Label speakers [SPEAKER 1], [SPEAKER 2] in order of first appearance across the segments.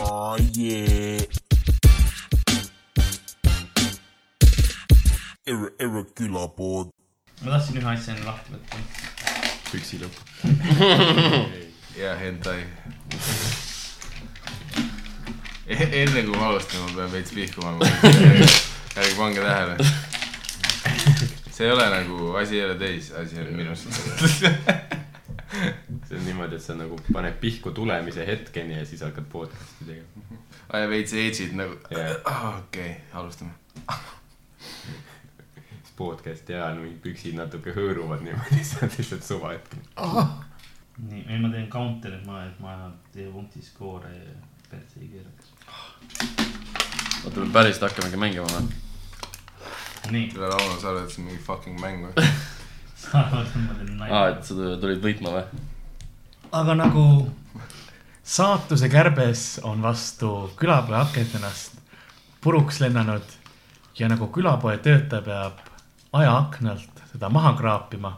[SPEAKER 1] Oh yeah. Irre- Irregular board.
[SPEAKER 2] ma tahtsin ühe asja enne lahti võtta .
[SPEAKER 3] püksi lõpp .
[SPEAKER 4] ja hentai . E-, enne kui me alustame , ma pean veits pihku andma . ärge pange tähele . see ei ole nagu , asi ei ole teis , asi on minus .
[SPEAKER 3] see on niimoodi , et sa nagu paned pihku tulemise hetkeni ja siis hakkad podcast'i tegema .
[SPEAKER 4] aja veits edge'id nagu ,
[SPEAKER 3] Jah.
[SPEAKER 4] okei , alustame .
[SPEAKER 3] siis podcast'i ajal mingid püksid natuke hõõruvad niimoodi , siis on lihtsalt suva hetk .
[SPEAKER 2] nii , ei ma teen counter'i , ma , et ma teie punkti skoore perse ei keeraks .
[SPEAKER 5] oota , me päriselt hakkamegi mängima või ?
[SPEAKER 2] nii ,
[SPEAKER 4] selle laulu sa arvad , et see on mingi fucking mäng või ?
[SPEAKER 2] sa arvad , et ma teen
[SPEAKER 5] aa ,
[SPEAKER 2] nalja
[SPEAKER 5] et ? sa tulid võitma või ?
[SPEAKER 6] aga nagu saatuse kärbes on vastu külapoe akent ennast puruks lennanud ja nagu külapoe töötaja peab ajaaknalt seda maha kraapima ,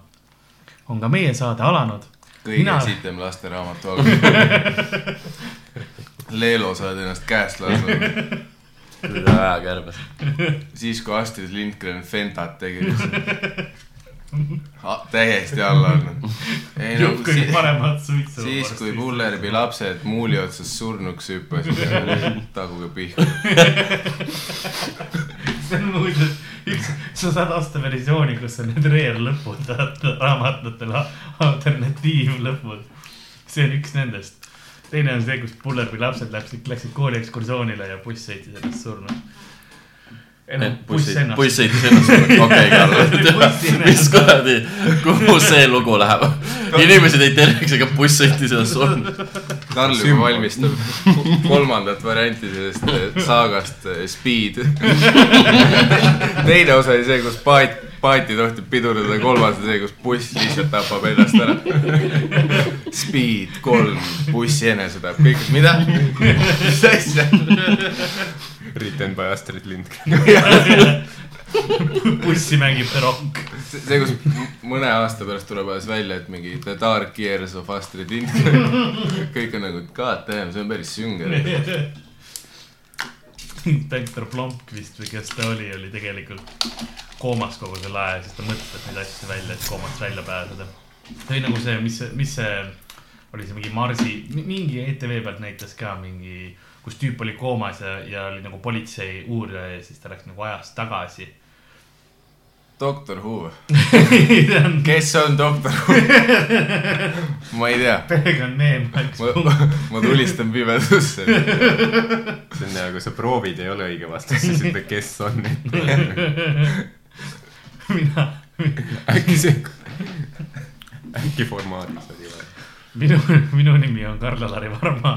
[SPEAKER 6] on ka meie saade alanud .
[SPEAKER 4] kõige
[SPEAKER 6] Mina-
[SPEAKER 4] sitem lasteraamatu algus . Leelo , sa oled ennast käest lasknud .
[SPEAKER 5] tulid ajakärbes .
[SPEAKER 4] siis , kui Astrid Lindgren Fentat tegi . täiesti alla andnud . ei no
[SPEAKER 2] juht kõige
[SPEAKER 4] si
[SPEAKER 2] paremat suitsu .
[SPEAKER 4] siis , kui . Pullerbi lapsed muuli otsast surnuks hüppasid , taguge pihku .
[SPEAKER 6] see on muide üks sada aasta versiooni , kus on need reerlõpud , raamatutele alternatiivlõpud . see on üks nendest . teine on see , kus Pullerbi lapsed läksid , läksid kooli ekskursioonile ja buss sõitis ennast surnud . ei noh ,
[SPEAKER 5] buss
[SPEAKER 6] buss ennast .
[SPEAKER 5] sõitis ennast , okei , Karl
[SPEAKER 6] Buss . ennast.
[SPEAKER 5] mis kuradi , kuhu see lugu läheb ? inimesed jäid terveks , aga buss sõitis ennast surnud .
[SPEAKER 4] Karl juba valmistab kolmandat varianti sellest eh, saagast eh, Speed . teine osa oli see , kus paat , paati tohtib pidurdada , kolmas on see , kus buss lihtsalt tapab ennast ära . Speed kolm , buss enese tapab , kõik , mida ? mis asja ?
[SPEAKER 3] Written by Astrid Lindgren .
[SPEAKER 6] bussi mängib The Rock .
[SPEAKER 4] see , kus m- mõne aasta pärast tuleb alles välja , et mingi The Dark Years of Astrid Lindgren . kõik on nagu , et god damn , see on päris sünge .
[SPEAKER 6] inspektor Plomk vist või kes ta oli , oli tegelikult koomas kogu selle aja , siis ta mõtles neid asju välja , et koomast välja pääseda . see oli nagu see , mis , mis see oli see mingi Marsi , mingi ETV pealt näitas ka mingi , kus tüüp oli koomas ja , ja oli nagu politsei uurija ja siis ta läks nagu ajas tagasi .
[SPEAKER 4] Doctor Who ,
[SPEAKER 6] see on
[SPEAKER 4] kes on Doctor Who ? ma ei tea
[SPEAKER 6] peega neem läks .
[SPEAKER 4] ma , ma tulistan pimedusse .
[SPEAKER 3] see on hea , kui sa proovid , ei ole õige vastus , siis ütled , kes on .
[SPEAKER 6] mina ,
[SPEAKER 3] äkki see , äkki formaadis oli vaja .
[SPEAKER 6] minu , minu nimi on Karl-Alari Varma .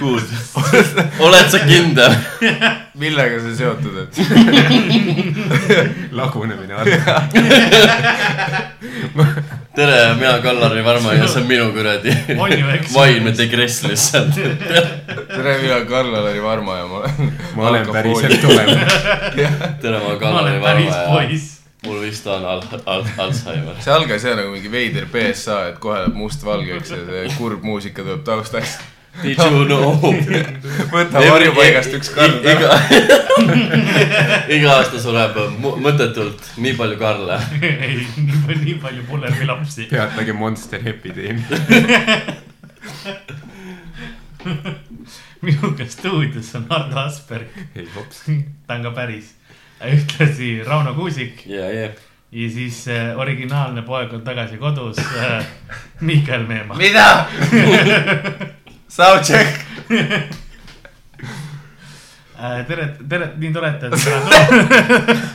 [SPEAKER 5] Good . oled sa kindel ?
[SPEAKER 4] millega see seotud on ?
[SPEAKER 3] lagunemine on .
[SPEAKER 5] tere , mina olen Kallari Varma ja see on minu kuradi
[SPEAKER 6] on ju , eks .
[SPEAKER 5] vaimne degress lihtsalt .
[SPEAKER 4] tere , mina olen Karl-Alari Varma ja ma olen .
[SPEAKER 3] ma olen päriselt . olemas .
[SPEAKER 5] tere , ma olen
[SPEAKER 6] ma
[SPEAKER 5] Kallari
[SPEAKER 6] olen päris
[SPEAKER 5] Varma ja
[SPEAKER 6] poiss .
[SPEAKER 5] mul vist on al- , al- , Alzheimer .
[SPEAKER 4] see algas jah nagu mingi veider PSA , et kohe läheb must valgeks ja see kurb muusika tuleb taustaks .
[SPEAKER 5] Did you know ?
[SPEAKER 4] võta
[SPEAKER 3] e-
[SPEAKER 4] varjupaigast üks Karl
[SPEAKER 5] iga
[SPEAKER 4] ära .,
[SPEAKER 5] iga aasta sureb mu- mõttetult nii palju Karle .
[SPEAKER 6] ei , nii palju , nii palju Pullerbi lapsi .
[SPEAKER 3] peatage Monster Epideemia .
[SPEAKER 6] minuga stuudios on Ardo Asperg ,
[SPEAKER 3] ei hops .
[SPEAKER 6] ta on ka päris , ühtlasi Rauno Kuusik
[SPEAKER 5] ja , ja .
[SPEAKER 6] ja siis äh, originaalne poeg on tagasi kodus äh, , Mihkel
[SPEAKER 3] e-
[SPEAKER 6] Meemaa .
[SPEAKER 4] mida ? Soundcheck .
[SPEAKER 6] Äh, tere , tere , nii tore , et te olete täna tulnud ,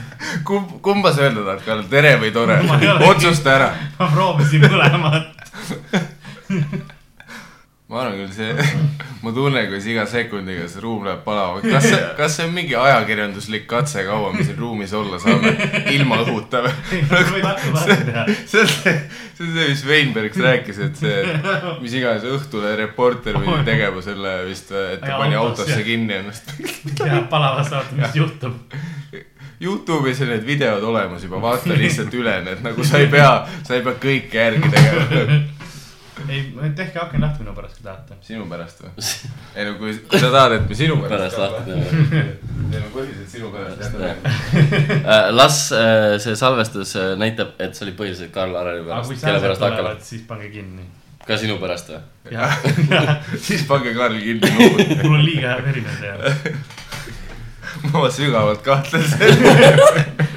[SPEAKER 4] kumb , kumba sa öelda tahad , Karl , tere või tore
[SPEAKER 6] Ma ei ole- ?
[SPEAKER 4] otsusta ära .
[SPEAKER 6] ma proovisin mõlemat .
[SPEAKER 4] ma arvan küll see , ma tunnen , kuidas iga sekundiga see ruum läheb palavaks . kas see , kas see on mingi ajakirjanduslik katse , kaua me siin ruumis olla saame ilma õhuta või ?
[SPEAKER 6] võid hakka vahet teha .
[SPEAKER 4] see on see , see on see , mis Weinbergs rääkis , et see , mis iganes Õhtule reporter pidi tegema selle vist , et ta
[SPEAKER 6] Jaa,
[SPEAKER 4] pani
[SPEAKER 6] autos,
[SPEAKER 4] autosse
[SPEAKER 6] jah.
[SPEAKER 4] kinni ennast .
[SPEAKER 6] ja palavas saates , mis juhtub .
[SPEAKER 4] Youtube'is on need videod olemas juba , vaata lihtsalt üle need , nagu sa ei pea , sa ei pea kõike järgi tegema .
[SPEAKER 6] ei , tehke aken lahti minu pärast , kui tahate .
[SPEAKER 4] sinu pärast või ? ei no kui , kui sa tahad , et me sinu pärast
[SPEAKER 5] pärast . lahti teeme .
[SPEAKER 4] ei no põhiliselt sinu pärast jah .
[SPEAKER 5] las äh, see salvestus äh, näitab , et see oli põhiliselt Karl Areli
[SPEAKER 6] aga
[SPEAKER 5] pärast
[SPEAKER 6] kui ,
[SPEAKER 5] kelle
[SPEAKER 6] sääsed
[SPEAKER 5] pärast hakkame .
[SPEAKER 6] tulevad , siis pange kinni .
[SPEAKER 5] ka sinu pärast või ?
[SPEAKER 6] jah ,
[SPEAKER 4] siis pange Karl kinni lugu .
[SPEAKER 6] mul on liiga hea veri nende jaoks .
[SPEAKER 4] ma sügavalt kahtlen selles .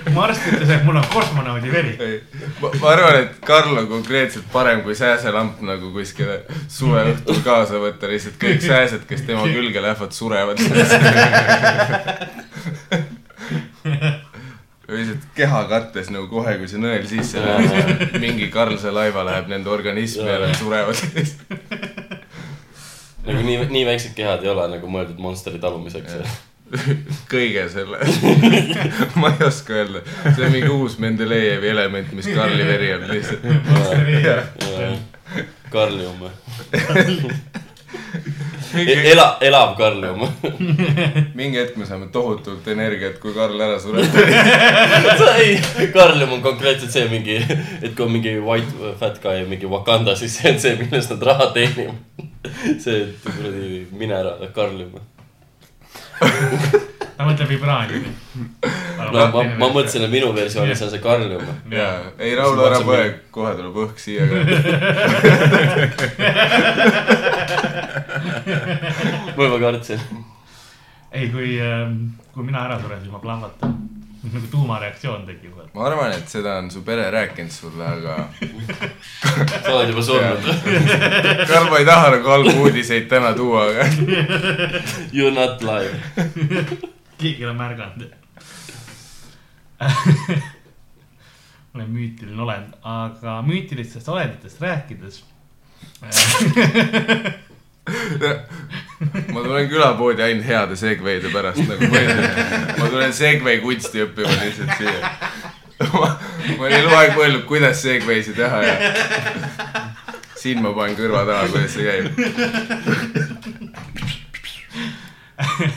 [SPEAKER 6] mu arst ütles , et mul on kosmonaudi veri .
[SPEAKER 4] ma ma arvan , et Karl on konkreetselt parem kui sääselamp nagu kuskile suveõhtul kaasa võtta , lihtsalt kõik sääsed , kes tema külge lähevad , surevad . või lihtsalt keha kattes nagu kohe , kui see nõel sisse läheb , mingi karlse laiva läheb nende organismi ja nad surevad .
[SPEAKER 5] nagu nii , nii väiksed kehad ei ole nagu mõeldud monsteri talumiseks .
[SPEAKER 4] kõige selle , ma ei oska öelda , see on mingi uus Mendelejevi element , mis Karli veri on lihtsalt .
[SPEAKER 5] Äh, Karlium või ?
[SPEAKER 4] mingi ,
[SPEAKER 5] ela , elav Karlium .
[SPEAKER 4] mingi hetk me saame tohutult energiat , kui Karl ära sureb .
[SPEAKER 5] ei , Karlium on konkreetselt see mingi , et kui on mingi white fat guy mingi Wakanda , siis see on see , millest nad raha teenivad . see kuradi mineraal , Karlium .
[SPEAKER 6] ta mõtleb vibraaniumi .
[SPEAKER 5] no ma , ma . mõtlesin , et minu versioonis on see Karlium .
[SPEAKER 4] jaa , ei Rauno ära põe , kohe tuleb õhk siia ka .
[SPEAKER 5] ma juba kartsin .
[SPEAKER 6] ei , kui , kui mina ära suren , siis ma plahvatan . nagu tuumareaktsioon tekib veel .
[SPEAKER 4] ma arvan , et seda on su pere rääkinud sulle , aga
[SPEAKER 5] sa oled juba surnud .
[SPEAKER 4] Karl , ma ei taha nagu halbu uudiseid täna tuua , aga
[SPEAKER 5] You are not live .
[SPEAKER 6] keegi ei ole märganud . ma olen müütiline olend , aga müütilistest olenditest rääkides . äh,
[SPEAKER 4] ma tulen külapoodi ainult heade segveide pärast nagu põhiliselt . ma tulen segvei kunsti õppima lihtsalt siia . ma ma olen eluaeg mõelnud , kuidas segveisi teha ja siin ma panen kõrva taha , kuidas see käib .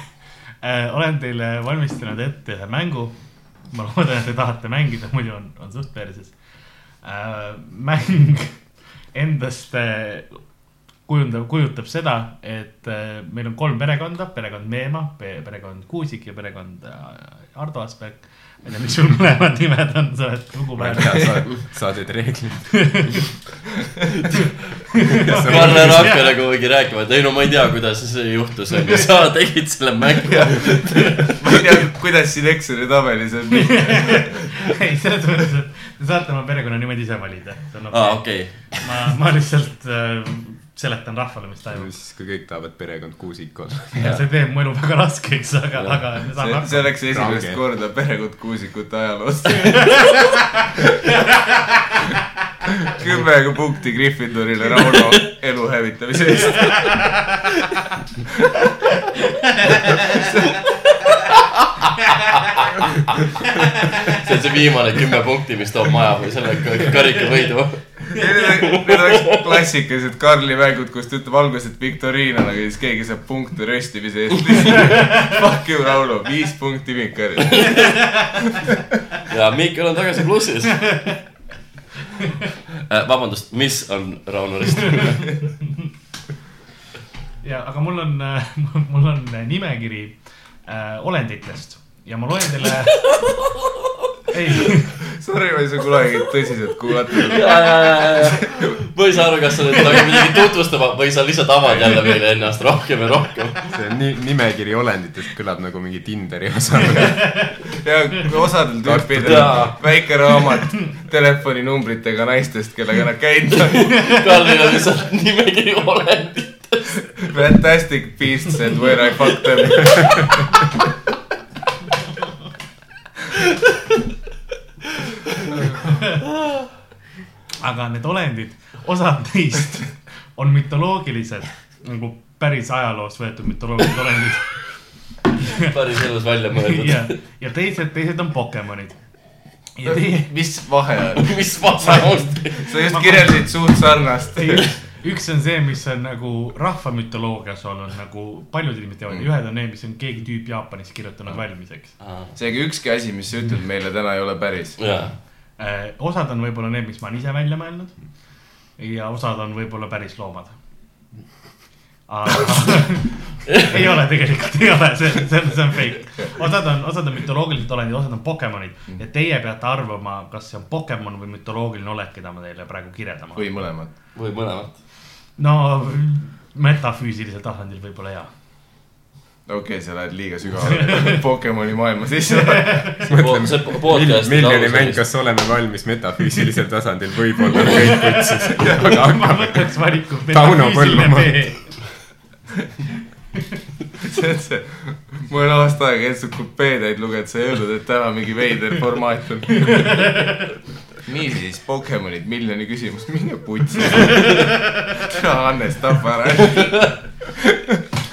[SPEAKER 6] Äh, olen teile valmistanud ette ühe mängu . ma loodan , et te tahate mängida , muidu on , on suht perses . mäng endast äh, kujundab , kujutab seda , et äh, meil on kolm perekonda , perekond Meemaa , perekond Kuusik ja perekond äh, Ardo Asperg . ma ei tea , mis sul mõlemad nimed on , sa oled lugupeetud .
[SPEAKER 4] sa teed reeglid .
[SPEAKER 5] Karl ära hakka nagu mingi rääkima , et ei no ma ei tea , kuidas see juhtus , aga sa tegid selle mängu .
[SPEAKER 4] ma ei tea , kuidas siin Exceli tabelis on nii .
[SPEAKER 6] ei , selles mõttes , et te saate oma perekonnanimed ise valida .
[SPEAKER 5] aa , Ah, okei .
[SPEAKER 6] ma , ma lihtsalt äh, seletan rahvale , mis toimub .
[SPEAKER 3] siis , kui kõik tahavad perekond Kuusik olla .
[SPEAKER 6] see teeb mu elu väga raskeks , aga , aga me saame
[SPEAKER 4] see
[SPEAKER 6] hakkama .
[SPEAKER 4] oleks esimest
[SPEAKER 3] Range.
[SPEAKER 4] korda perekond Kuusikute ajaloost . kümme punkti Griffindorile Rauno elu hävitamise eest .
[SPEAKER 5] see on see viimane kümme punkti , mis toob maja või selle ka- karika võidu .
[SPEAKER 4] Need oleks klassikalised Karli mängud , kus ta ütleb alguses , et viktoriin on , aga siis keegi saab punkte röstimise eest . Fuck you , Rauno , viis punkti Mikarile .
[SPEAKER 5] ja Mihkel on tagasi plussis . vabandust , mis on Rauno Rist ?
[SPEAKER 6] ja , aga mul on äh, , mul on nimekiri äh, olenditest ja ma loen teile . ei ,
[SPEAKER 4] Sorry , ma ei saa kunagi tõsiselt kuulata .
[SPEAKER 5] ma ei saa aru , kas sa nüüd hakkad midagi tutvustama või sa lihtsalt avad jälle meile ennast rohkem ja rohkem .
[SPEAKER 3] see ni- nimekiri olenditest kõlab nagu mingi Tinderi osa .
[SPEAKER 4] ja osadel tüüpidel on väike raamat telefoninumbritega naistest , kellega nad käinud on .
[SPEAKER 5] Karlil on lihtsalt nimekiri olendid .
[SPEAKER 4] Fantastic beasts and where I fuck them .
[SPEAKER 6] aga need olendid , osad neist on mütoloogilised nagu päris ajaloost võetud mütoloogilised olendid .
[SPEAKER 5] päris elus välja mõeldud .
[SPEAKER 6] ja , ja teised , teised on Pokemonid . ja teie ,
[SPEAKER 4] mis vahe on ?
[SPEAKER 5] mis vastamust ?
[SPEAKER 4] sa just kirjeldasid suht sarnast .
[SPEAKER 6] üks on see , mis on nagu rahvamütoloogias olnud nagu paljud inimesed teavad ja ühed on need , mis on keegi tüüp Jaapanis kirjutanud valmis , eks .
[SPEAKER 4] seega ükski asi , mis sa ütled meile täna ei ole päris .
[SPEAKER 5] jaa
[SPEAKER 6] Eh, osad on võib-olla need , mis ma olen ise välja mõelnud . ja osad on võib-olla päris loomad . aga ei ole tegelikult , ei ole , see , see on , see on fake . osad on , osad on mütoloogilised olendid , osad on Pokemonid
[SPEAKER 4] Mm.
[SPEAKER 6] ja teie peate arvama , kas see on Pokemon või mütoloogiline olek , keda ma teile praegu kirjeldama .
[SPEAKER 4] või mõlemad .
[SPEAKER 5] või mõlemat .
[SPEAKER 6] no metafüüsilisel tasandil võib-olla jaa .
[SPEAKER 4] okei okay, , sa lähed liiga sügavale Pokemoni maailma sisse .
[SPEAKER 5] see po- podcast .
[SPEAKER 3] miljoni mäng , kas oleme valmis metafüüsilisel tasandil võib-olla kõik kutsus , aga
[SPEAKER 6] ma
[SPEAKER 3] hakkame .
[SPEAKER 6] võtaks valiku .
[SPEAKER 3] Tauno Põllumaa. .
[SPEAKER 4] see on see , ma olen aasta aega entsüklopeediaid lugenud , sa ei öelnud , et täna mingi veider formaat on . niisiis , Pokemonid , miljoni küsimus , mine putsi . Hannes , tapa ära .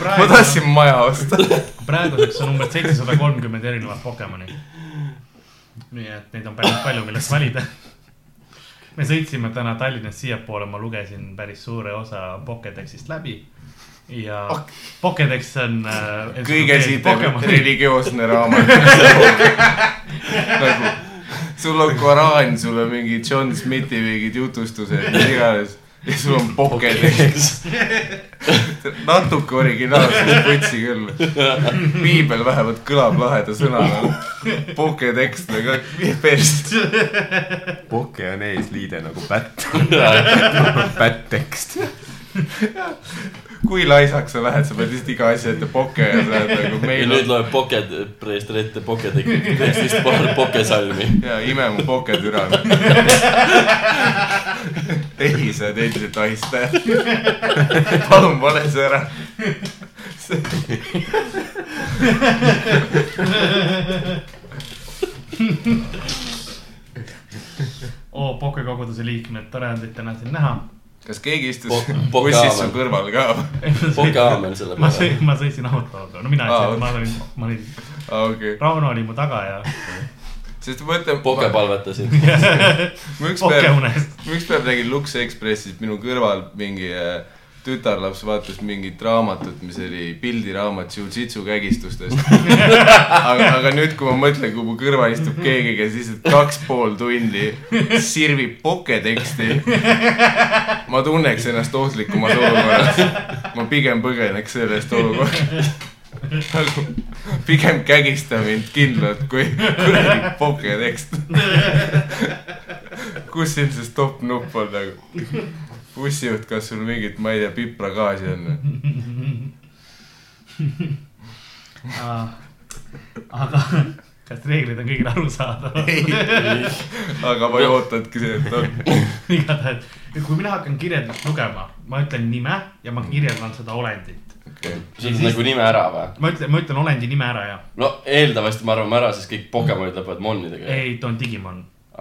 [SPEAKER 4] ma tahtsin maja osta .
[SPEAKER 6] praeguseks on umbes seitsesada kolmkümmend erinevat Pokemoni . nii et neid on päris palju , millest valida . me sõitsime täna Tallinnast siiapoole , ma lugesin päris suure osa Pokedexist läbi ja Pokedex on äh,
[SPEAKER 4] kõige sitem
[SPEAKER 6] Pokemoni-
[SPEAKER 4] religioosne raamat . nagu , sul on Koraan , sul on mingi John Smithi mingid jutustused , mis iganes . ja sul on Pokedex . natuke originaalselt võtsi küll . piibel vähemalt kõlab laheda sõnana . Pokedex nagu perst .
[SPEAKER 3] Poke on eesliide nagu pätt , pätt-tekst .
[SPEAKER 4] kui laisaks sa lähed , sa pead lihtsalt iga asja ette poke ja sa oled nagu
[SPEAKER 5] ja
[SPEAKER 4] meil
[SPEAKER 5] nüüd
[SPEAKER 4] on .
[SPEAKER 5] loeb Pocket , preester ette Pocketi tekstist paar Pokesalmi .
[SPEAKER 4] ja ime mu poketüra . ei , sa oled endiselt haistaja . palun pane see ära .
[SPEAKER 6] oo , Pokekoguduse liikmed , tore on teid täna siin näha .
[SPEAKER 4] kas keegi istus
[SPEAKER 5] Po- poke
[SPEAKER 4] bussis
[SPEAKER 5] haaval.
[SPEAKER 4] su kõrval ka ?
[SPEAKER 5] Pokeaamel selle
[SPEAKER 6] ma
[SPEAKER 5] peale .
[SPEAKER 6] sõin , ma sõitsin autoga , no mina ei
[SPEAKER 4] Aa,
[SPEAKER 6] sõitnud , ma olin , ma olin ,
[SPEAKER 4] aa , okei okay. .
[SPEAKER 6] Rauno oli mu taga ja
[SPEAKER 4] sest ma ütlen .
[SPEAKER 5] Poke palvetasid .
[SPEAKER 4] ma üks päev ,
[SPEAKER 6] Pokeunes .
[SPEAKER 4] üks päev nägin Lux Expressis minu kõrval mingi äh, tütarlaps vaatas mingit raamatut , mis oli pildiraamat jujitsu kägistustest . aga , aga nüüd , kui ma mõtlen , kui mu kõrval istub keegi , kes lihtsalt kaks pool tundi sirvib poketeksti . ma tunneks ennast ohtlikumas olukorras . ma pigem põgeneks sellest olukorrast . pigem kägista mind kindlalt kui kuradi poketekst . kus siin see stopp nupp on nagu ? bussijuht , kas sul mingit , ma ei tea , pipragaasi on või ?
[SPEAKER 6] aga kas reeglid on kõigile arusaadavad ?
[SPEAKER 4] aga ma ei ootanudki seda , et on .
[SPEAKER 6] igatahes , kui mina hakkan kirjeldust lugema , ma ütlen nime ja ma kirjeldan seda olendit .
[SPEAKER 4] okei ,
[SPEAKER 5] see on nagu nime ära või ?
[SPEAKER 6] ma ütlen , ma ütlen olendi nime ära ja
[SPEAKER 5] no eeldavasti me arvame ära , siis kõik Pokemonid lõpevad monidega .
[SPEAKER 6] ei , too on Digimon .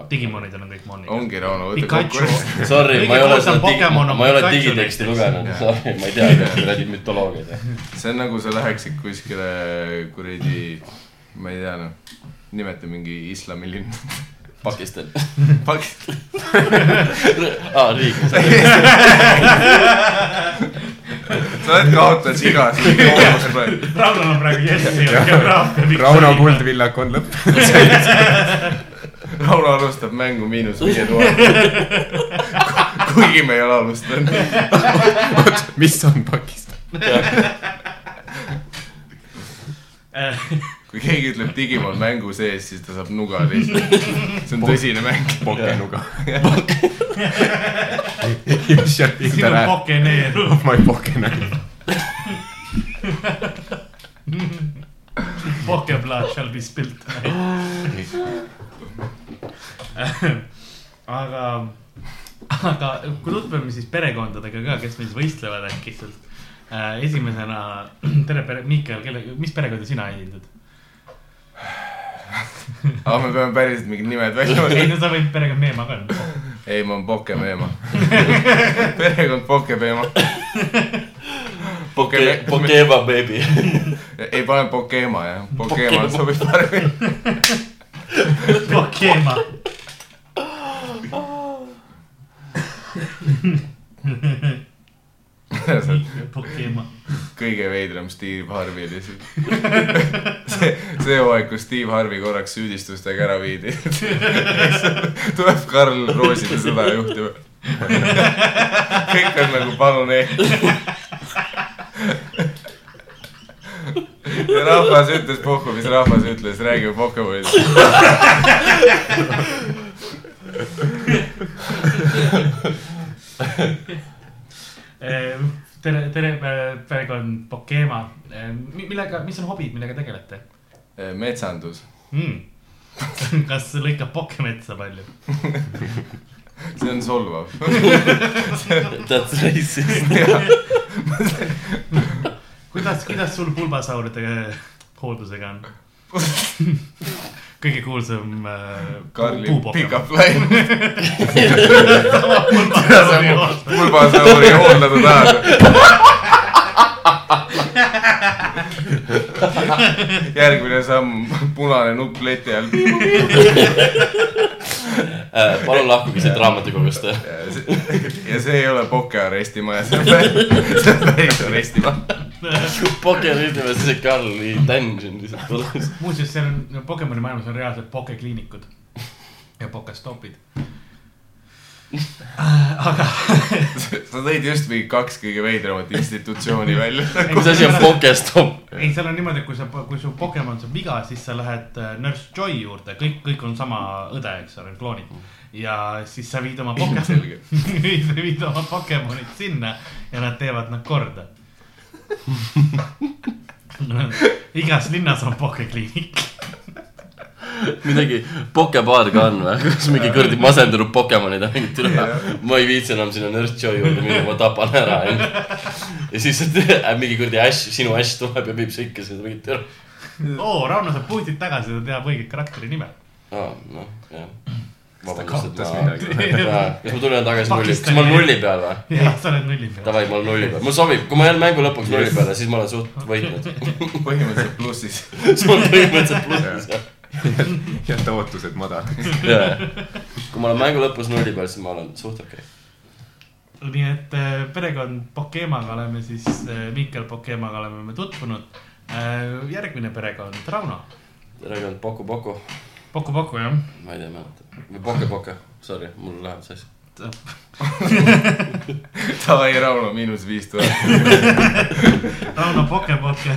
[SPEAKER 6] Digimonidel on kõik monid .
[SPEAKER 4] ongi Rauno , võta
[SPEAKER 6] Pikachu
[SPEAKER 4] kokku .,
[SPEAKER 5] Sorry ,
[SPEAKER 6] Kõige
[SPEAKER 5] ma ei ole
[SPEAKER 6] kuulsam
[SPEAKER 5] seda digi-
[SPEAKER 6] Pokemon , on
[SPEAKER 5] ma ei ole
[SPEAKER 6] Pikachu
[SPEAKER 5] digiteksti
[SPEAKER 6] näiteks.
[SPEAKER 5] lugenud , sorry , ma ei tea , kas sa räägid mütoloogiat .
[SPEAKER 4] see on nagu sa läheksid kuskile kuradi , ma ei tea noh , nimeta mingi islamilinn .
[SPEAKER 5] Pakistan .
[SPEAKER 4] Pakistan ,
[SPEAKER 5] aa , riik .
[SPEAKER 4] sa oled kaotanud igas koos praegu .
[SPEAKER 6] Raunol on praegu jess ja geograafia .
[SPEAKER 3] Rauno . Kuldvillak on lõpp .
[SPEAKER 4] Rauno alustab mängu miinus viie tuhande . kuigi me ei ole alustanud .
[SPEAKER 3] mis on Pakistan ?
[SPEAKER 6] Äh,
[SPEAKER 4] kui keegi ütleb Digimon mängu sees , siis ta saab nuga lihtsalt . see on tõsine mäng .
[SPEAKER 3] Pokenuga . You shut in the
[SPEAKER 6] sinu
[SPEAKER 3] rat
[SPEAKER 6] Pokeneeru .
[SPEAKER 3] of my Pokenut .
[SPEAKER 6] Pokeblood shall be spilt . aga , aga kui tutvame siis perekondadega ka , kes meil siis võistlevad äkki sealt . esimesena , tere pere , Miikael , kelle , mis perekonda sina esindad ?
[SPEAKER 4] aga me peame päriselt mingid nimed välja
[SPEAKER 6] ei
[SPEAKER 4] mõtlema .
[SPEAKER 6] no sa võid perekond Meemaa ka nüüd .
[SPEAKER 4] ei , ma olen Pokemeema . perekond Pokemeema .
[SPEAKER 5] Poke- , Pokeba baby .
[SPEAKER 4] ei , panen Pokema jah , Pokema sobib paremini .
[SPEAKER 6] Pokema . Pokema .
[SPEAKER 4] kõige veidram Steve Harvey lihtsalt . see , see hooaeg , kus Steve Harvey korraks süüdistustega ära viidi . tuleb Karl Rooside sõda juhtima . kõik on nagu palun ehk . ja rahvas ütles puhku , mis rahvas ütles , räägime Pokemonist .
[SPEAKER 6] Ehm, tere , tere , äh, perekond Pokema . Ehm, millega , mis on hobid , millega tegelete
[SPEAKER 4] metsandus ,
[SPEAKER 6] mm. ? kas lõikab pokemetsa palju ?
[SPEAKER 4] see on solvav .
[SPEAKER 5] That's racist .
[SPEAKER 6] kuidas , kuidas sul pulbasauride äh, hooldusega on ? kõige kuulsam äh,
[SPEAKER 4] Karli
[SPEAKER 6] puu- puupokemon.
[SPEAKER 4] pickup line ,
[SPEAKER 6] Pulbasauri hoos-
[SPEAKER 4] pulbasauri hooldada tahad . järgmine samm , punane nupp leti all .
[SPEAKER 5] Äh, palun lahkuge siit raamatukogust .
[SPEAKER 4] ja see ei ole pokearestimaja , see on päris , see on päris arestimaja .
[SPEAKER 5] Pokeri nimest see Karli Dungeon lihtsalt kodus .
[SPEAKER 6] muuseas , seal on , Pokemoni maailmas on reaalselt pokekliinikud ja pokestopid . Äh,
[SPEAKER 4] sa tõid just mingi kaks kõige veidramat institutsiooni välja .
[SPEAKER 5] mis asi on Pokestop ?
[SPEAKER 6] ei , seal on niimoodi , et kui sa , kui su Pokemon saab viga , siis sa lähed äh, Nurse Joy juurde , kõik , kõik on sama õde , eks ole , kloonid . ja siis sa viid oma Pokemon
[SPEAKER 4] Ilmselge. ,
[SPEAKER 6] viid oma Pokemonid sinna ja nad teevad nad korda . igas linnas on pokekliinik .
[SPEAKER 5] midagi pokebaar ka on või ? kus mingi kuradi masendunud Pokemonid on mingid üle . ma ei viitsi enam sinna Nurse Joy juurde minna , ma tapan ära end . ja siis äh, mingi kuradi Ash , sinu Ash tuleb ja viib sa ikka seda mingit ära .
[SPEAKER 6] oo , Rauno saab puutid tagasi , ta teab õiget karakteri nime .
[SPEAKER 5] aa , noh , jah .
[SPEAKER 4] kaotas midagi .
[SPEAKER 5] kas ma tulen tagasi nulli , kas ma
[SPEAKER 6] Pakistani-
[SPEAKER 5] olen nulli peal või ?
[SPEAKER 6] jah , sa oled nulli peal .
[SPEAKER 5] Davai , ma olen nulli peal , mul sobib , kui ma jään mängu lõpuks nulli peale , siis ma olen suht võitnud .
[SPEAKER 4] põhimõtteliselt plussis .
[SPEAKER 5] siis ma olen põhimõtteliselt plussis jah .
[SPEAKER 3] jäta ootused madalaks .
[SPEAKER 5] jaa , kui ma olen mängu lõpus nulli peal , siis ma olen suht okei okay. .
[SPEAKER 6] nii et äh, perekond Pokemaga oleme siis , Mihkel Pokemaga oleme me tutvunud . järgmine perekond , Rauno .
[SPEAKER 5] perekond Poku Poku ,
[SPEAKER 6] Poku Poku jah .
[SPEAKER 5] ma ei tea , mäleta , või Poke Poke , sorry , mul läheb sassi .
[SPEAKER 4] Davai , Rauno , miinus viis tuhat .
[SPEAKER 6] Rauno Poke Poke .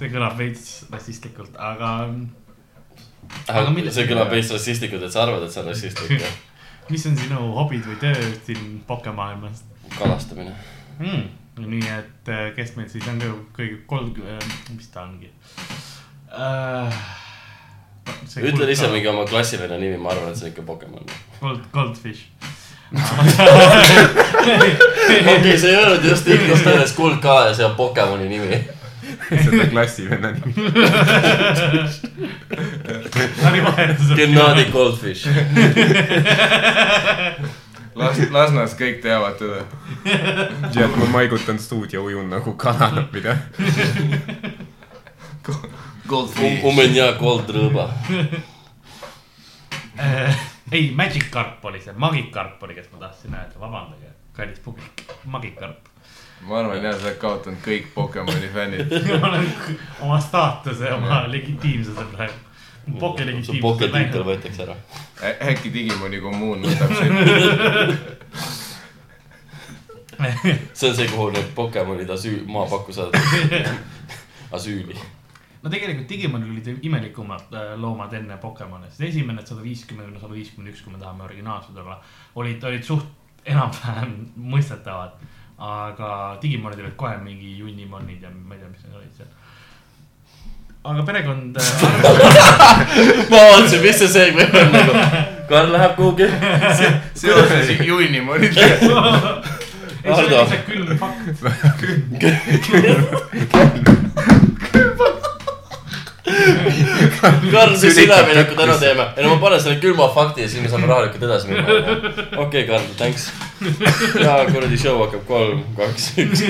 [SPEAKER 6] see kõlab veits rassistlikult , aga mm, Aga mille-
[SPEAKER 5] see kõlab veits rassistlikult , et sa arvad , et see on rassistlik , jah .
[SPEAKER 6] mis on sinu hobid või töö siin pokemaailmas
[SPEAKER 5] kalastamine .
[SPEAKER 6] mm. ? nii et äh, kes meil siis on kõige , kõige kolm , mis ta ongi uh, ?
[SPEAKER 5] ütle ise . mingi oma klassivenna nimi , ma arvan , et see on ikka Pokemon .
[SPEAKER 6] Gold , Goldfish .
[SPEAKER 5] okei , sa ei öelnud just inglise keeles kuld ka ja see on Pokemoni nimi .
[SPEAKER 3] seda klassivenna nimi .
[SPEAKER 5] Gennadi Goldfish .
[SPEAKER 4] Las- , Lasnas kõik teavad teda .
[SPEAKER 3] tead , ma maigutan stuudio , ujun nagu kananapida .
[SPEAKER 5] u
[SPEAKER 4] Goldfish .
[SPEAKER 5] меня Goldrõõba .
[SPEAKER 6] Äh, ei , Magic Carp oli see , Magic Carp oli , kes ma tahtsin öelda , vabandage , kallis publik , Magic Carp .
[SPEAKER 4] ma arvan jah , sa oled kaotanud kõik Pokemoni fännid .
[SPEAKER 6] ma olen k- oma staatuse , oma legitiimsuse praegu . Poke
[SPEAKER 5] su Poke tiitel
[SPEAKER 6] legitiimsus .
[SPEAKER 5] võetakse ära .
[SPEAKER 4] äkki Digimoni kommuun võtab sind .
[SPEAKER 5] see on see , kuhu need Pokemonid asüül , maapakku saadetakse . asüüli .
[SPEAKER 6] no tegelikult Digimonil olid imelikumad äh, loomad enne Pokemone , sest esimene sada viiskümmend kuni sada viiskümmend üks , kui me tahame originaalsed olla , olid , olid suht enam-vähem mõistetavad . aga Digimonid olid kohe mingi Unimonid ja ma ei tea , mis need olid seal . aga perekond äh,
[SPEAKER 5] ma vaatasin , mis see seegme on nagu . Karl läheb kuhugi .
[SPEAKER 4] seoses Unimonidega .
[SPEAKER 6] ei , see oli
[SPEAKER 5] Hardo.
[SPEAKER 6] lihtsalt külm fakt .
[SPEAKER 5] Karl , mis
[SPEAKER 4] Sülitab
[SPEAKER 5] ülemineku täna
[SPEAKER 4] kätte.
[SPEAKER 5] teeme ? ei no ma panen selle külma fakti ja siis me saame rahulikult edasi minna . okei , Karl , thanks . ja kuradi show hakkab kolm , kaks , üks .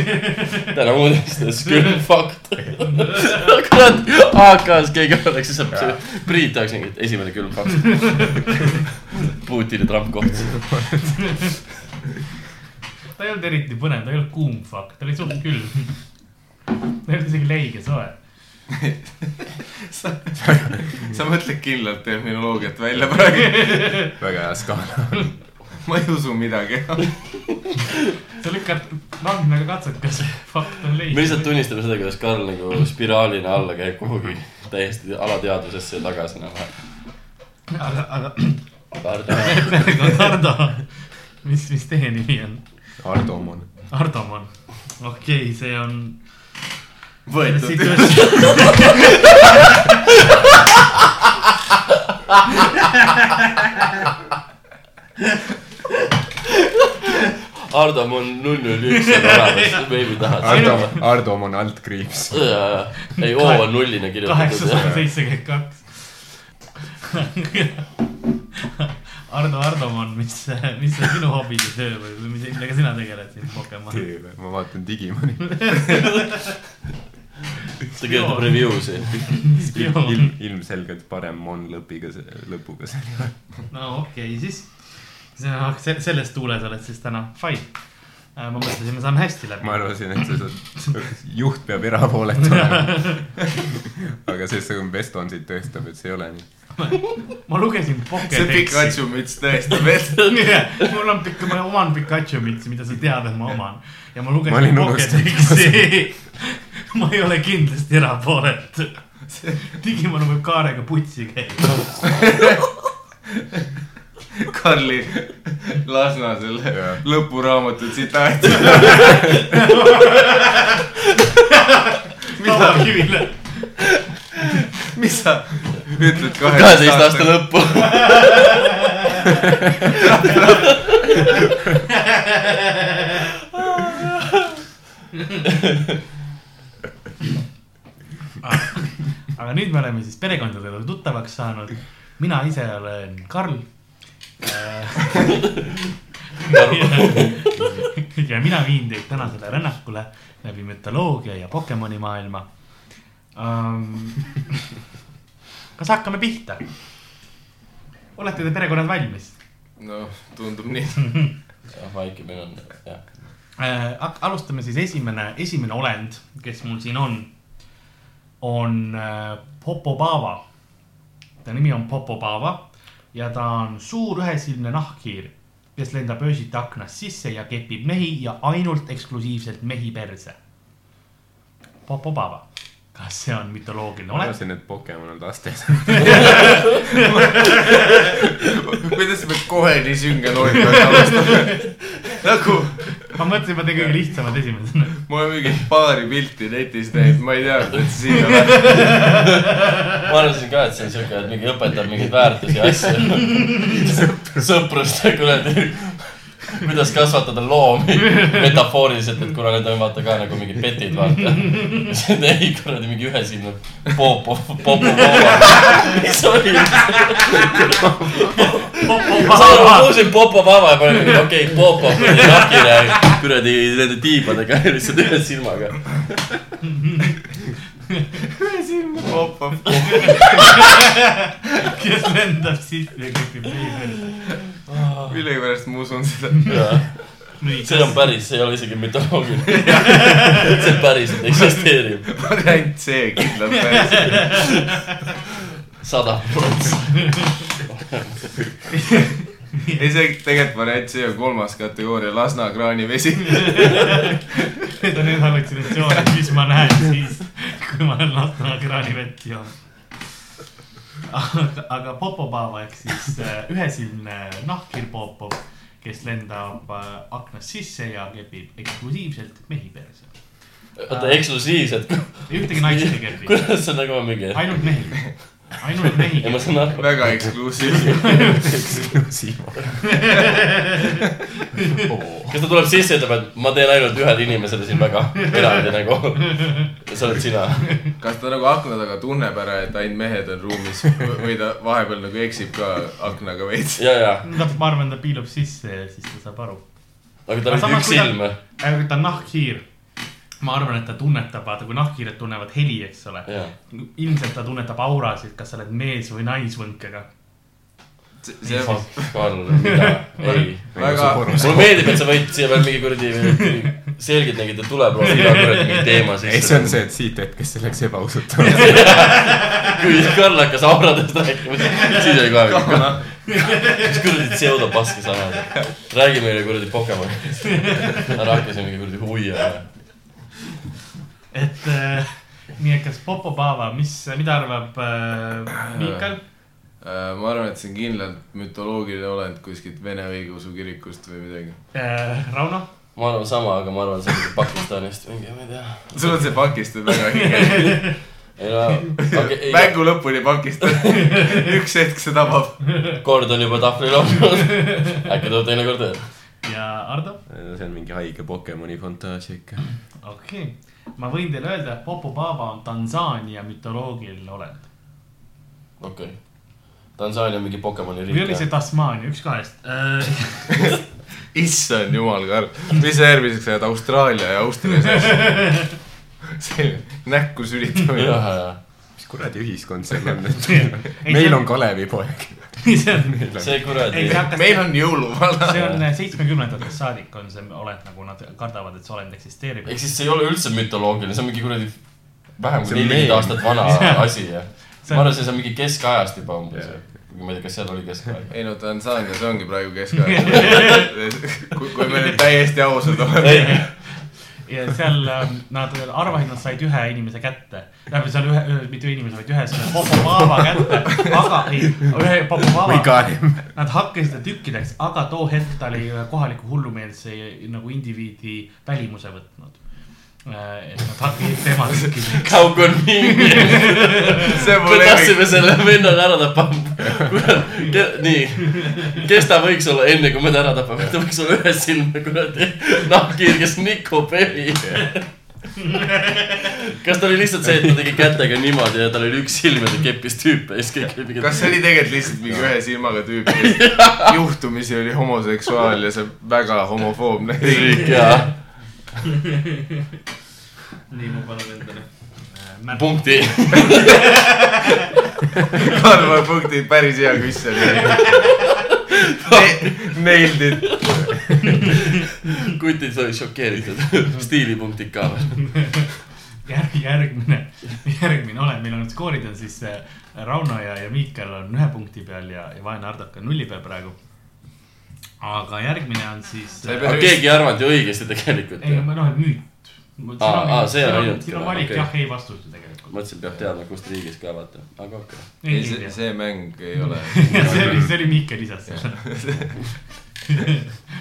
[SPEAKER 5] täna uudistes külm fakt . kurat , AK-s keegi oleks , siis saab , Priit oleks mingi esimene külm fakt . Putini Trump kohtus .
[SPEAKER 6] ta ei olnud eriti põnev , ta ei olnud kuum fakt , ta oli suht külm . ta ei olnud isegi leige soe .
[SPEAKER 4] sa mõtled kindlalt terminoloogiat välja praegu .
[SPEAKER 3] väga hea skaala .
[SPEAKER 4] ma ei usu midagi .
[SPEAKER 6] sa lükkad randmega katsed , kas fakt on leidnud .
[SPEAKER 5] me lihtsalt tunnistame seda , kuidas Karl nagu spiraalina alla käib kuhugi täiesti alateadvusesse ja tagasi nagu .
[SPEAKER 6] aga , aga
[SPEAKER 5] Kardo ,
[SPEAKER 6] aga Hardo , mis , mis teie nimi on ?
[SPEAKER 3] Ardo Omon .
[SPEAKER 6] Hardoman , okei okay, , see on .
[SPEAKER 4] võetud .
[SPEAKER 5] Hardo , ma olen null null üks ja tänavas , veebi
[SPEAKER 3] Ardo
[SPEAKER 5] tahad .,
[SPEAKER 3] Ardo Omon altkriips .
[SPEAKER 5] Øh, ei , O on nullina
[SPEAKER 6] kaheksasada
[SPEAKER 5] kirjutatud .
[SPEAKER 6] seitsekümmend kaks . Ardo , Ardoman , mis , mis on sinu hobi ja töö või , või mis- millega sina tegeled siin Pokemon ?
[SPEAKER 3] ma vaatan Digimoni .
[SPEAKER 5] ta kirjutab review si .
[SPEAKER 6] spioon ,
[SPEAKER 3] ilmselgelt parem Mon lõpiga , lõpuga see .
[SPEAKER 6] no okei okay, , siis sina se- selles tuules oled siis täna , fine . ma mõtlesin , me saame hästi läbi .
[SPEAKER 3] ma arvasin , et sa saad , juht peab erapooletu olema . aga see , see Veston siit tõestab , et see ei ole nii .
[SPEAKER 6] ma lugesin
[SPEAKER 4] see
[SPEAKER 6] Pokedeksi .
[SPEAKER 4] Pikachu müts tõestab , et
[SPEAKER 6] mul on Pika- , ma oman Pikachu mitsi , mida sa tead , et ma oman . ja ma
[SPEAKER 3] Ma olin
[SPEAKER 6] lugesin
[SPEAKER 3] unustanud.
[SPEAKER 6] Pokedeksi . ma ei ole kindlasti erapooletu . Digimon võib kaarega putsi käia .
[SPEAKER 4] Karli Lasna selle
[SPEAKER 3] Jah.
[SPEAKER 4] lõpuraamatu tsitaat . mida ,
[SPEAKER 6] Tavakivile .
[SPEAKER 4] mis sa ütled
[SPEAKER 5] kaheteist aasta lõppu .
[SPEAKER 6] aga nüüd me oleme siis perekondadega tuttavaks saanud . mina ise olen Karl . ja mina viin teid tänasele rännakule läbi mütoloogia ja Pokemoni maailma um, . kas hakkame pihta ? olete te perekonnad valmis
[SPEAKER 4] noh , tundub nii .
[SPEAKER 5] vaikimine on , jah .
[SPEAKER 6] äh, ? alustame siis esimene , esimene olend , kes mul siin on , on äh, Popobava . ta nimi on Popobava ja ta on suur ühesilmne nahkhiir , kes lendab öösiti aknast sisse ja kepib mehi ja ainult eksklusiivselt mehi perse . Popobava , kas see on mütoloogiline
[SPEAKER 3] ma
[SPEAKER 6] olend ?
[SPEAKER 3] arvasin , et Pokemon on lastes .
[SPEAKER 4] kuidas me kohe nii sünge loogikaga alustame ? nagu
[SPEAKER 6] ma mõtlesin , ma teen kõige lihtsamad esimesena .
[SPEAKER 4] ma olen mingit paari pilti netis näinud , ma ei teadnud , et see siin on .
[SPEAKER 5] ma arvasin ka , et see on siuke , et mingi õpetab mingeid väärtusi ja asju . sõprust ja kuradi , kuidas kasvatada loomi metafooriliselt , et kuna need on vaata ka nagu mingid petid , vaata . see on ei kuradi mingi ühesilmne poop , poop , poop , poop . mis oli ? ma saan aru , ma kuulsin popopava ja ma olin mingi okei , popo , kuradi nakine , kuradi nende tiibadega lihtsalt ühe silmaga .
[SPEAKER 6] kes lendab sisse ja kepib mehi perse .
[SPEAKER 4] millegipärast ma usun seda .
[SPEAKER 6] nii ,
[SPEAKER 5] see on päris , see ei ole isegi mütoloogiline . see päriselt eksisteerib ,
[SPEAKER 4] variant C kindlalt päris .
[SPEAKER 5] sada protsenti .
[SPEAKER 4] ei , see tegelikult variant C on kolmas kategooria , Lasna kraanivesi .
[SPEAKER 6] Need on need hallutsinatsioonid , mis ma näen siis , kui ma olen Lasnamäe kraanivett joonud . aga, aga Popopava ehk siis äh, ühesilmne nahkhiir Popov , kes lendab äh, aknast sisse ja kepib eksklusiivselt mehi perse .
[SPEAKER 5] oota , eksklusiivselt .
[SPEAKER 6] ühtegi naist ei kepi ,
[SPEAKER 5] kuidas see nagu on mingi ?
[SPEAKER 6] ainult mehi , ainult mehi
[SPEAKER 5] ei , ma . saan aru .
[SPEAKER 4] väga eksklusiivne .
[SPEAKER 5] kas ta tuleb sisse ja ütleb , et ma teen ainult ühele inimesele siin väga eraldi nagu . ja sa oled sina .
[SPEAKER 4] kas ta nagu akna taga tunneb ära , et ainult mehed on ruumis v- või ta vahepeal nagu eksib ka aknaga veits ?
[SPEAKER 5] ja , ja .
[SPEAKER 6] ma arvan , ta piilub sisse ja siis ta saab aru .
[SPEAKER 5] aga tal on
[SPEAKER 6] Samas,
[SPEAKER 5] üks
[SPEAKER 6] kui ta-
[SPEAKER 5] silm .
[SPEAKER 6] aga ta on nahkhiir , ma arvan , et ta tunnetab , vaata kui nahkhiired tunnevad heli , eks ole
[SPEAKER 5] jaa .
[SPEAKER 6] ilmselt ta tunnetab aurasid , kas sa oled mees või naisvõnkega .
[SPEAKER 4] see on
[SPEAKER 5] Fuck , Karl , mida , ei .
[SPEAKER 4] väga ,
[SPEAKER 5] mulle meeldib , et sa võid siia veel mingi kuradi selgelt nägid , et tuleb rohkem iga kuradi mingi teema
[SPEAKER 3] ei ,
[SPEAKER 5] sisse .
[SPEAKER 3] see on see , et siit hetkest see läks ebausutavaks .
[SPEAKER 5] kui Karl hakkas auradest rääkima , siis oli kohe mingi ,
[SPEAKER 6] noh.
[SPEAKER 5] mis kuradi pseudopaske sa ajad . räägi meile kuradi Pokemonist . ära hakka siin mingi kuradi huvi ajama .
[SPEAKER 6] et äh, nii , et kas Popo Paava , mis , mida arvab äh, Miikal ?
[SPEAKER 4] äh, ma arvan , et see on kindlalt mütoloogiline olend kuskilt Vene õigeusu kirikust või midagi .
[SPEAKER 6] äh, Rauno ,
[SPEAKER 5] ma arvan sama , aga ma arvan , see on mingi Pakistanist mingi , ma ei tea .
[SPEAKER 4] sul on see Pakistan väga hinge .
[SPEAKER 5] ei no , okei , ei ,
[SPEAKER 4] mängu lõpuni Pakistan . üks hetk see tabab .
[SPEAKER 5] kord on juba tahvlil olnud . äkki tuleb teinekord veel .
[SPEAKER 6] ja Ardo ,
[SPEAKER 3] see on mingi haige Pokemoni fantaasia ikka .
[SPEAKER 6] okei okay. . ma võin teile öelda , et Popo Paava on Tansaania mütoloogiline olend .
[SPEAKER 5] okei okay. . Tansaania on mingi Pokemoni
[SPEAKER 6] või oli see
[SPEAKER 5] riik .
[SPEAKER 6] Tasmaania , üks kahest äh, .
[SPEAKER 4] issand jumal , Karl . mis sa järgmiseks ajad Austraalia ja Austria sees ? see näkku sülitamine .
[SPEAKER 5] jah , jah .
[SPEAKER 3] mis kuradi ühiskond see on nüüd ? meil on Kalevipoeg .
[SPEAKER 6] see on ,
[SPEAKER 5] see kuradi
[SPEAKER 6] ei see . hakkas
[SPEAKER 4] meil on jõuluvana .
[SPEAKER 6] see on seitsmekümnendatest saadik on see olend , nagu nad kardavad , et see olend eksisteerib .
[SPEAKER 5] ehk siis see ei ole üldse mütoloogiline , see on mingi kuradi vähem
[SPEAKER 3] See on
[SPEAKER 5] kui nelikümmend
[SPEAKER 3] meen.
[SPEAKER 5] aastat vana asi ja
[SPEAKER 6] See on-
[SPEAKER 5] ma arvan , see on mingi keskajast juba umbes yeah. . ma ei tea , kas seal oli keskaeg .
[SPEAKER 4] ei no Tansaania , see ongi praegu keskaeg . kui , kui me nüüd täiesti ausad oleme .
[SPEAKER 6] ja seal ähm, nad arvasid , nad said ühe inimese kätte . tähendab , seal ühe , mitte ühe inimese , vaid ühe selle Popovaava kätte , aga ei , ühe
[SPEAKER 3] või
[SPEAKER 6] Popovaava .
[SPEAKER 3] Karim .
[SPEAKER 6] Nad hakkasid seda tükkideks , aga too hetk ta oli ühe kohaliku hullumeelse nagu indiviidi välimuse võtnud . et nad hakkasid tema tükkideks .
[SPEAKER 5] Kaug on mingi ,
[SPEAKER 4] see on
[SPEAKER 5] me
[SPEAKER 4] mul lemmik .
[SPEAKER 5] tahtsime selle venna ära tappa . nii , kes ta võiks olla enne , kui me ta ära tapame , ta võiks olla ühe silme kuradi nahkhiir , kes nikub heli . kas ta oli lihtsalt see , et ta tegi kätega niimoodi ja tal oli üks silm ja ta keppis tüüpe ja siis kõik olid mingid .
[SPEAKER 4] kas see oli tegelikult lihtsalt mingi ühe silmaga tüüp , kes juhtumisi oli homoseksuaal ja see väga homofoobne ?
[SPEAKER 5] riik ja
[SPEAKER 6] nii , ma panen endale . eh,
[SPEAKER 5] punkti .
[SPEAKER 4] Karva punkti , päris hea küsija oli ne . Nailed it .
[SPEAKER 5] kutid olid šokeeritud ,
[SPEAKER 6] Mhm.
[SPEAKER 5] stiilipunktid ka veel .
[SPEAKER 6] järg , järgmine , järgmine olend , meil on nüüd skoorid on siis äh, Rauno ja , ja Miikal on ühe punkti peal ja , ja vaene Hardok on nulli peal praegu . aga järgmine on siis .
[SPEAKER 4] Sa ei pea-
[SPEAKER 5] aga keegi ei arvanud ju õigesti tegelikult
[SPEAKER 6] ei ,
[SPEAKER 5] ju .
[SPEAKER 6] ma noh , müüt .
[SPEAKER 5] Aa, aa, see on ainult-
[SPEAKER 6] siin on valik okay.
[SPEAKER 5] okei.
[SPEAKER 6] jah , ei vastust ju tegelikult .
[SPEAKER 5] mõtlesin , peab teadma , kust riigist ka vaata , aga okei okay. .
[SPEAKER 4] ei , see , see mäng ei ole .
[SPEAKER 6] see oli , see oli Miike lisas selle .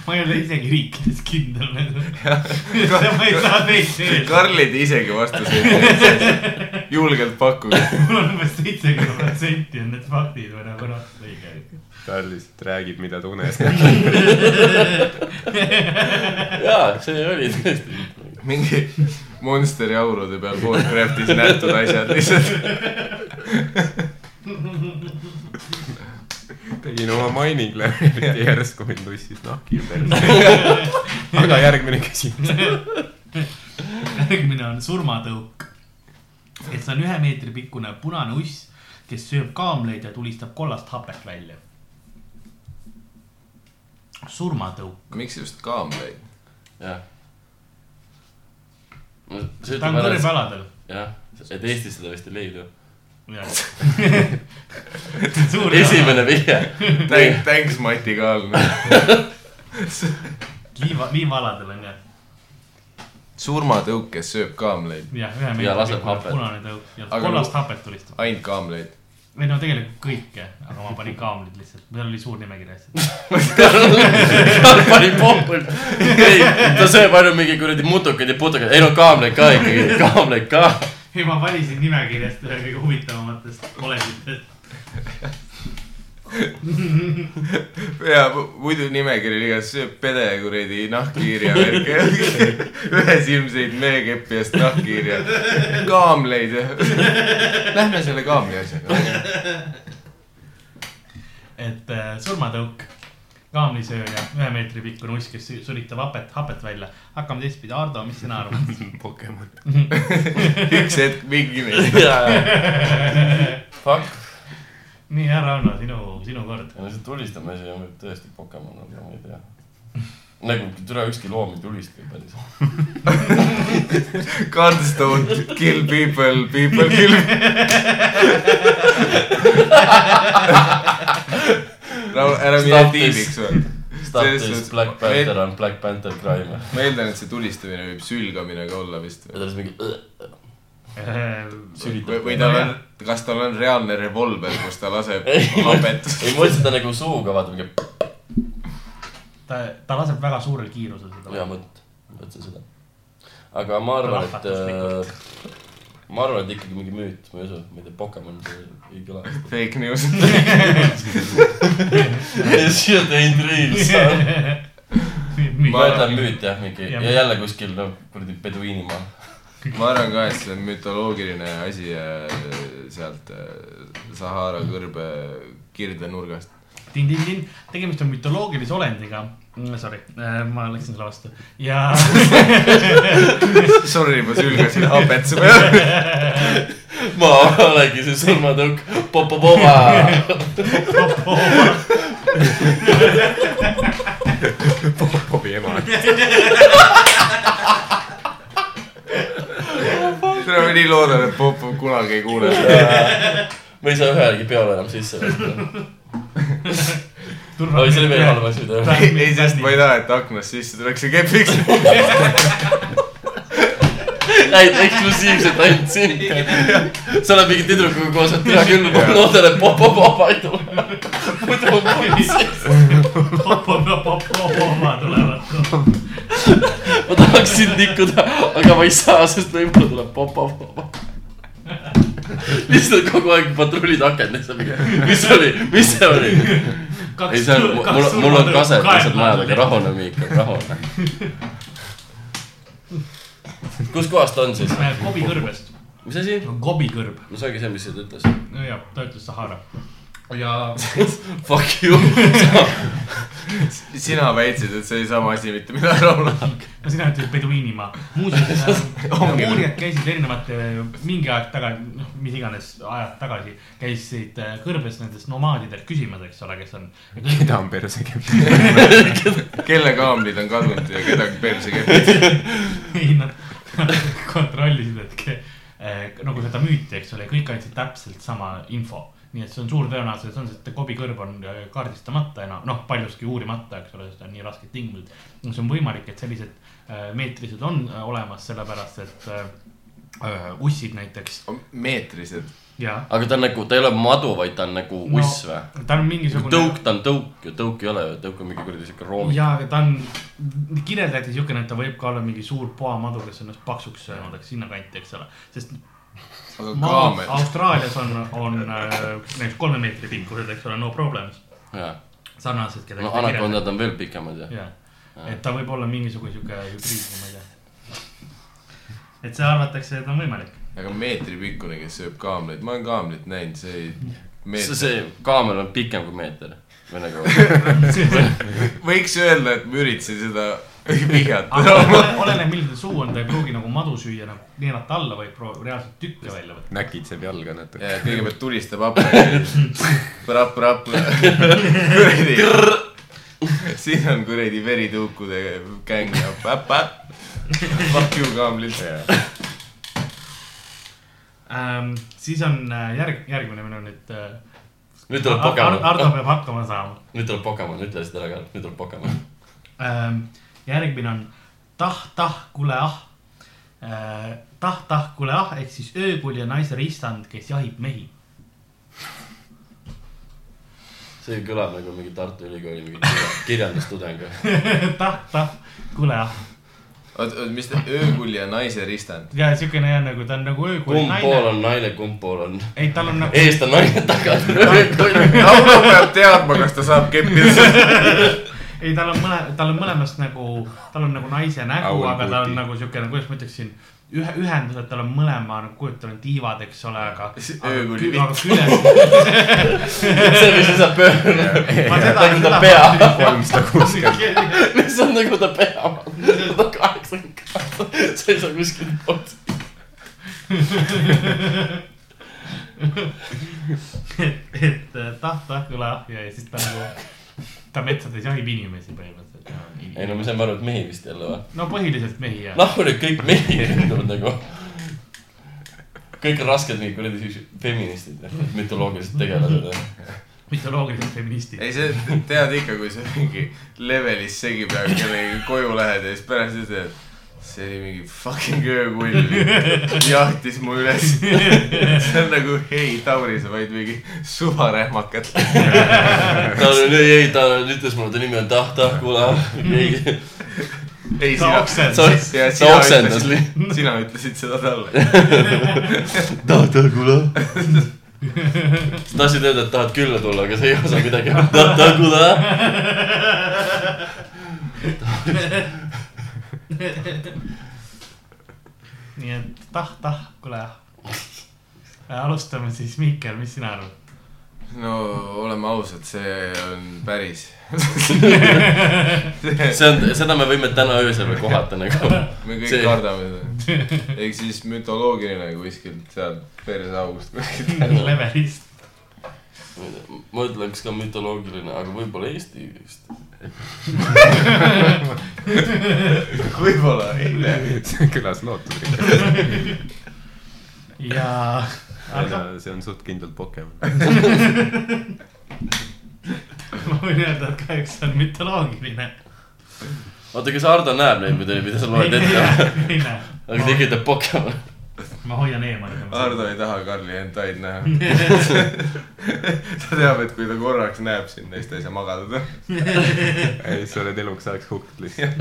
[SPEAKER 6] ma ei ole isegi riikides kindel . ma ei saa neid öelda ,
[SPEAKER 4] Karlid isegi vastasid . julgelt pakkuge .
[SPEAKER 6] mul on umbes seitsekümmend protsenti on need faktid või nagu noh , õige .
[SPEAKER 3] ta lihtsalt räägib , mida tunneb .
[SPEAKER 5] jaa , see oli tõesti .
[SPEAKER 4] mingi Monsteri aurude peal Warcraftis nähtud asjad lihtsalt .
[SPEAKER 3] tegin oma mining läbi ja järsku mind lussis nahkhiir perse . aga järgmine küsimus .
[SPEAKER 6] järgmine on surmatõuk . et see on ühe meetri pikkune punane uss , kes sööb kaamleid ja tulistab kollast hapet välja . surmatõuk .
[SPEAKER 4] miks just kaamleid ?
[SPEAKER 5] jah . see
[SPEAKER 6] ta on
[SPEAKER 5] ütleb ära ,
[SPEAKER 6] kõrbealadel .
[SPEAKER 5] jah , et Eestis seda vist ei leidu .
[SPEAKER 6] suur
[SPEAKER 5] esimene vihje .
[SPEAKER 4] Thanks , thanks Mati Kaalme .
[SPEAKER 6] liiva , liivaaladel on jah ,
[SPEAKER 4] surmatõuk , kes sööb kaamleid .
[SPEAKER 6] jah , ühe
[SPEAKER 5] Ja
[SPEAKER 6] meetri
[SPEAKER 5] laseb
[SPEAKER 6] pikkune
[SPEAKER 5] hapet.
[SPEAKER 6] punane tõuk ja
[SPEAKER 4] Aga
[SPEAKER 6] kollast hapet tulistab .
[SPEAKER 4] ainult kaamleid .
[SPEAKER 6] või no tegelikult kõike , aga ma panin kaamlid lihtsalt , meil oli suur nimekiri asju .
[SPEAKER 5] Karl pani pool . ei , ta sööb ainult mingi kuradi mutukaid ja putukaid , ei no kaamleid ka ikkagi , kaamleid ka .
[SPEAKER 6] ei , ma valisin nimekirjast ühe kõige huvitavamatest olenditest .
[SPEAKER 4] ja mu- muidu nimekiri oli igas , sööb pede ja kuradi nahkhiiri ja värki . ühesilmseid meekeppi ja siis nahkhiiri ja kaamleid ja . Lähme selle kaamli asjaga .
[SPEAKER 6] et äh, surmatõuk , kaamlisööja , ühe meetri pikkune uss , kes sü- sülitab hapet , hapet välja . hakkame teistpidi , Ardo , mis sina arvad ?
[SPEAKER 3] Pokemon .
[SPEAKER 4] üks hetk mingi neist .
[SPEAKER 5] Fuck ,
[SPEAKER 6] nii , härra Hanno , sinu , sinu kord .
[SPEAKER 5] ja see tulistamise on võib tõesti Pokemon , aga ma ei tea . nagu türa ükski loom ei tulista ju päris .
[SPEAKER 4] Guns don't kill people , people kill . ära mine
[SPEAKER 5] Stop this.
[SPEAKER 4] tiimiks või .
[SPEAKER 5] Start
[SPEAKER 4] Selles
[SPEAKER 5] is
[SPEAKER 4] suhtes-
[SPEAKER 5] Black Panther on Black Panther crime .
[SPEAKER 4] ma eeldan , et see tulistamine võib sülgamine ka olla vist
[SPEAKER 5] ja . ta siis mingi
[SPEAKER 4] või ,
[SPEAKER 5] sülitab .
[SPEAKER 4] või tal on , kas tal on reaalne revolver , kus ta laseb
[SPEAKER 5] Ei, ma-
[SPEAKER 4] hapet ?
[SPEAKER 5] ei , ma ütlesin ta nagu suuga vaatab mingi
[SPEAKER 6] ta , ta laseb väga suurel kiirusel
[SPEAKER 5] hea
[SPEAKER 6] seda .
[SPEAKER 5] mõte , ma ütlesin seda . aga ma arvan , et äh, ma arvan , et ikkagi mingi müüt , ma ei usu , ma ei tea , Pokemon see ei kõla .
[SPEAKER 4] Fake news .
[SPEAKER 5] Shit ain't real . ma ütlen müüt jah , mingi
[SPEAKER 6] Ja
[SPEAKER 5] ja
[SPEAKER 6] müüt.
[SPEAKER 5] jälle kuskil noh , kuradi peduiinimaal .
[SPEAKER 4] ma arvan ka , et see on mütoloogiline asi äh, sealt äh, Sahara kõrbe kirdenurgast .
[SPEAKER 6] tin-tin-tin , tegemist on mütoloogilise olendiga . Sorry , ma läksin selle vastu ja
[SPEAKER 4] Sorry , ma sülgasin hapet su peale .
[SPEAKER 5] ma olengi see surmatõuk , popopova .
[SPEAKER 3] Kobi ema .
[SPEAKER 4] tere , ma nii loodan , et Popov kunagi ei kuule .
[SPEAKER 5] ma ei saa ühelegi peole enam sisse võtta . oi , see oli veel halvem asi teha .
[SPEAKER 4] ei , sest ma ei taha , et aknast sisse tuleks see kepiks .
[SPEAKER 5] ainult eksklusiivselt ainult sind . sa oled mingi tüdrukuga koos , et hea küll , ma loodan , et popopova ei tule . muidu ma mõtlesin ,
[SPEAKER 6] popopopopopoma tulevad .
[SPEAKER 5] ma tahaks sind nikkuda , aga ma ei saa , sest võib-olla tuleb popopova . lihtsalt kogu aeg patrullid akendis , mis oli , mis see oli ? ei , see on , mul , mul on nagu kaset lihtsalt majal , aga . rahune Miika , rahune . kus kohas ta on siis ?
[SPEAKER 6] Kobi kõrbest ,
[SPEAKER 5] mis asi ?
[SPEAKER 6] Kobi kõrb ,
[SPEAKER 5] no see ongi see , mis sa ütles .
[SPEAKER 6] jah , ta ütles Sahara ja
[SPEAKER 5] Fuck you .
[SPEAKER 4] sina väitsid , et see oli sama asi , mitte mida Rauno .
[SPEAKER 6] no sina ütled peduiinimaa , muuseas äh,
[SPEAKER 4] Ongi.
[SPEAKER 6] uurijad käisid erinevate , mingi aeg tagasi , noh , mis iganes ajad tagasi , käisid äh, kõrbes nendest nomaadidelt küsimas , eks ole , kes on .
[SPEAKER 3] keda on perse kepp ?
[SPEAKER 4] kelle kaamlid on kadunud ja kedagi perse kepib .
[SPEAKER 6] ei nad kontrollisid , et ke- eh, nagu seda müüti , eks ole , kõik andsid täpselt sama info . nii et see on suur tõenäosus , on see , et Kobi kõrb on eh, kaardistamata enam , noh , paljuski uurimata , eks ole , sest on nii rasked tingimused . no see on võimalik , et sellised eh, meetrised on eh, olemas , sellepärast et eh, eh, ussid näiteks
[SPEAKER 4] meetrised .
[SPEAKER 6] ja .
[SPEAKER 5] aga ta on nagu , ta ei ole madu , vaid ta on nagu uss või ??
[SPEAKER 6] ta on mingisugune .
[SPEAKER 5] tõuk , ta on tõuk ju , tõuk ei ole ju , tõuk on mingi kuradi siuke roomik .
[SPEAKER 6] ja , aga ta on , kirjeldati siukene , et ta võib ka olla mingi suur poamadu , kes ennast paksuks söönud , eks sinnakanti , eks ole , sest
[SPEAKER 4] aga
[SPEAKER 6] maa
[SPEAKER 4] kaamel ,
[SPEAKER 6] Austraalias on , on äh, näiteks kolme meetri pikkused , eks ole , no problems . sarnased , keda .
[SPEAKER 5] no anakondad on veel pikemad ju .
[SPEAKER 6] jah , et ta võib olla mingisugune sihuke hübriidne , ma ei tea . et see arvatakse , et on võimalik .
[SPEAKER 4] aga meetripikkune , kes sööb kaamleid , ma olen kaamlit näinud , see ei
[SPEAKER 5] see ,
[SPEAKER 4] meetri .
[SPEAKER 5] see kaamel on pikem kui meeter . või nagu ,
[SPEAKER 4] võiks öelda , et ma üritasin seda vihjata .
[SPEAKER 6] oleneb , milline ta suu on , ta ei pruugi nagu madu süüa , noh , neelata alla , vaid proovi reaalselt tükke välja võtta .
[SPEAKER 3] näkitseb jalga natuke .
[SPEAKER 4] ja kõigepealt tulistab appi . prapp-prapp . kuradi . siin on kuradi verituukude gäng ja päpp-päpp . Fuck you kaamlid .
[SPEAKER 6] Ähm, siis on äh, järg , järgmine minu nüüd äh, .
[SPEAKER 5] nüüd tuleb
[SPEAKER 6] Ardo
[SPEAKER 5] Pokemon .
[SPEAKER 6] Ardo peab hakkama saama .
[SPEAKER 5] nüüd tuleb Pokemon , ütle seda ära ka , nüüd tuleb Pokemon .
[SPEAKER 6] Ähm, järgmine on tah , tah , kule ah . tah , tah , kule ah ehk siis öökulje naise ristand , kes jahib mehi .
[SPEAKER 5] see kõlab nagu mingi Tartu Ülikooli mingi kirja- kirjandustudeng või ?
[SPEAKER 6] tah , tah , kule ah .
[SPEAKER 4] oot , oot , mis ta , öökulje naise ristand ?
[SPEAKER 6] ja siukene jah , nagu ta on nagu öökulje
[SPEAKER 5] kumb pool
[SPEAKER 6] naine .
[SPEAKER 5] on naine , kumb pool on ?
[SPEAKER 6] ei , tal on nagu ,
[SPEAKER 5] eest on naine , taga on öökull .
[SPEAKER 4] Rauno peab teadma , kas ta saab keppida .
[SPEAKER 6] ei tal on mõle , tal on mõlemast nagu , tal on nagu naise nägu ,
[SPEAKER 3] Aul
[SPEAKER 6] aga ta on
[SPEAKER 3] puti.
[SPEAKER 6] nagu siukene , kuidas ma ütleksin ühe , ühendused tal on mõlema , kujutan , tiivad , eks ole , aga .
[SPEAKER 4] öökulje
[SPEAKER 6] aga küljes ,
[SPEAKER 5] see , mis lisab pöörle .
[SPEAKER 6] ma seda
[SPEAKER 5] nagu ta
[SPEAKER 6] ei
[SPEAKER 5] pea ,
[SPEAKER 3] kolmsada kuuskümmend .
[SPEAKER 6] kõla .
[SPEAKER 5] see on nagu ta pea . ta on kaheksakümmend kaheksa , seisab kuskil poolt .
[SPEAKER 6] et , et äh, tahta õhku lahja ja siis ta nagu , ta metsades jahib inimesi põhimõtteliselt .
[SPEAKER 5] ei no me saime aru , et mehi vist jälle või ?
[SPEAKER 6] no põhiliselt mehi jah .
[SPEAKER 5] nahku nüüd kõik mehi ründuvad nagu . kõik rasked mingid kuradi siuksed feministid ja mütoloogilised tegelased ja .
[SPEAKER 6] mütoloogilised feministid .
[SPEAKER 4] ei , sa tead ikka , kui sa mingi levelis segi peal kellegi koju lähed ja siis pärast ütled , see oli mingi fucking öökull , jahtis mu üles . see on nagu , ei Tauri , sa vaid mingi suvarehmakat .
[SPEAKER 5] ta oli , ei ta ütles mulle , ta nimi on Tahta , kuule . ei ,
[SPEAKER 4] ei ,
[SPEAKER 6] ta
[SPEAKER 4] sina ,
[SPEAKER 5] sa
[SPEAKER 6] oksendas .
[SPEAKER 4] sina
[SPEAKER 5] ta oksendas
[SPEAKER 4] ütlesid ,
[SPEAKER 5] lihtsalt .
[SPEAKER 4] sina ütlesid seda talle .
[SPEAKER 5] Tahta , kuule . sa tahtsid öelda , et tahad külla tulla , aga sa ei osa midagi . Tahta , kuule .
[SPEAKER 6] nii et tahta õhku lahja . alustame siis , Mihkel , mis sina arvad ?
[SPEAKER 4] no oleme ausad , see on päris .
[SPEAKER 5] see on , seda me võime täna öösel veel kohata nagu .
[SPEAKER 4] me kõik
[SPEAKER 5] See-
[SPEAKER 4] see... kardame seda . ehk siis mütoloogiline kuskilt sealt perseaugust kuskilt .
[SPEAKER 6] levelist .
[SPEAKER 5] ma ütleks ka mütoloogiline , aga võib-olla Eesti vist .
[SPEAKER 4] võib-olla eile .
[SPEAKER 3] see kõlas lootusrikkalt ,
[SPEAKER 6] ja
[SPEAKER 3] aga
[SPEAKER 6] algab ,
[SPEAKER 3] see on suht kindlalt Pokemon .
[SPEAKER 6] ma võin öelda , et kahjuks see on mütoloogiline .
[SPEAKER 5] oota , kas Ardo näeb neid , mida , mida sa loed ette ?
[SPEAKER 6] ei näe .
[SPEAKER 5] aga te ikka teete Pokemon .
[SPEAKER 6] ma hoian eemale .
[SPEAKER 4] Ardo ei taha Karli hentaid näha . ta teab , et kui ta korraks näeb sind , siis ta ei saa magada .
[SPEAKER 3] ei , sa oled eluks ajaks hukk lihtsalt .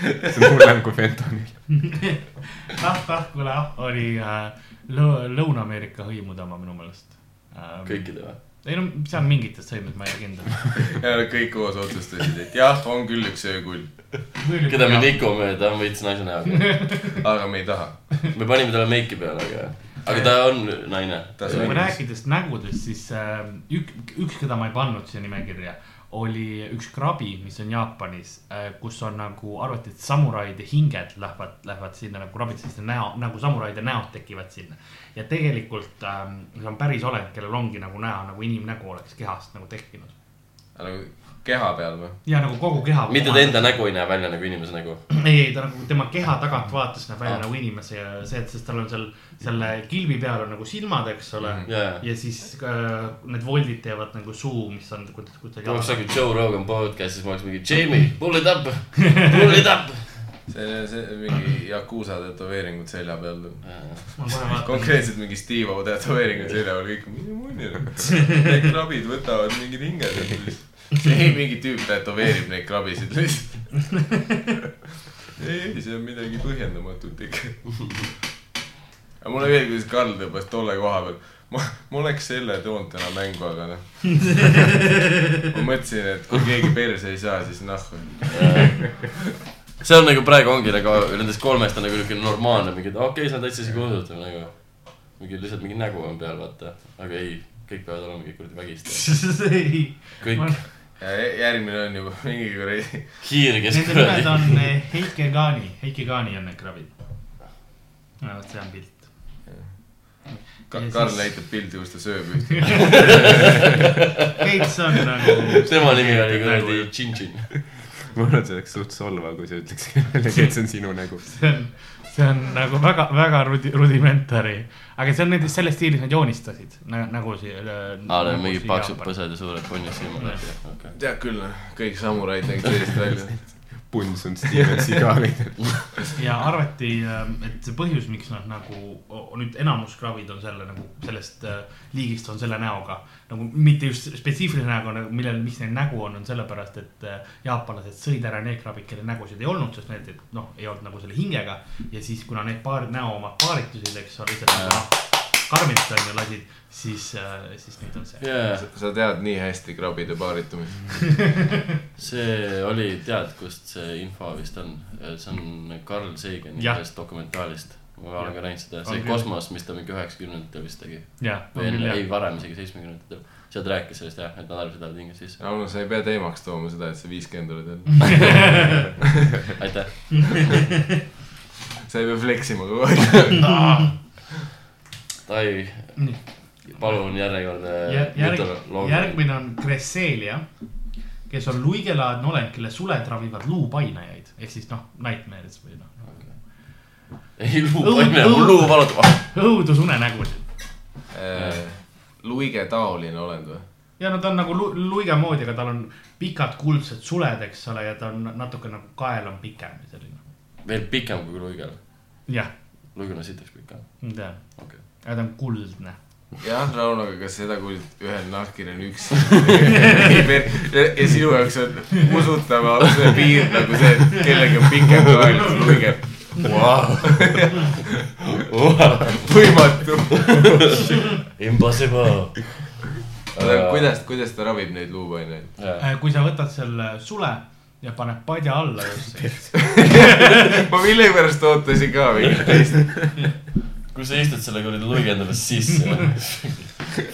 [SPEAKER 3] see on nagu hullem kui fentanil .
[SPEAKER 6] Tahkula oli äh, Lõ- Lõuna-Ameerika hõimude oma minu meelest ähm, .
[SPEAKER 5] kõikide või ?
[SPEAKER 6] ei no see on mingites hõimudes , ma ei ole kindel .
[SPEAKER 4] ja nad kõik koos otsustasid , et jah , on küll üks öökull ,
[SPEAKER 5] keda me . nikume , ta on veits naise näoga .
[SPEAKER 4] aga me ei taha .
[SPEAKER 5] me panime talle meiki peale , aga , aga ta on naine .
[SPEAKER 4] Ta
[SPEAKER 6] kui
[SPEAKER 4] mängis.
[SPEAKER 6] rääkides nägudest , siis äh, ük- , üks , keda ma ei pannud siia nimekirja , oli üks krabi , mis on Jaapanis äh, , kus on nagu arvati , et samuraide hinged lähevad , lähevad sinna nagu krabitsesse näo , nagu samuraide näod tekivad sinna . ja tegelikult äh, see on päris olend , kellel ongi nagu näha , nagu inimnägu oleks kehast nagu tekkinud .
[SPEAKER 4] nagu keha peal või ?
[SPEAKER 6] ja nagu kogu keha .
[SPEAKER 5] mitte ta enda nägu ei näe välja nagu inimese nägu .
[SPEAKER 6] ei , ei ta nagu tema keha tagant vaates näeb välja
[SPEAKER 5] Aa.
[SPEAKER 6] nagu inimese ja see , et sest tal on seal selle kilbi peal on nagu silmad , eks ole
[SPEAKER 4] Mhm. .
[SPEAKER 5] jaa , jaa .
[SPEAKER 6] ja siis äh, need voldid teevad nagu suu , mis on , kuidas ,
[SPEAKER 5] kui oleks
[SPEAKER 6] kuidas .
[SPEAKER 5] nagu Joe Rogan podcast'is , ma oleks mingi Jamie , pull it up , pull it up .
[SPEAKER 4] see , see mingi Yakuusa tätoveeringud selja peal .
[SPEAKER 6] ma kohe vaatan ,
[SPEAKER 4] konkreetselt mingi Steve O tätoveeringud selja peal , kõik , mis munni on . Need krabid võtavad mingid hinged . ei , mingi tüüp tätoveerib neid krabisid lihtsalt . ei , ei , see on midagi põhjendamatut ikka . aga mulle meeldib , kuidas Karl tõmbas tolle koha peal . ma , ma oleks selle toonud täna mängu , aga noh . ma mõtlesin , et kui keegi perse ei saa , siis noh. nahku .
[SPEAKER 5] see on nagu praegu ongi nagu nendest kolmest on nagu niuke normaalne mingi , et okei okay, , see on täitsa siuke usutav nagu . mingi lihtsalt mingi nägu on peal , vaata , aga ei , kõik peavad olema mingi kuradi vägistajad .
[SPEAKER 6] ei ,
[SPEAKER 5] kõik
[SPEAKER 4] järgmine on juba mingi kuradi
[SPEAKER 5] hiir , kes
[SPEAKER 6] nende nimed
[SPEAKER 5] kuradi .
[SPEAKER 6] on eh, Heike Kaani , Heike Kaani on need krabid . vähemalt see on pilt .
[SPEAKER 4] Ka-
[SPEAKER 6] Ja
[SPEAKER 4] Karl
[SPEAKER 6] siis-
[SPEAKER 4] näitab pilti , kus ta sööb ühte .
[SPEAKER 6] kõik see on nagu .
[SPEAKER 5] tema nimi oli kuradi . Tšintšin .
[SPEAKER 3] ma arvan , et see oleks suht solvav , kui sa ütleks kellelegi , et see on sinu nägu .
[SPEAKER 6] see on , see on nagu väga , väga rudi- , rudimentari , aga see on nende , selles stiilis nad joonistasid na, nagu siia .
[SPEAKER 5] aa , Ah, need on mingid paksud . põsed ja suured punnid silmad läbi , okei .
[SPEAKER 4] tead küll , noh , kõik samuraid nägid sellist välja .
[SPEAKER 3] Puns on Steven Seagalil .
[SPEAKER 6] ja arvati , et see põhjus , miks nad nagu o- nüüd enamus kraavid on selle nagu sellest äh, liigist on selle näoga nagu mitte just spetsiifiline näoga , millel , mis neil nägu on , on sellepärast , et äh, jaapanlased sõid ära need krabid , kelle nägusid ei olnud , sest need noh , ei olnud nagu selle hingega ja siis , kuna need paar näo omad paaritusid , eks ole , lihtsalt nagu karmilt on ju lasid , siis , siis nüüd on see .
[SPEAKER 5] jaa ,
[SPEAKER 4] sa tead nii hästi krabide paaritumist .
[SPEAKER 5] see oli , tead , kust see info vist on ? see on Carl Sagani
[SPEAKER 6] Jah.
[SPEAKER 5] ühest dokumentaalist . ma olen ka näinud seda ,
[SPEAKER 6] On
[SPEAKER 5] see
[SPEAKER 6] küll.
[SPEAKER 5] kosmos , mis ta mingi üheksakümnendatel vist tegi .
[SPEAKER 6] jah ,
[SPEAKER 5] või enne , ei varem isegi seitsmekümnendatel . sealt rääkis sellest jah , et nad arvasid , et nad hingasid sisse .
[SPEAKER 4] Rauno , sa ei pea teemaks tooma seda , et sa viiskümmend oled jälle .
[SPEAKER 5] aitäh .
[SPEAKER 4] sa ei pea fleksima kogu aeg .
[SPEAKER 6] jah .
[SPEAKER 5] Dai ,
[SPEAKER 6] nii ,
[SPEAKER 5] palun järjekordne
[SPEAKER 6] järg , järg ,
[SPEAKER 5] mütoloog-
[SPEAKER 6] järgmine on Cresselia , kes on luigelaadne olend , kelle suled ravivad luupainajaid ehk siis noh , nightmares või noh ,
[SPEAKER 5] ei ,
[SPEAKER 6] Õu-
[SPEAKER 5] luu , enne
[SPEAKER 6] õu-
[SPEAKER 5] luu valutab .
[SPEAKER 6] õudusunenägusid .
[SPEAKER 4] Äh, luige taoline olend või ?
[SPEAKER 6] ja no ta on nagu lu- luige moodi , aga tal on pikad kuldsed suled , eks ole , ja ta on natuke nagu kael on pikem ja selline .
[SPEAKER 5] veel pikem kui luigel .
[SPEAKER 6] jah ,
[SPEAKER 5] luigel on sitaks pikem ,
[SPEAKER 6] ma tean ,
[SPEAKER 5] okei .
[SPEAKER 6] aga ta on kuldne .
[SPEAKER 4] jah , Rauno , aga kas seda , kui ühel nahkil on üks ja, ja sinu jaoks on usutav see piir nagu see , et kellelgi on pikem kael kui luige . võimatu .
[SPEAKER 5] Impossible .
[SPEAKER 4] aga kuidas , kuidas ta ravib neid luupaineid ?
[SPEAKER 6] Äh, kui sa võtad selle sule ja paned padja alla just siis ,
[SPEAKER 4] ma millegipärast ootasin ka mingit teist .
[SPEAKER 5] kui sa istud selle kuradi luige endale sisse ,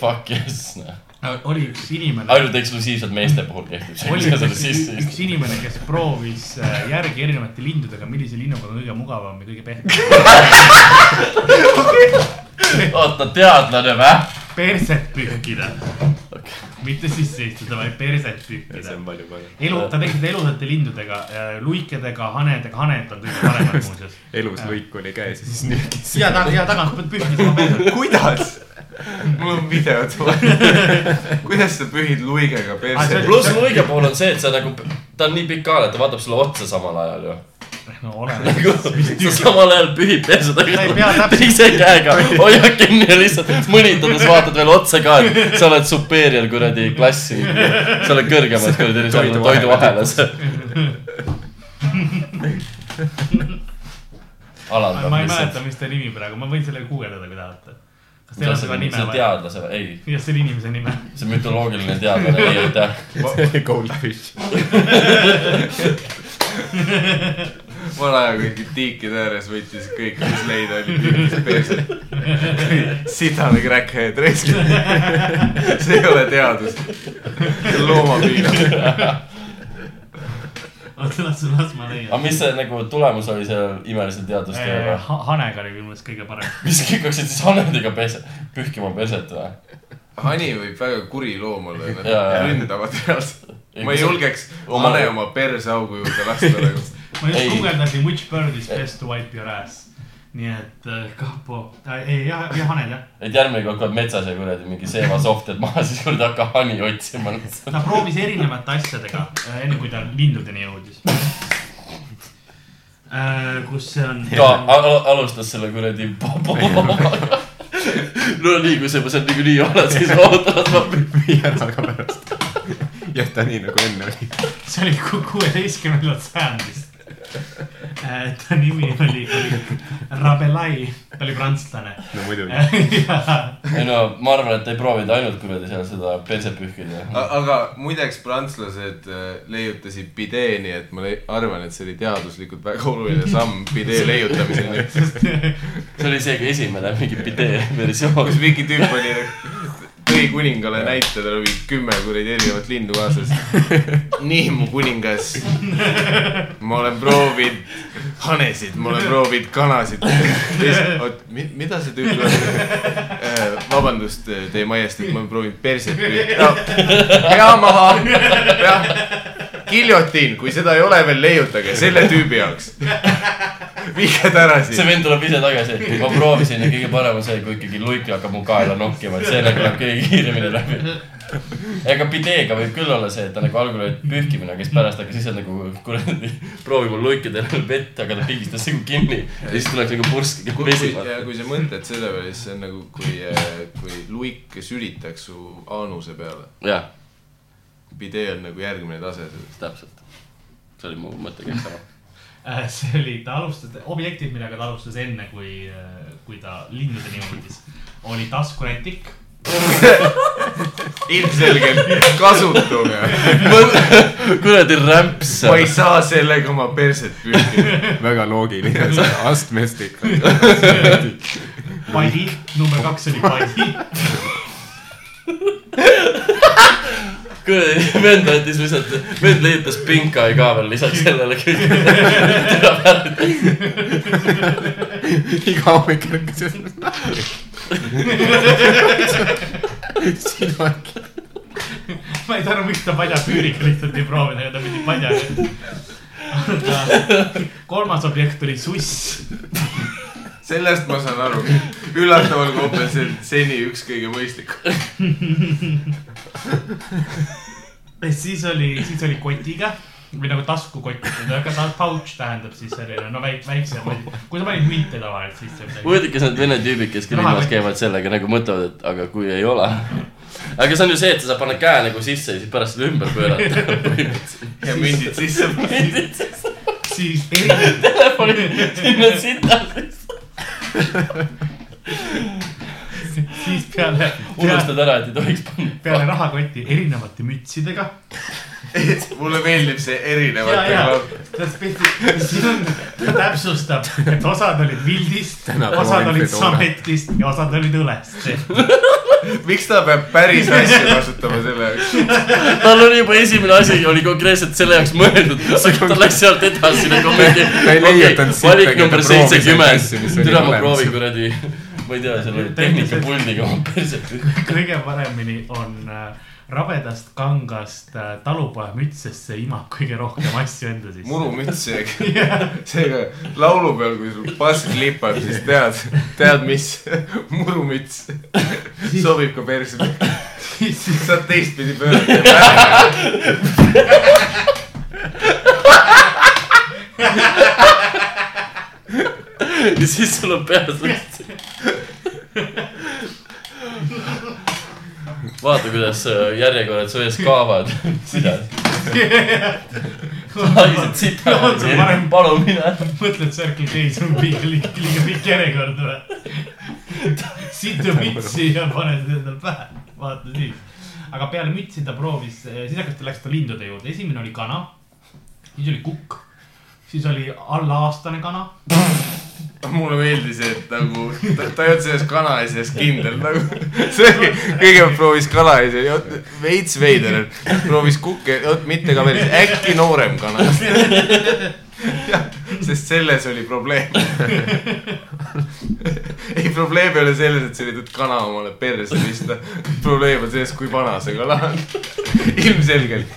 [SPEAKER 5] fuck yes , noh .
[SPEAKER 6] Äh, oli üks inimene
[SPEAKER 5] ainult eksklusiivselt meeste puhul kehtib see , kui
[SPEAKER 6] oli
[SPEAKER 5] sa selle
[SPEAKER 6] üks,
[SPEAKER 5] sisse
[SPEAKER 6] üks
[SPEAKER 5] istud .
[SPEAKER 6] inimene , kes proovis äh, järgi erinevate lindudega , millise linnuga on kõige mugavam ja kõige pehmem .
[SPEAKER 5] oota , teadlane vä ?
[SPEAKER 6] perset pühkida okay. . mitte sisse istuda , vaid perset pühkida .
[SPEAKER 3] palju parem .
[SPEAKER 6] elu , ta tegi seda elusate lindudega , luikedega , hanedega , haned on kõige paremad muuseas .
[SPEAKER 3] elus lõik oli käes ja siis nügis .
[SPEAKER 6] ja ta , ja tagant pead pühkima perset .
[SPEAKER 4] kuidas ? mul on videod vaja . kuidas sa pühid luigega perse
[SPEAKER 5] Ah,
[SPEAKER 6] Ai, ?
[SPEAKER 5] pluss luige puhul on see , et sa nagu , ta on nii pikk kaal , et ta vaatab sulle otsa samal ajal ju .
[SPEAKER 6] no oleneb .
[SPEAKER 5] sa Nagu samal ajal pühid perse
[SPEAKER 6] Sa ei pea
[SPEAKER 5] taga ,
[SPEAKER 6] täpselt-
[SPEAKER 5] teise käega hoiad kinni ja lihtsalt mõnitades vaatad veel otsa ka , et sa oled superior kuradi klassi , sa oled kõrgemas kuradi sa oled toiduahelas . alandav
[SPEAKER 6] ma ei
[SPEAKER 5] lihtsalt .
[SPEAKER 6] mäleta , mis ta nimi praegu , ma võin selle guugeldada , kui tahate . kas teil
[SPEAKER 5] see
[SPEAKER 6] on seda
[SPEAKER 5] on see
[SPEAKER 6] nime vaja ?
[SPEAKER 5] teadlase , ei ,
[SPEAKER 6] jah , selle inimese nime .
[SPEAKER 5] see mütoloogiline teadlane , ei aitäh .
[SPEAKER 3] Goldfish .
[SPEAKER 4] vana aja kuigi tiikide ääres võttis kõik , mis leida oli , tükkis perse . sitane crackhead raisk . see ei ole teadus . loomapiinad .
[SPEAKER 6] oota , las , las ma leian Äh,
[SPEAKER 5] aga . mis see nagu tulemus oli sellel imelisel teadustööl ?
[SPEAKER 6] hanega oli minu meelest kõige parem .
[SPEAKER 5] mis kõik hakkasid siis hanedega pese , pühkima peset või ?
[SPEAKER 4] hani võib väga kuri loom olla , nad
[SPEAKER 5] Jaa, jaa.
[SPEAKER 4] ründavad reaalselt . ma ei julgeks hane oma perseaugu juurde lasta nagu .
[SPEAKER 6] ma just
[SPEAKER 5] Ei.
[SPEAKER 6] guugeldasin which bird is best to wipe your ass . nii et äh, kapo , ei jah , jah haned jah .
[SPEAKER 5] et järgmine kord , kui oled metsas ja kuradi mingi seevasohted maha , siis kuradi hakka hani otsima .
[SPEAKER 6] ta proovis erinevate asjadega , enne kui ta lindudeni jõudis . kus see on ?
[SPEAKER 5] ka al alustas selle kuradi popoga . no nii , kui sa juba seal niikuinii oled , siis oota , las ma püh-
[SPEAKER 3] viiendaga pärast . jah , ta nii nagu enne oli .
[SPEAKER 6] see oli kuueteistkümnendast sajandist . Äh, ta nimi oli , oli Rabelai , ta oli prantslane .
[SPEAKER 3] no muidugi .
[SPEAKER 5] ei no ma arvan , et ta ei proovinud ainult kuradi seal seda peset pühkida .
[SPEAKER 4] aga muideks prantslased äh, leiutasid bidee , nii et ma lei- arvan , et see oli teaduslikult väga oluline samm bidee leiutamiseni .
[SPEAKER 5] see oli isegi esimene mingi pidee versioon
[SPEAKER 4] kus . mingi tüüp oli , tõi kuningale näite , tal oli kümme kuradi erinevat lindu kaasas . nii , mu kuningas . ma olen proovinud hanesid , ma olen proovinud kanasid . oot , mida see tüüp ütles ? vabandust , teie majestit , ma olen proovinud perset püüda no, . pea maha , jah . giljotiin , kui seda ei ole veel , leiutage selle tüübi jaoks . viige ta ära
[SPEAKER 5] see
[SPEAKER 4] siit .
[SPEAKER 5] vend tuleb ise tagasi , ma proovisin ja kõige parem on see , kui ikkagi luik hakkab mu kaela nokkima , et see nagu läheb kõige kiiremini läbi . ega pideega võib küll olla see , et ta nagu algul oli pühkimine , aga siis pärast hakkas ise nagu kuradi proovima luikida endale vett , aga ta pigistas nagu kinni ja siis tuleks nagu purski
[SPEAKER 4] kui , kui ,
[SPEAKER 5] vesima .
[SPEAKER 4] ja kui sa mõtled selle peale , siis see on nagu , kui , kui luik sülitaks su aanuse peale .
[SPEAKER 5] jah ,
[SPEAKER 4] Bidee on nagu järgmine tase sellest .
[SPEAKER 5] täpselt . see oli mu mõte kõik sama .
[SPEAKER 6] Äh, see oli , ta alustas , objektid , millega ta alustas enne , kui , kui ta lindudeni jõudis , oli taskurätik
[SPEAKER 4] ilmselgelt kasutum ja
[SPEAKER 5] kuradi rämps .
[SPEAKER 4] ma ei saa sellega oma perset pühkida .
[SPEAKER 3] väga loogiline , astmestik .
[SPEAKER 6] padi , number kaks oli padi .
[SPEAKER 5] kuradi vend andis lihtsalt , vend leiutas pinka ka veel lisaks sellele kõigele .
[SPEAKER 3] iga hommik ärkas ja silmad .
[SPEAKER 6] ma ei saa aru , miks ta paljapüüriga lihtsalt ei proovinud , aga ta pidi palja . kolmas objekt oli suss .
[SPEAKER 4] sellest ma saan aru . üllataval kombel see on seni üks kõige mõistlikum .
[SPEAKER 6] siis oli , siis oli kotiga või nagu taskukott , aga sa- pouch tähendab siis selline , no väik- , väiksem asi . kui sa panid münte tavaliselt sisse midagi .
[SPEAKER 5] huvitav , kas need vene tüübid , kes küll linnas käivad sellega nagu mõtlevad , et aga kui ei ole . aga see on ju see , et sa saad panna käe nagu sisse ja siis pärast seda ümber pöörata .
[SPEAKER 4] ja mündid sisse .
[SPEAKER 6] siis eri-
[SPEAKER 5] sinna sinna ,
[SPEAKER 6] siis peale , peale ,
[SPEAKER 5] unustad ära , et ei tohiks panna .
[SPEAKER 6] peale rahakoti erinevate mütsidega
[SPEAKER 4] mulle meeldib see
[SPEAKER 6] ja ,
[SPEAKER 4] erinevate
[SPEAKER 6] ja
[SPEAKER 4] klapp-
[SPEAKER 6] ta spetsi- siin on , ta täpsustab , et osad olid vildist ,
[SPEAKER 3] Tänapäeva
[SPEAKER 6] osad olid
[SPEAKER 3] infotoored.
[SPEAKER 6] sametist ja osad olid õlest .
[SPEAKER 4] miks ta peab päris asja kasutama selle jaoks ?
[SPEAKER 5] tal oli juba esimene asi oli konkreetselt selle jaoks mõeldud , ta läks sealt edasi nagu mingi .
[SPEAKER 3] Ta ei leiutanud sittagi,
[SPEAKER 5] valik
[SPEAKER 3] ta
[SPEAKER 5] number
[SPEAKER 3] proovis neid
[SPEAKER 5] seitsekümmend
[SPEAKER 3] asju, mis , oli
[SPEAKER 5] türa ma
[SPEAKER 3] olemas.
[SPEAKER 5] proovin kuradi , ma ei tea , selle tehnikapuldiga oma perset .
[SPEAKER 6] kõige paremini on äh, rabedast kangast äh, talupojamütsesse imab kõige rohkem asju enda sisse .
[SPEAKER 4] murumüts seega , seega laulupeol , kui sul pask lipab , siis tead , tead , mis murumüts sobib ka perse . siis saad teistpidi pöörata .
[SPEAKER 5] ja siis sul on peas lihtsalt . vaata , kuidas äh, järjekorrad su ees kaavad . mida ? haised sita
[SPEAKER 6] No, on see . parem.
[SPEAKER 5] palun mine .
[SPEAKER 6] mõtled Circle K-s on liiga , liiga , liiga pikk järjekord või ? situ mütsi ja paned endale pähe , vaata siis . aga peale mütsi ta proovis , siis hakkas ta , läks ta lindude juurde , esimene oli kana , siis oli kukk , siis oli allaaastane kana .
[SPEAKER 4] mulle meeldis , et nagu ta, ta ei olnud selles kana asjas kindel nagu . see oli , kõigepealt proovis kana asja , veits veider , proovis kukke , oot mitte ka päris , äkki noorem kana . sest selles oli probleem . ei , probleem ei ole selles , et sa üritad kana omale perse pista . probleem on selles , kui vana see kana on . ilmselgelt .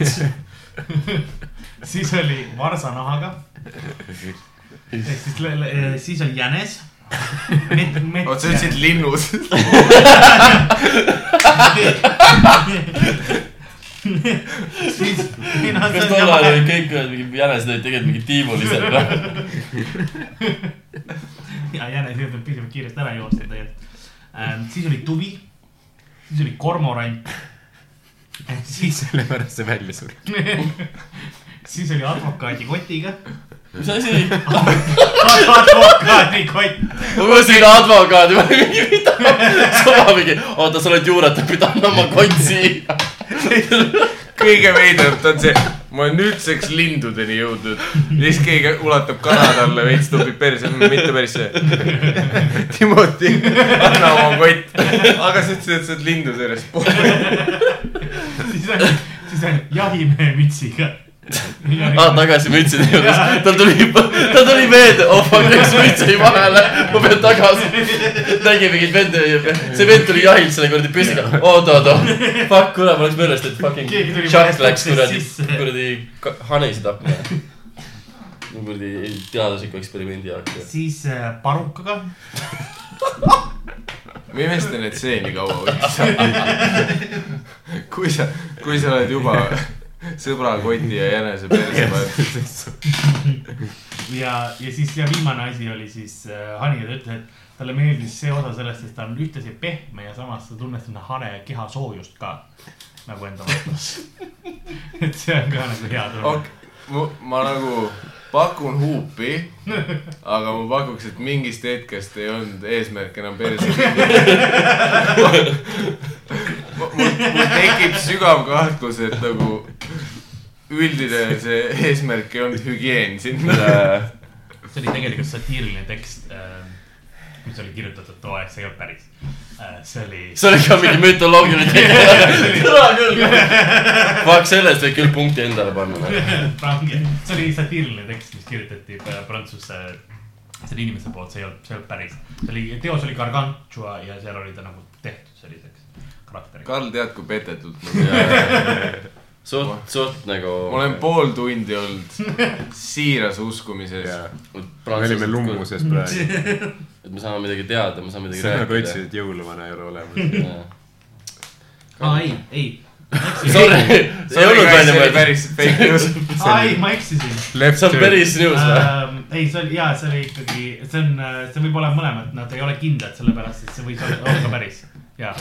[SPEAKER 6] siis oli varsanahaga . ehk siis , siis oli jänes .
[SPEAKER 4] oot , sa ütlesid linnud .
[SPEAKER 6] siis , mina
[SPEAKER 5] kas tol ajal olid kõik äh, ühed mingid jänesed olid tegelikult mingid tiimulised või ?
[SPEAKER 6] ja jänes jõudnud piisavalt kiiresti ära joosta tegelikult ähm, . siis oli tuvi , siis oli kormorant . siis ,
[SPEAKER 3] sellepärast see välja suri .
[SPEAKER 6] siis oli advokaadi kotiga .
[SPEAKER 5] mis asi ?
[SPEAKER 6] advokaadi kott ,
[SPEAKER 5] ma kuulsin advokaadi , ma ei mingi mida . sama mingi , oota , sa oled juurat , pidanud oma kotsi .
[SPEAKER 4] kõige veidram on see , ma olen nüüdseks lindudeni jõudnud . ja siis keegi ulatab kana talle veits tupib perse , mitte päris see . Timoti , anna oma kott . aga sa ütlesid , et sa oled lindude järjest puhul .
[SPEAKER 6] siis oli , siis oli jahimehe mütsiga .
[SPEAKER 5] aa , Ah, tagasi mütside juures , tal tuli , tal tuli meelde , oh fuck , läks müts jäi vahele , ma pean tagasi . nägi mingit venda , see vend tuli jahilt selle kuradi püssiga , oot , oot , oot , fuck , kurat , ma läks meelest , et
[SPEAKER 6] Keegi
[SPEAKER 5] fucking
[SPEAKER 6] tuli
[SPEAKER 5] Chuck
[SPEAKER 6] vahest
[SPEAKER 5] läks
[SPEAKER 6] uksest
[SPEAKER 5] kuradi
[SPEAKER 6] sisse. ,
[SPEAKER 5] kuradi ka- hanesid appi . kuradi teadusliku eksperimendi jaoks .
[SPEAKER 6] siis äh, parukaga ,
[SPEAKER 4] ma imestan , et see nii kaua võttis . kui sa , kui sa oled juba sõbra koti ja jänese perse pannud .
[SPEAKER 6] ja , ja siis ja viimane asi oli siis äh, hani ja ta ütles , et talle meeldis see osa sellest , et ta on ühtlasi pehme ja samas sa tunned sinna hane keha soojust ka nagu enda vastus . et see on ka nagu hea tunne okay. .
[SPEAKER 4] okei , ma nagu pakun huupi , aga ma pakuks , et mingist hetkest ei olnud eesmärk enam perse . mul tekib sügav kahtlus , et nagu üldine see eesmärk ei olnud hügieen siin .
[SPEAKER 6] see oli tegelikult satiiriline tekst äh, , mis oli kirjutatud too aeg , see ei olnud päris äh, . see oli ,
[SPEAKER 5] see oli ka mingi mütoloogiline teema , kõla küll . Fuck , sellest võib küll punkti endale panna .
[SPEAKER 6] see oli satiiriline tekst , mis kirjutati äh, prantsuse selle inimese poolt , see ei olnud , see ei olnud päris . see oli , teos oli Gargantua ja seal oli ta nagu tehtud selliseks karakteriks .
[SPEAKER 4] Karl tead , kui petetud ma olen .
[SPEAKER 5] suht , suht nagu .
[SPEAKER 4] ma olen pool tundi olnud siiras uskumises .
[SPEAKER 3] me olime . lummuses praegu .
[SPEAKER 5] et me saame midagi teada , me saame midagi
[SPEAKER 3] sa nagu ütlesid ,
[SPEAKER 5] rääkida .
[SPEAKER 3] et jõuluvana ei ole olemas .
[SPEAKER 6] aa , Ah, ei , ei .
[SPEAKER 5] Sorry , see ei olnud välja mõeldud .
[SPEAKER 4] päris fake news .
[SPEAKER 6] aa , Ah, ei , ma eksisin .
[SPEAKER 5] see on päris news või ?
[SPEAKER 6] Ähm, ei , see oli jaa , see oli ikkagi , see on , see võib olla mõlemad , nad ei ole kindlad , sellepärast et see võis olla olla ka päris . jaa ,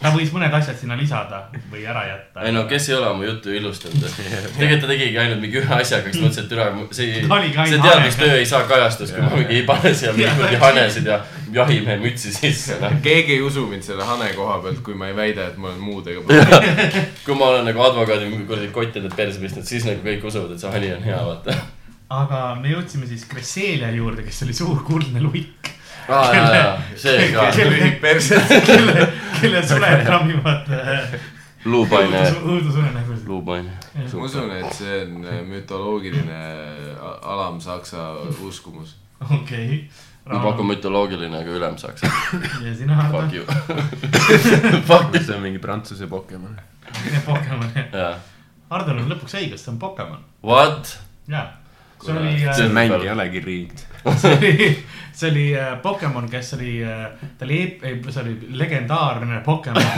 [SPEAKER 6] ta võis mõned asjad sinna lisada või ära jätta .
[SPEAKER 5] Ah. ei no , kes ei ole oma juttu ilustanud . tegelikult ta tegigi ainult mingi ühe asjaga , siis mõtlesin , et üle , see ,
[SPEAKER 6] Ta oligi ainult
[SPEAKER 5] see teadustöö ei saa kajastust , kui ma mingi ei pane siia mingeid hanesid ja jahimehe mütsi sisse , noh .
[SPEAKER 4] keegi ei usu mind selle hane koha pealt , kui ma ei väida , et ma olen muudega põhjal .
[SPEAKER 5] kui ma olen nagu advokaadi mingi kuradi kottide perse pistnud , siis nagu kõik usuvad , et see hani on hea , vaata .
[SPEAKER 6] aga me jõudsime siis Cresselia juurde , kes oli suur kuldne luik ,
[SPEAKER 5] aa , jaa , jaa , see ka .
[SPEAKER 4] lühik perse .
[SPEAKER 6] kelle , kelle suled rammivad äh,
[SPEAKER 5] luupaine ,
[SPEAKER 6] õudus- õudusunenägusid .
[SPEAKER 5] luupaine .
[SPEAKER 4] ma usun , et see on äh, mütoloogiline a- alam-saksa uskumus .
[SPEAKER 6] okei .
[SPEAKER 5] ma pakun . mütoloogiline , aga ülem saaks .
[SPEAKER 6] ja sina
[SPEAKER 5] Fuck
[SPEAKER 6] arvad ,
[SPEAKER 5] you .
[SPEAKER 3] see on mingi prantsuse Pokemon .
[SPEAKER 6] Pokemon .
[SPEAKER 5] jaa .
[SPEAKER 6] Hardol on lõpuks õigus , see on Pokemon .
[SPEAKER 5] What ?
[SPEAKER 6] jaa . see oli . äh,
[SPEAKER 5] See
[SPEAKER 3] see
[SPEAKER 5] on
[SPEAKER 3] mäng
[SPEAKER 5] päris-
[SPEAKER 3] ei olegi riid .
[SPEAKER 6] see oli , see oli äh, Pokemon , kes oli , ta oli , ei , see oli legendaarne Pokemon .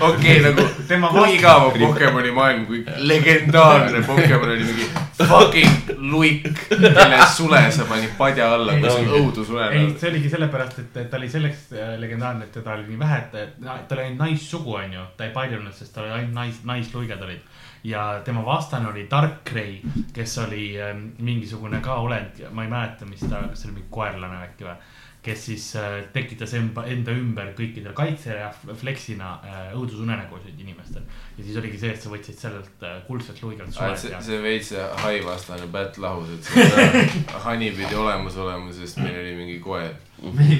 [SPEAKER 4] okei , nagu
[SPEAKER 6] Tema
[SPEAKER 4] kui igav on Pokemoni maailm , kui legendaarne Pokemon oli mingi fucking luik , kelle sule sa panid padja alla , kus on õudusune .
[SPEAKER 6] ei , see oligi sellepärast , et et ta oli selleks äh, legendaarne , et teda oli nii vähe , et ta ta oli ainult naissugu , onju . ta ei paljunud , sest tal oli ainult nais , naisluiged olid . ja tema vastane oli Darkrai , kes oli äh, mingisugune ka olend , ma ei mäleta , mis ta , kas see oli mingi koerlane äkki või kes siis äh, tekitas enda , enda ümber kõikidel kaitse ja fleksina äh, õudusunenägusid inimestel . ja siis oligi see , et sa võtsid sellelt äh, kuldselt luigelt suled
[SPEAKER 4] see ,
[SPEAKER 6] ja
[SPEAKER 4] see veits see hai vastane pätt lahus , et see hani pidi olemas olema , sest meil oli mingi koer .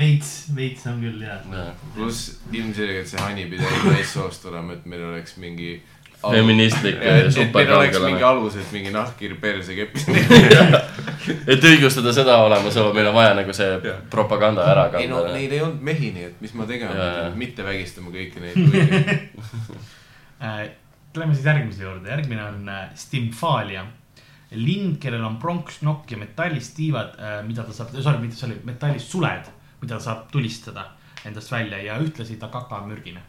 [SPEAKER 2] veits , veits on küll jah .
[SPEAKER 4] pluss ilmselgelt see hani pidi ainult naissoost olema , et meil oleks mingi .
[SPEAKER 5] feministlik äh,
[SPEAKER 4] et et meil oleks mingi
[SPEAKER 5] superkangelane .
[SPEAKER 4] alus , et mingi nahkhiir perse kepis .
[SPEAKER 5] et õigustada seda olemasolu , meil on vaja nagu see propaganda ära
[SPEAKER 4] ei no
[SPEAKER 5] kanda .
[SPEAKER 4] neid ei olnud mehi , nii et mis ma tegema
[SPEAKER 5] Jaa, jaa.
[SPEAKER 4] pidin , mitte vägistama kõiki neid .
[SPEAKER 6] Äh, Lähme siis järgmise juurde , järgmine on äh, Stimfalia . lind , kellel on pronksnokk ja metallist tiivad , mida ta saab , sorry , mitte sorry , metallist suled , mida ta saab tulistada endast välja ja ühtlasi ta kaka on mürgine .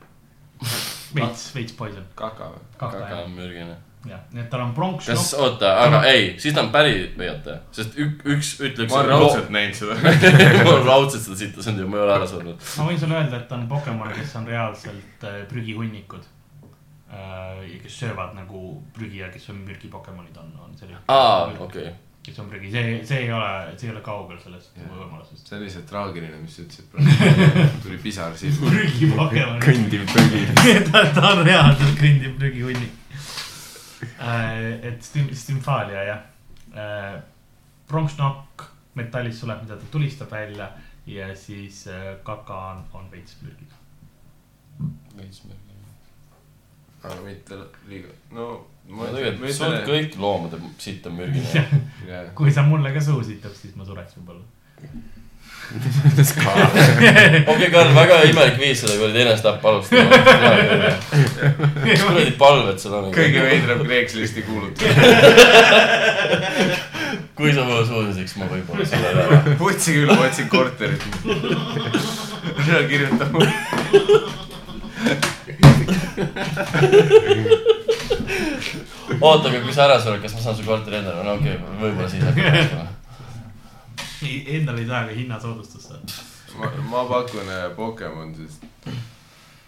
[SPEAKER 6] veits , veits poison ,
[SPEAKER 4] kaka või ?
[SPEAKER 6] kaka
[SPEAKER 5] aga
[SPEAKER 6] jah ,
[SPEAKER 5] mürgine .
[SPEAKER 6] jah , nii et tal on
[SPEAKER 5] kas
[SPEAKER 6] pronksnokk ,
[SPEAKER 5] oota , aga ei , siis ta on päris , oota , sest ük- , üks ütleks .
[SPEAKER 4] ma olen raudselt näinud seda .
[SPEAKER 5] ma olen raudselt seda sitta söönud ja ma ei ole ära surnud .
[SPEAKER 6] ma võin sulle öelda , et ta on Pokemon , kes on reaalselt äh, prügihunnikud . kes söövad nagu prügi ja kes on mürgipokemonid on , on selline .
[SPEAKER 5] aa , okei .
[SPEAKER 6] kes on prügi , see , see ei ole , see ei ole kaugel sellest võimalusest .
[SPEAKER 4] see on lihtsalt traagiline , mis sa ütlesid praegu . tuli pisar silma .
[SPEAKER 6] prügipokemon .
[SPEAKER 3] kõndiv prügi .
[SPEAKER 6] ta , ta on reaalselt kõndiv prügihunnik . et Stim- , Stimfalia jah . pronksnokk , metallist suleb , mida ta tulistab välja ja siis äh, kaka on , on veits mürgine .
[SPEAKER 4] aga mitte liiga , no ma
[SPEAKER 5] ma
[SPEAKER 4] ütlen , ma
[SPEAKER 5] tegelikult , sul
[SPEAKER 4] ütlen ,
[SPEAKER 5] kõik loomade sitt on mürgine .
[SPEAKER 4] et .
[SPEAKER 6] kui sa mulle ka suhu sitad , siis ma sureks võib-olla .
[SPEAKER 5] okei , Karl , väga imelik viis seda kuradi enesetappa alustada . kuradi palved nagu. sul on .
[SPEAKER 4] kõige veidram Kreekslisti kuulutus .
[SPEAKER 5] kui sa mulle suudiseks , ma võib-olla selle ära .
[SPEAKER 4] võtsi küll , ma otsin korterit . ära kirjuta mulle .
[SPEAKER 5] oota , aga kui sa ära sured , kas ma saan su korteri endale ? no okei okay, , võib-olla siis hakkab olema .
[SPEAKER 6] Endal ei saa ka hinnasoodustust saada .
[SPEAKER 4] ma , ma pakun äh, Pokemon , sest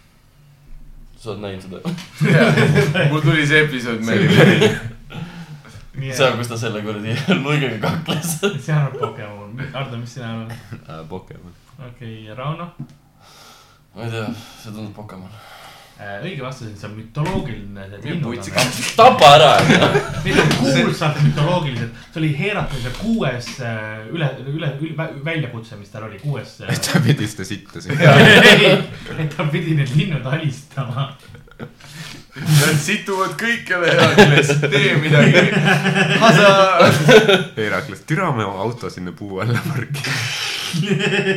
[SPEAKER 5] sa oled näinud seda ?
[SPEAKER 4] Jaa, mul tuli see episood meelde .
[SPEAKER 5] seal , kus ta selle kuradi luigega kakles .
[SPEAKER 6] see on Pokemon . Ardo , mis sina arvad ?
[SPEAKER 3] Äh, Pokemon .
[SPEAKER 6] okei , ja Rauno ?
[SPEAKER 5] ma ei tea , see tundub Pokemon .
[SPEAKER 6] Äh, õige vastus on , see on mütoloogiline .
[SPEAKER 4] putsikas .
[SPEAKER 5] tapa ära .
[SPEAKER 6] Need on kuulsad mütoloogilised , see oli Heratuse kuues äh, üle , üle, üle , väljakutse , mis tal oli , kuues . äh,
[SPEAKER 3] ta pidis ta sitta siin .
[SPEAKER 6] et ta pidi need linnud alistama .
[SPEAKER 4] Nad situvad kõikjale Herakles , tee midagi . Hasa .
[SPEAKER 3] Herakles , türa me oma auto sinna puu alla parkida .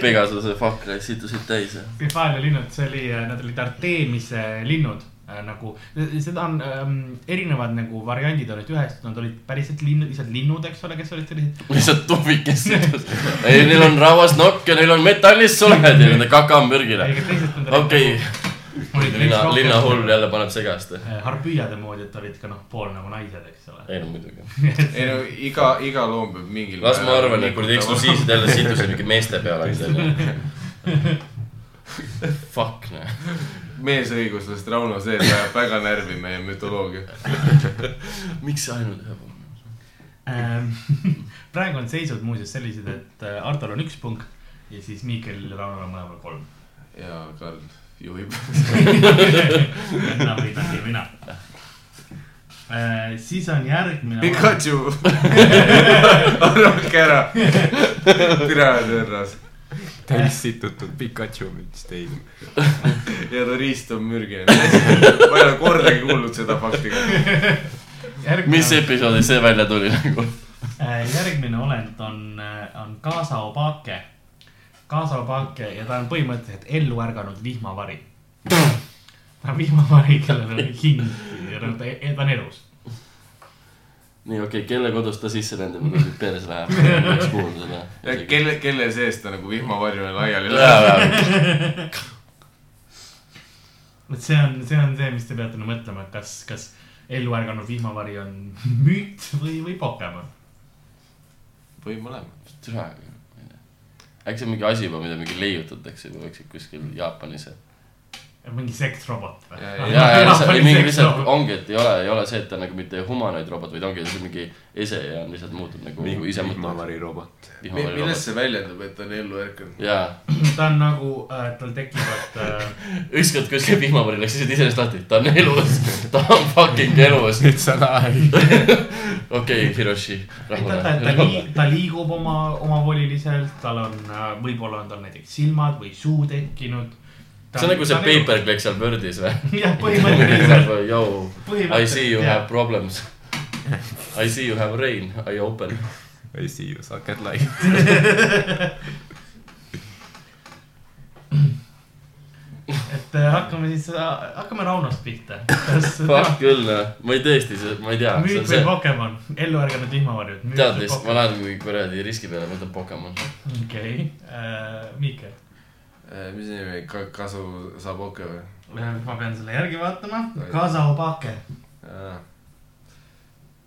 [SPEAKER 5] Pegasuse fakreid situsid täis ja
[SPEAKER 6] Pifaalia linnud , see oli , nad olid Artemise linnud äh, nagu , seda on ähm, erinevad nagu variandid olid ühest , nad olid päriselt linnud , lihtsalt linnud , eks ole , kes olid sellised .
[SPEAKER 5] lihtsalt tubikest sidus . ei , neil on rauasnokk ja neil on metallist suled ja nende kaka on mürgile .
[SPEAKER 6] õiged teised .
[SPEAKER 5] okei ,
[SPEAKER 6] nagu,
[SPEAKER 5] linna , linnahull . jälle paneb segast .
[SPEAKER 6] äh, Harpüüade moodi , et olid ka noh , pool nagu naised , eks ole .
[SPEAKER 5] ei no muidugi .
[SPEAKER 4] ei no iga , iga loom peab mingil .
[SPEAKER 5] las ma arvan , et kuradi . eksklusiivsed jälle situsid mingi meeste peale . Fuck , noh .
[SPEAKER 4] meesõiguslast Rauno Seed ajab väga närvi meie mütoloogia .
[SPEAKER 5] miks see ainult ühe poole ?
[SPEAKER 6] Ehm, praegu on seisud muuseas sellised , et äh, Artol on üks punkt ja siis Miikel ja Raunol on mõlemal kolm .
[SPEAKER 4] ja Karl juhib .
[SPEAKER 6] enam ei taha mina . siis on järgmine .
[SPEAKER 4] Pikachu . arvake ära . piraat õrnas
[SPEAKER 3] täis situtud Pikachu müts teil .
[SPEAKER 4] ja ta riist on mürgine . ma ei ole kordagi kuulnud seda fakti .
[SPEAKER 6] Järgmine
[SPEAKER 5] mis
[SPEAKER 6] on-
[SPEAKER 5] episoodis see välja tuli nagu ?
[SPEAKER 6] Äh, järgmine olend on , on Gaza Obake . Gaza Obake ja ta on põhimõtteliselt ellu ärganud vihmavari . ta on vihmavari , kellel on hing ja ta, ta on elus .
[SPEAKER 5] nii , okei okay, , kelle kodus ta sisse lendab , kui nüüd peres läheb ? ma peaks kuulma seda .
[SPEAKER 4] ja kelle , kelle sees ta nagu vihmavarjuna laiali läheb .
[SPEAKER 5] jaa ,
[SPEAKER 6] vot see on , see on see , mis te peate nüüd mõtlema , et kas , kas ellu ärganud vihmavari on müüt või , või Pokemon .
[SPEAKER 4] või mõlemad .
[SPEAKER 5] jaa . äkki see on mingi asi juba , mida mingi leiutatakse juba , eks ju , kuskil Jaapanis .
[SPEAKER 6] mingi seksrobot või Noh,
[SPEAKER 4] Ja, ?
[SPEAKER 5] ja , ja lihtsalt , ei mingi lihtsalt . ongi , et ei ole , ei ole see , et ta on nagu mitte humanoid robot , vaid ongi lihtsalt mingi ese ja on lihtsalt muutunud nagu ise mõtlema .
[SPEAKER 3] vihmavari robot .
[SPEAKER 4] millest see väljendub , et ta on ellu ärkanud ?
[SPEAKER 5] jaa ,
[SPEAKER 6] ta on nagu , tal tekivad äh,
[SPEAKER 5] ükskord kuskil vihmavari läks lihtsalt iseenesest lahti , ta on elus , ta on fucking elus .
[SPEAKER 3] nüüd sa naerid .
[SPEAKER 5] okei , Hiroshi ,
[SPEAKER 6] ta , ta , ta
[SPEAKER 5] rahune .
[SPEAKER 6] lii- , ta liigub oma , omavoliliselt , tal on , võib-olla on tal näiteks silmad või suu tekkinud .
[SPEAKER 5] see on nagu see . paperclip seal Wordis või ?
[SPEAKER 6] jah , põhimõtteliselt .
[SPEAKER 5] Yo , I see you have problems . I see you have rain , I open .
[SPEAKER 3] I see you sucked life .
[SPEAKER 6] et äh, hakkame siis , hakkame Raunost pihta . kas
[SPEAKER 5] Fuck küll , noh , ma ei tõesti , ma ei tea , see
[SPEAKER 6] müüt
[SPEAKER 5] on
[SPEAKER 6] või
[SPEAKER 5] see ,
[SPEAKER 6] Pokemon , ellu ärganud vihmavarjud .
[SPEAKER 5] tead vist , ma . lähen mingi kuradi riski peale , võtan Pokemon .
[SPEAKER 6] okei , äh, Miikel ,
[SPEAKER 4] Äh, mis see nimi , kasu saab oke või ?
[SPEAKER 6] ma pean selle järgi vaatama . Gaza Obake ,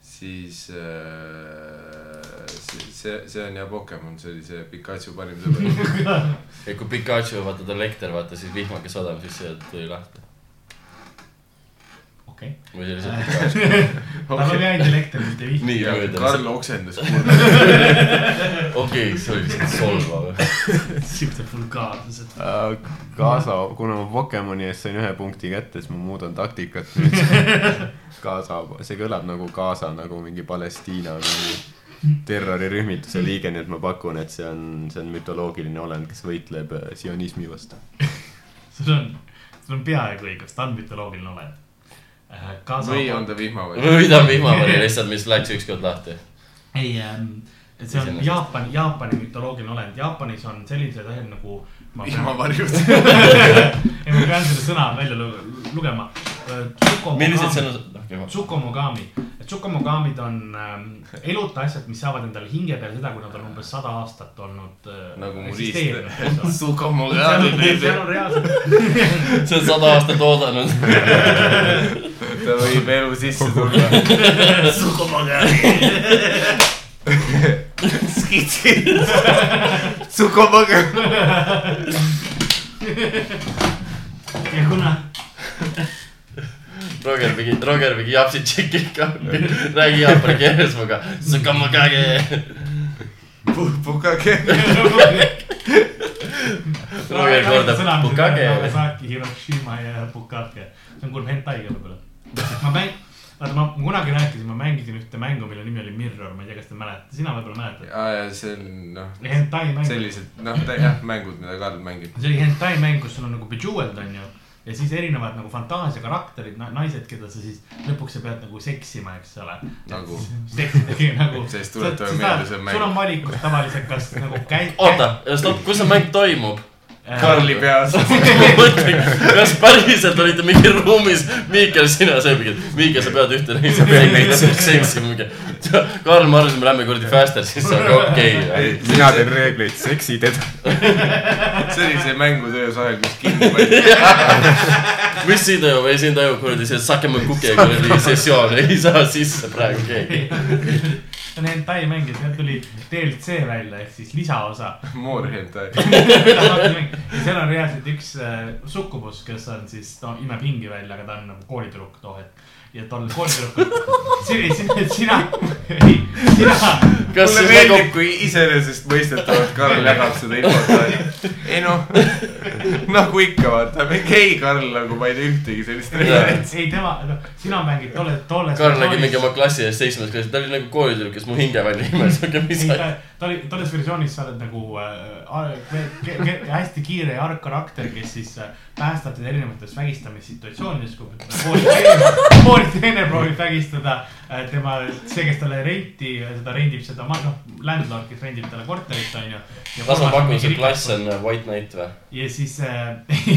[SPEAKER 4] siis äh, see , see , see on jah Pokemon , see oli see Pikachu parim sõber .
[SPEAKER 5] ja kui Pikachu , vaata ta lekter , vaata siis vihma , kes odam , siis see tuli lahti .
[SPEAKER 6] okei .
[SPEAKER 5] või see oli see Pikachu .
[SPEAKER 6] tal oli ainult elekter , mitte vihm .
[SPEAKER 5] nii
[SPEAKER 4] ja
[SPEAKER 5] mööda .
[SPEAKER 4] Karl oksendas kurna .
[SPEAKER 5] okei , see oli lihtsalt solvav .
[SPEAKER 6] siuksed vulgaarsused .
[SPEAKER 3] Äh, Kaasa , kuna ma Pokemoni eest sain ühe punkti kätte , siis ma muudan taktikat nüüd . Kaasa , see kõlab nagu Gaza nagu mingi Palestiina mingi terrorirühmituse liige , nii et ma pakun , et see on , see on mütoloogiline olend , kes võitleb äh, sionismi vastu .
[SPEAKER 6] sul on , sul on peaaegu õigus , ta on mütoloogiline olend . Äh, Gaza
[SPEAKER 4] või on ta vihmavari ?
[SPEAKER 5] või ta vihmavari lihtsalt , mis läks ükskord lahti .
[SPEAKER 6] ei ähm, , see on
[SPEAKER 5] Iseenesest.
[SPEAKER 6] Jaapan , Jaapani mütoloogiline olend , Jaapanis on sellised asjad nagu .
[SPEAKER 4] vihmavarjud .
[SPEAKER 6] ei , ma pean selle sõna välja lu- lugema . Äh,
[SPEAKER 5] millised sõnad ?
[SPEAKER 6] Tsukomogami , Tsukomogamid on ähm, eluta asjad , mis saavad endale hinge peale seda , kui nad on umbes sada aastat olnud äh, .
[SPEAKER 4] nagu mu
[SPEAKER 6] eksisteerinud,
[SPEAKER 4] riist .
[SPEAKER 6] eks ole. seal on , seal
[SPEAKER 4] Sukamogami .
[SPEAKER 6] on reaalselt ,
[SPEAKER 5] see on sada aastat oodanud .
[SPEAKER 4] ta võib elu sisse tulla . Sukamogami .
[SPEAKER 6] ja kuna
[SPEAKER 5] Roger mingi , Roger mingi japsid tšeki ikka . räägi jaapani keeles minuga . Sukamakage .
[SPEAKER 4] Pukake .
[SPEAKER 5] Roger kordab Bukage .
[SPEAKER 6] Nagasaki , Hiroshima ja Bukake , see on kolm hentai võib-olla . ma mäng- , vaata ma ma kunagi rääkisin , ma mängisin ühte mängu , mille nimi oli Mirror , ma ei tea , kas te mäletate , sina võib-olla mäletad .
[SPEAKER 4] aa ja see on noh ,
[SPEAKER 6] hentai mäng ,
[SPEAKER 4] sellised noh , jah mängud , mida Karl mängib .
[SPEAKER 6] see oli hentai mäng , kus sul on nagu bejeweled on ju . ja siis erinevad nagu fantaasiakarakterid , naised , keda sa siis lõpuks sa pead nagu seksima , eks ole .
[SPEAKER 4] Nagu.
[SPEAKER 6] seksima nagu .
[SPEAKER 4] Sellest tuletame meelde, see on mäng.
[SPEAKER 6] sul on valikus tavaliselt , kas nagu äh, käi- .
[SPEAKER 5] oota , stopp , kus see mäng toimub ?
[SPEAKER 4] Karli peas .
[SPEAKER 5] ma mõtlen , kas päriselt olite mingi ruumis , Miikel , sina see mingi , Miikel , sa pead ühte neist peegleid seksima mingi . Karl , ma arvasin , me lähme kuradi faster , siis see on ka okei okay, .
[SPEAKER 3] mina teen reegleid , seksi teda .
[SPEAKER 4] see oli see mängutöös ajal , kus kinni pandi .
[SPEAKER 5] mis siin toimub , ei siin toimub kuradi see Sakema Kuke kuradi sessioon , ei saa sisse praegu keegi .
[SPEAKER 6] Need Tai mängid , seal tuli DLC välja ehk siis lisaosa .
[SPEAKER 4] Moorhentai .
[SPEAKER 6] seal on reaalselt üks äh, sukkubus , kes on siis , no imeb hingi välja , aga ta on nagu koolitüdruk too hetk . ja tal koolitüdruk , sina , sina , sina ,
[SPEAKER 5] kas
[SPEAKER 4] mulle
[SPEAKER 5] siis nagu
[SPEAKER 4] meeldib , kui iseenesestmõistetavalt Karl jagab seda infot . ei noh , nagu ikka vaata , mingi ei Karl nagu ma ei tea ühtegi sellist reeglit .
[SPEAKER 6] ei tema , noh , sina mängid tolle , tolle .
[SPEAKER 5] Karl nägi mingi oma klassi ees seitsmes klassis , ta oli nagu koolitüdruk , kes mu hinge välja imes , aga mis
[SPEAKER 6] ei , ta , ta oli , tolles versioonis sa oled nagu äh, ke- ke- ke- hästi kiire ja arg karakter , kes siis äh, päästab teda erinevates vägistamissituatsioonides , kui kooliteene proovib vägistada äh, tema , see , kes talle renti , seda rendib seda , noh , landlord , kes rendib talle korterit , onju .
[SPEAKER 5] las ma pakun , see klass on White Knight või ?
[SPEAKER 6] ja siis äh, ,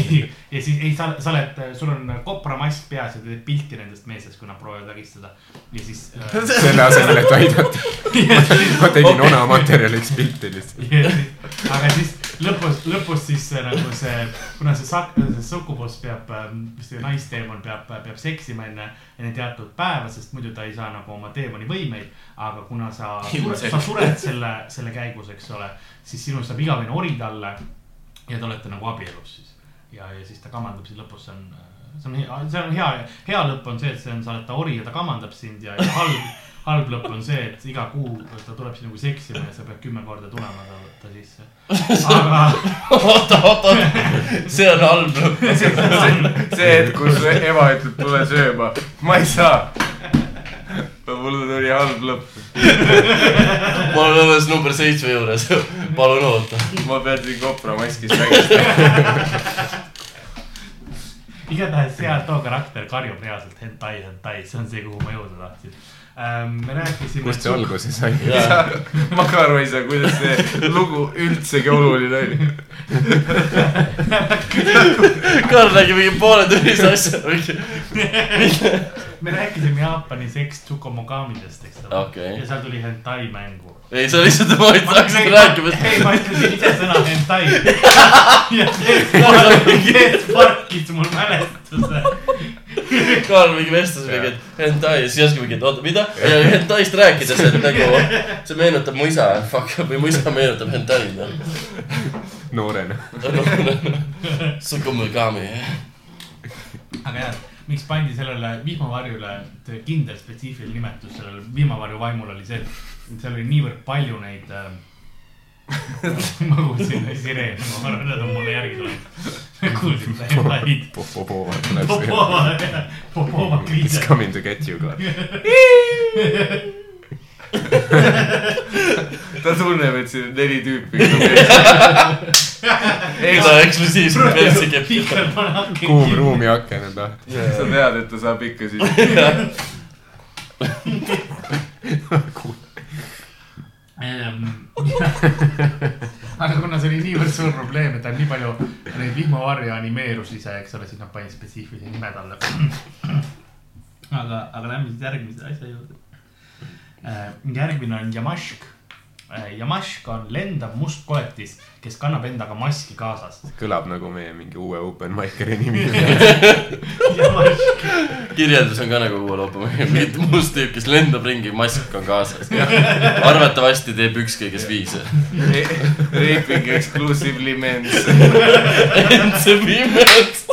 [SPEAKER 6] ja siis ei , sa , sa oled , sul on kopramask peas ja ta teeb pilti nendest meestest , kui nad proovivad vägistada ja siis äh, .
[SPEAKER 3] selle asemel , et aidata . ma tegin ona materjaliks pilti lihtsalt .
[SPEAKER 6] Ja siis- aga siis lõpus , lõpus siis see nagu see , kuna see sak- , see sukuposs peab , see naisteemon peab , peab seksima enne , enne teatud päeva , sest muidu ta ei saa nagu oma teemani võimeid . aga kuna sa ,
[SPEAKER 4] Ilmselgelt.
[SPEAKER 6] sa sured selle , selle käigus , eks ole , siis sinust saab igavene ori talle ja te olete nagu abielus siis . ja , ja siis ta kamandab sind lõpus , see on , see on hea , see on hea , hea lõpp on see , et see on , sa oled ta ori ja ta kamandab sind ja, ja halb , halb lõpp on see , et iga kuu ta tuleb sinuga seksima ja sa pead kümme korda tulema ta, ta sisse . aga
[SPEAKER 5] oota , oota , see on halb lõpp .
[SPEAKER 4] see hetk , kus ema ütleb , tule sööma . ma ei saa . mul tuli halb lõpp .
[SPEAKER 5] ma olen alles number seitsme juures , palun oota .
[SPEAKER 4] ma pean siin kopra maskis mängima .
[SPEAKER 6] igatahes seal too karakter karjub reaalselt hentai , hentai , see on see , kuhu ma jõuda tahtsin ähm, . me rääkisime .
[SPEAKER 3] kust see alguse sai ?
[SPEAKER 4] ma ka aru ei saa , kuidas see lugu üldsegi oluline oli .
[SPEAKER 5] Karl nägi mingi pooletunnise asja , mingi
[SPEAKER 6] me rääkisime Jaapani seks tsukomogamidest , eks ole
[SPEAKER 5] Okei.
[SPEAKER 6] ja seal tuli hentai mängu .
[SPEAKER 5] ei , sa lihtsalt , ma ei tahaks seda rääkima ,
[SPEAKER 6] ei , ma ütlesin ise sõna hentai . ja see parkis mul mälestuse .
[SPEAKER 5] et Karl mingi vestles mingi , et hentai ja siis järsku mingi , et oota , mida ? ja hentaist rääkides , et nagu see meenutab mu isa , fuck , või mu isa meenutab noh. hentaid .
[SPEAKER 3] noorena .
[SPEAKER 5] Sukumugami .
[SPEAKER 6] aga jah , miks pandi sellele vihmavarjule see kindel spetsiifiline nimetus sellele vihmavarju vaimule oli see , et seal oli niivõrd palju neid äh, magusaid sireene , ma arvan , need on mulle järgi tulnud . kuulsin seda hentaid .
[SPEAKER 3] Popopova tuleb see .
[SPEAKER 6] Popova , Popova kriis
[SPEAKER 3] It's . coming to get you , Karl .
[SPEAKER 4] ta tunneb , et siin on neli tüüpi .
[SPEAKER 5] seda eksklusiivset versi käib .
[SPEAKER 3] kuum
[SPEAKER 6] kuum
[SPEAKER 3] ruumi aken on lahti .
[SPEAKER 4] sa tead , et ta saab ikka siis .
[SPEAKER 6] aga kuna see oli niivõrd suur probleem , et ta nii palju neid vihmavarju animeerus ise , eks ole , siis nad panid spetsiifilise nime talle . aga , aga lähme siis järgmise asja juurde . järgmine on Yamashk . Yamashk on lendav must koletis , kes kannab endaga maski kaasas .
[SPEAKER 3] kõlab nagu meie mingi uue open mic'i nimi .
[SPEAKER 6] Yamashk
[SPEAKER 5] kirjeldus on ka nagu kuul hoopis mingi must tüüp , kes lendab ringi , mask on kaasas . arvatavasti teeb üks kõigest viis .
[SPEAKER 4] Raping exclusively men's .
[SPEAKER 5] ent see pimedas .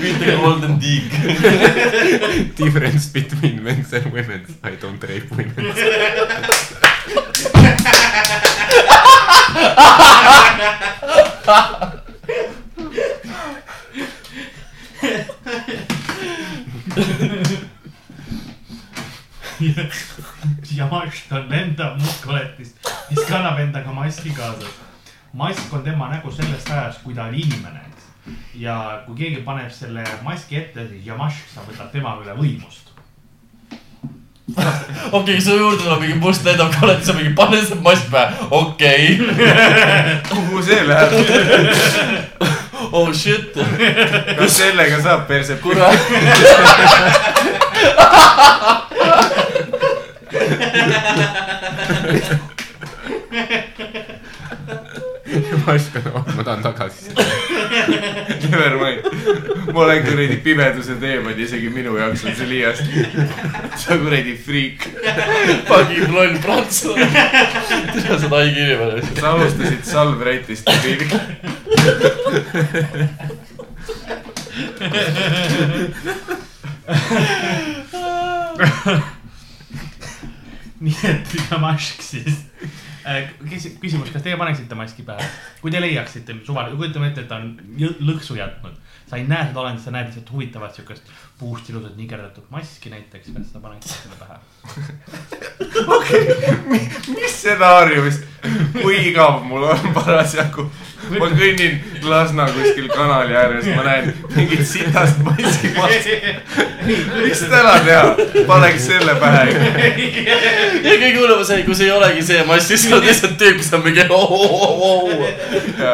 [SPEAKER 5] mitte Golden Deeg .
[SPEAKER 3] Difference between men's and women's . I don't rape women .
[SPEAKER 6] Yamashk on lendav muskoletis , mis kannab endaga maski kaasas . mask on tema nägu sellest ajast , kui ta oli inimene , eks . ja kui keegi paneb selle maski ette , siis Yamash , sa võtad tema üle võimust .
[SPEAKER 5] okei , su juurde tuleb mingi must lendavkalend , sa mingi pane see mask pähe , okei okay. ,
[SPEAKER 4] kuhu see läheb ?
[SPEAKER 5] oh shit ,
[SPEAKER 4] kas sellega saab perse ?
[SPEAKER 5] kurat .
[SPEAKER 3] ma oskan , ma tahan tagasi .
[SPEAKER 4] Never mind . ma olen kuradi pimeduse teemad , isegi minu jaoks on see liiast . sa kuradi friik .
[SPEAKER 5] Fucking loll prantslane . tere , sa taigi inimene .
[SPEAKER 4] sa alustasid Salvrätist , debiil .
[SPEAKER 6] nii et Yamash siis . küsimus , kas teie paneksite maski pähe , kui te leiaksite suvaline , kujutame ette , et ta on jõ- lõksu jätnud . sa ei näe seda olendit , sa näed lihtsalt huvitavat siukest puust ilusat nigerdatud maski näiteks , kas sa paneksite selle pähe ?
[SPEAKER 4] mis stsenaariumist , kui igav mul on parasjagu . ma kõnnin Lasna kuskil kanali ääres , ma näen mingit sitast maski maski . mis täna teha , paneks selle pähe .
[SPEAKER 5] ja kõige hullem on see , kui see ei olegi see mass , siis on lihtsalt tüüp , kes on mingi oh, oh, oh, oh.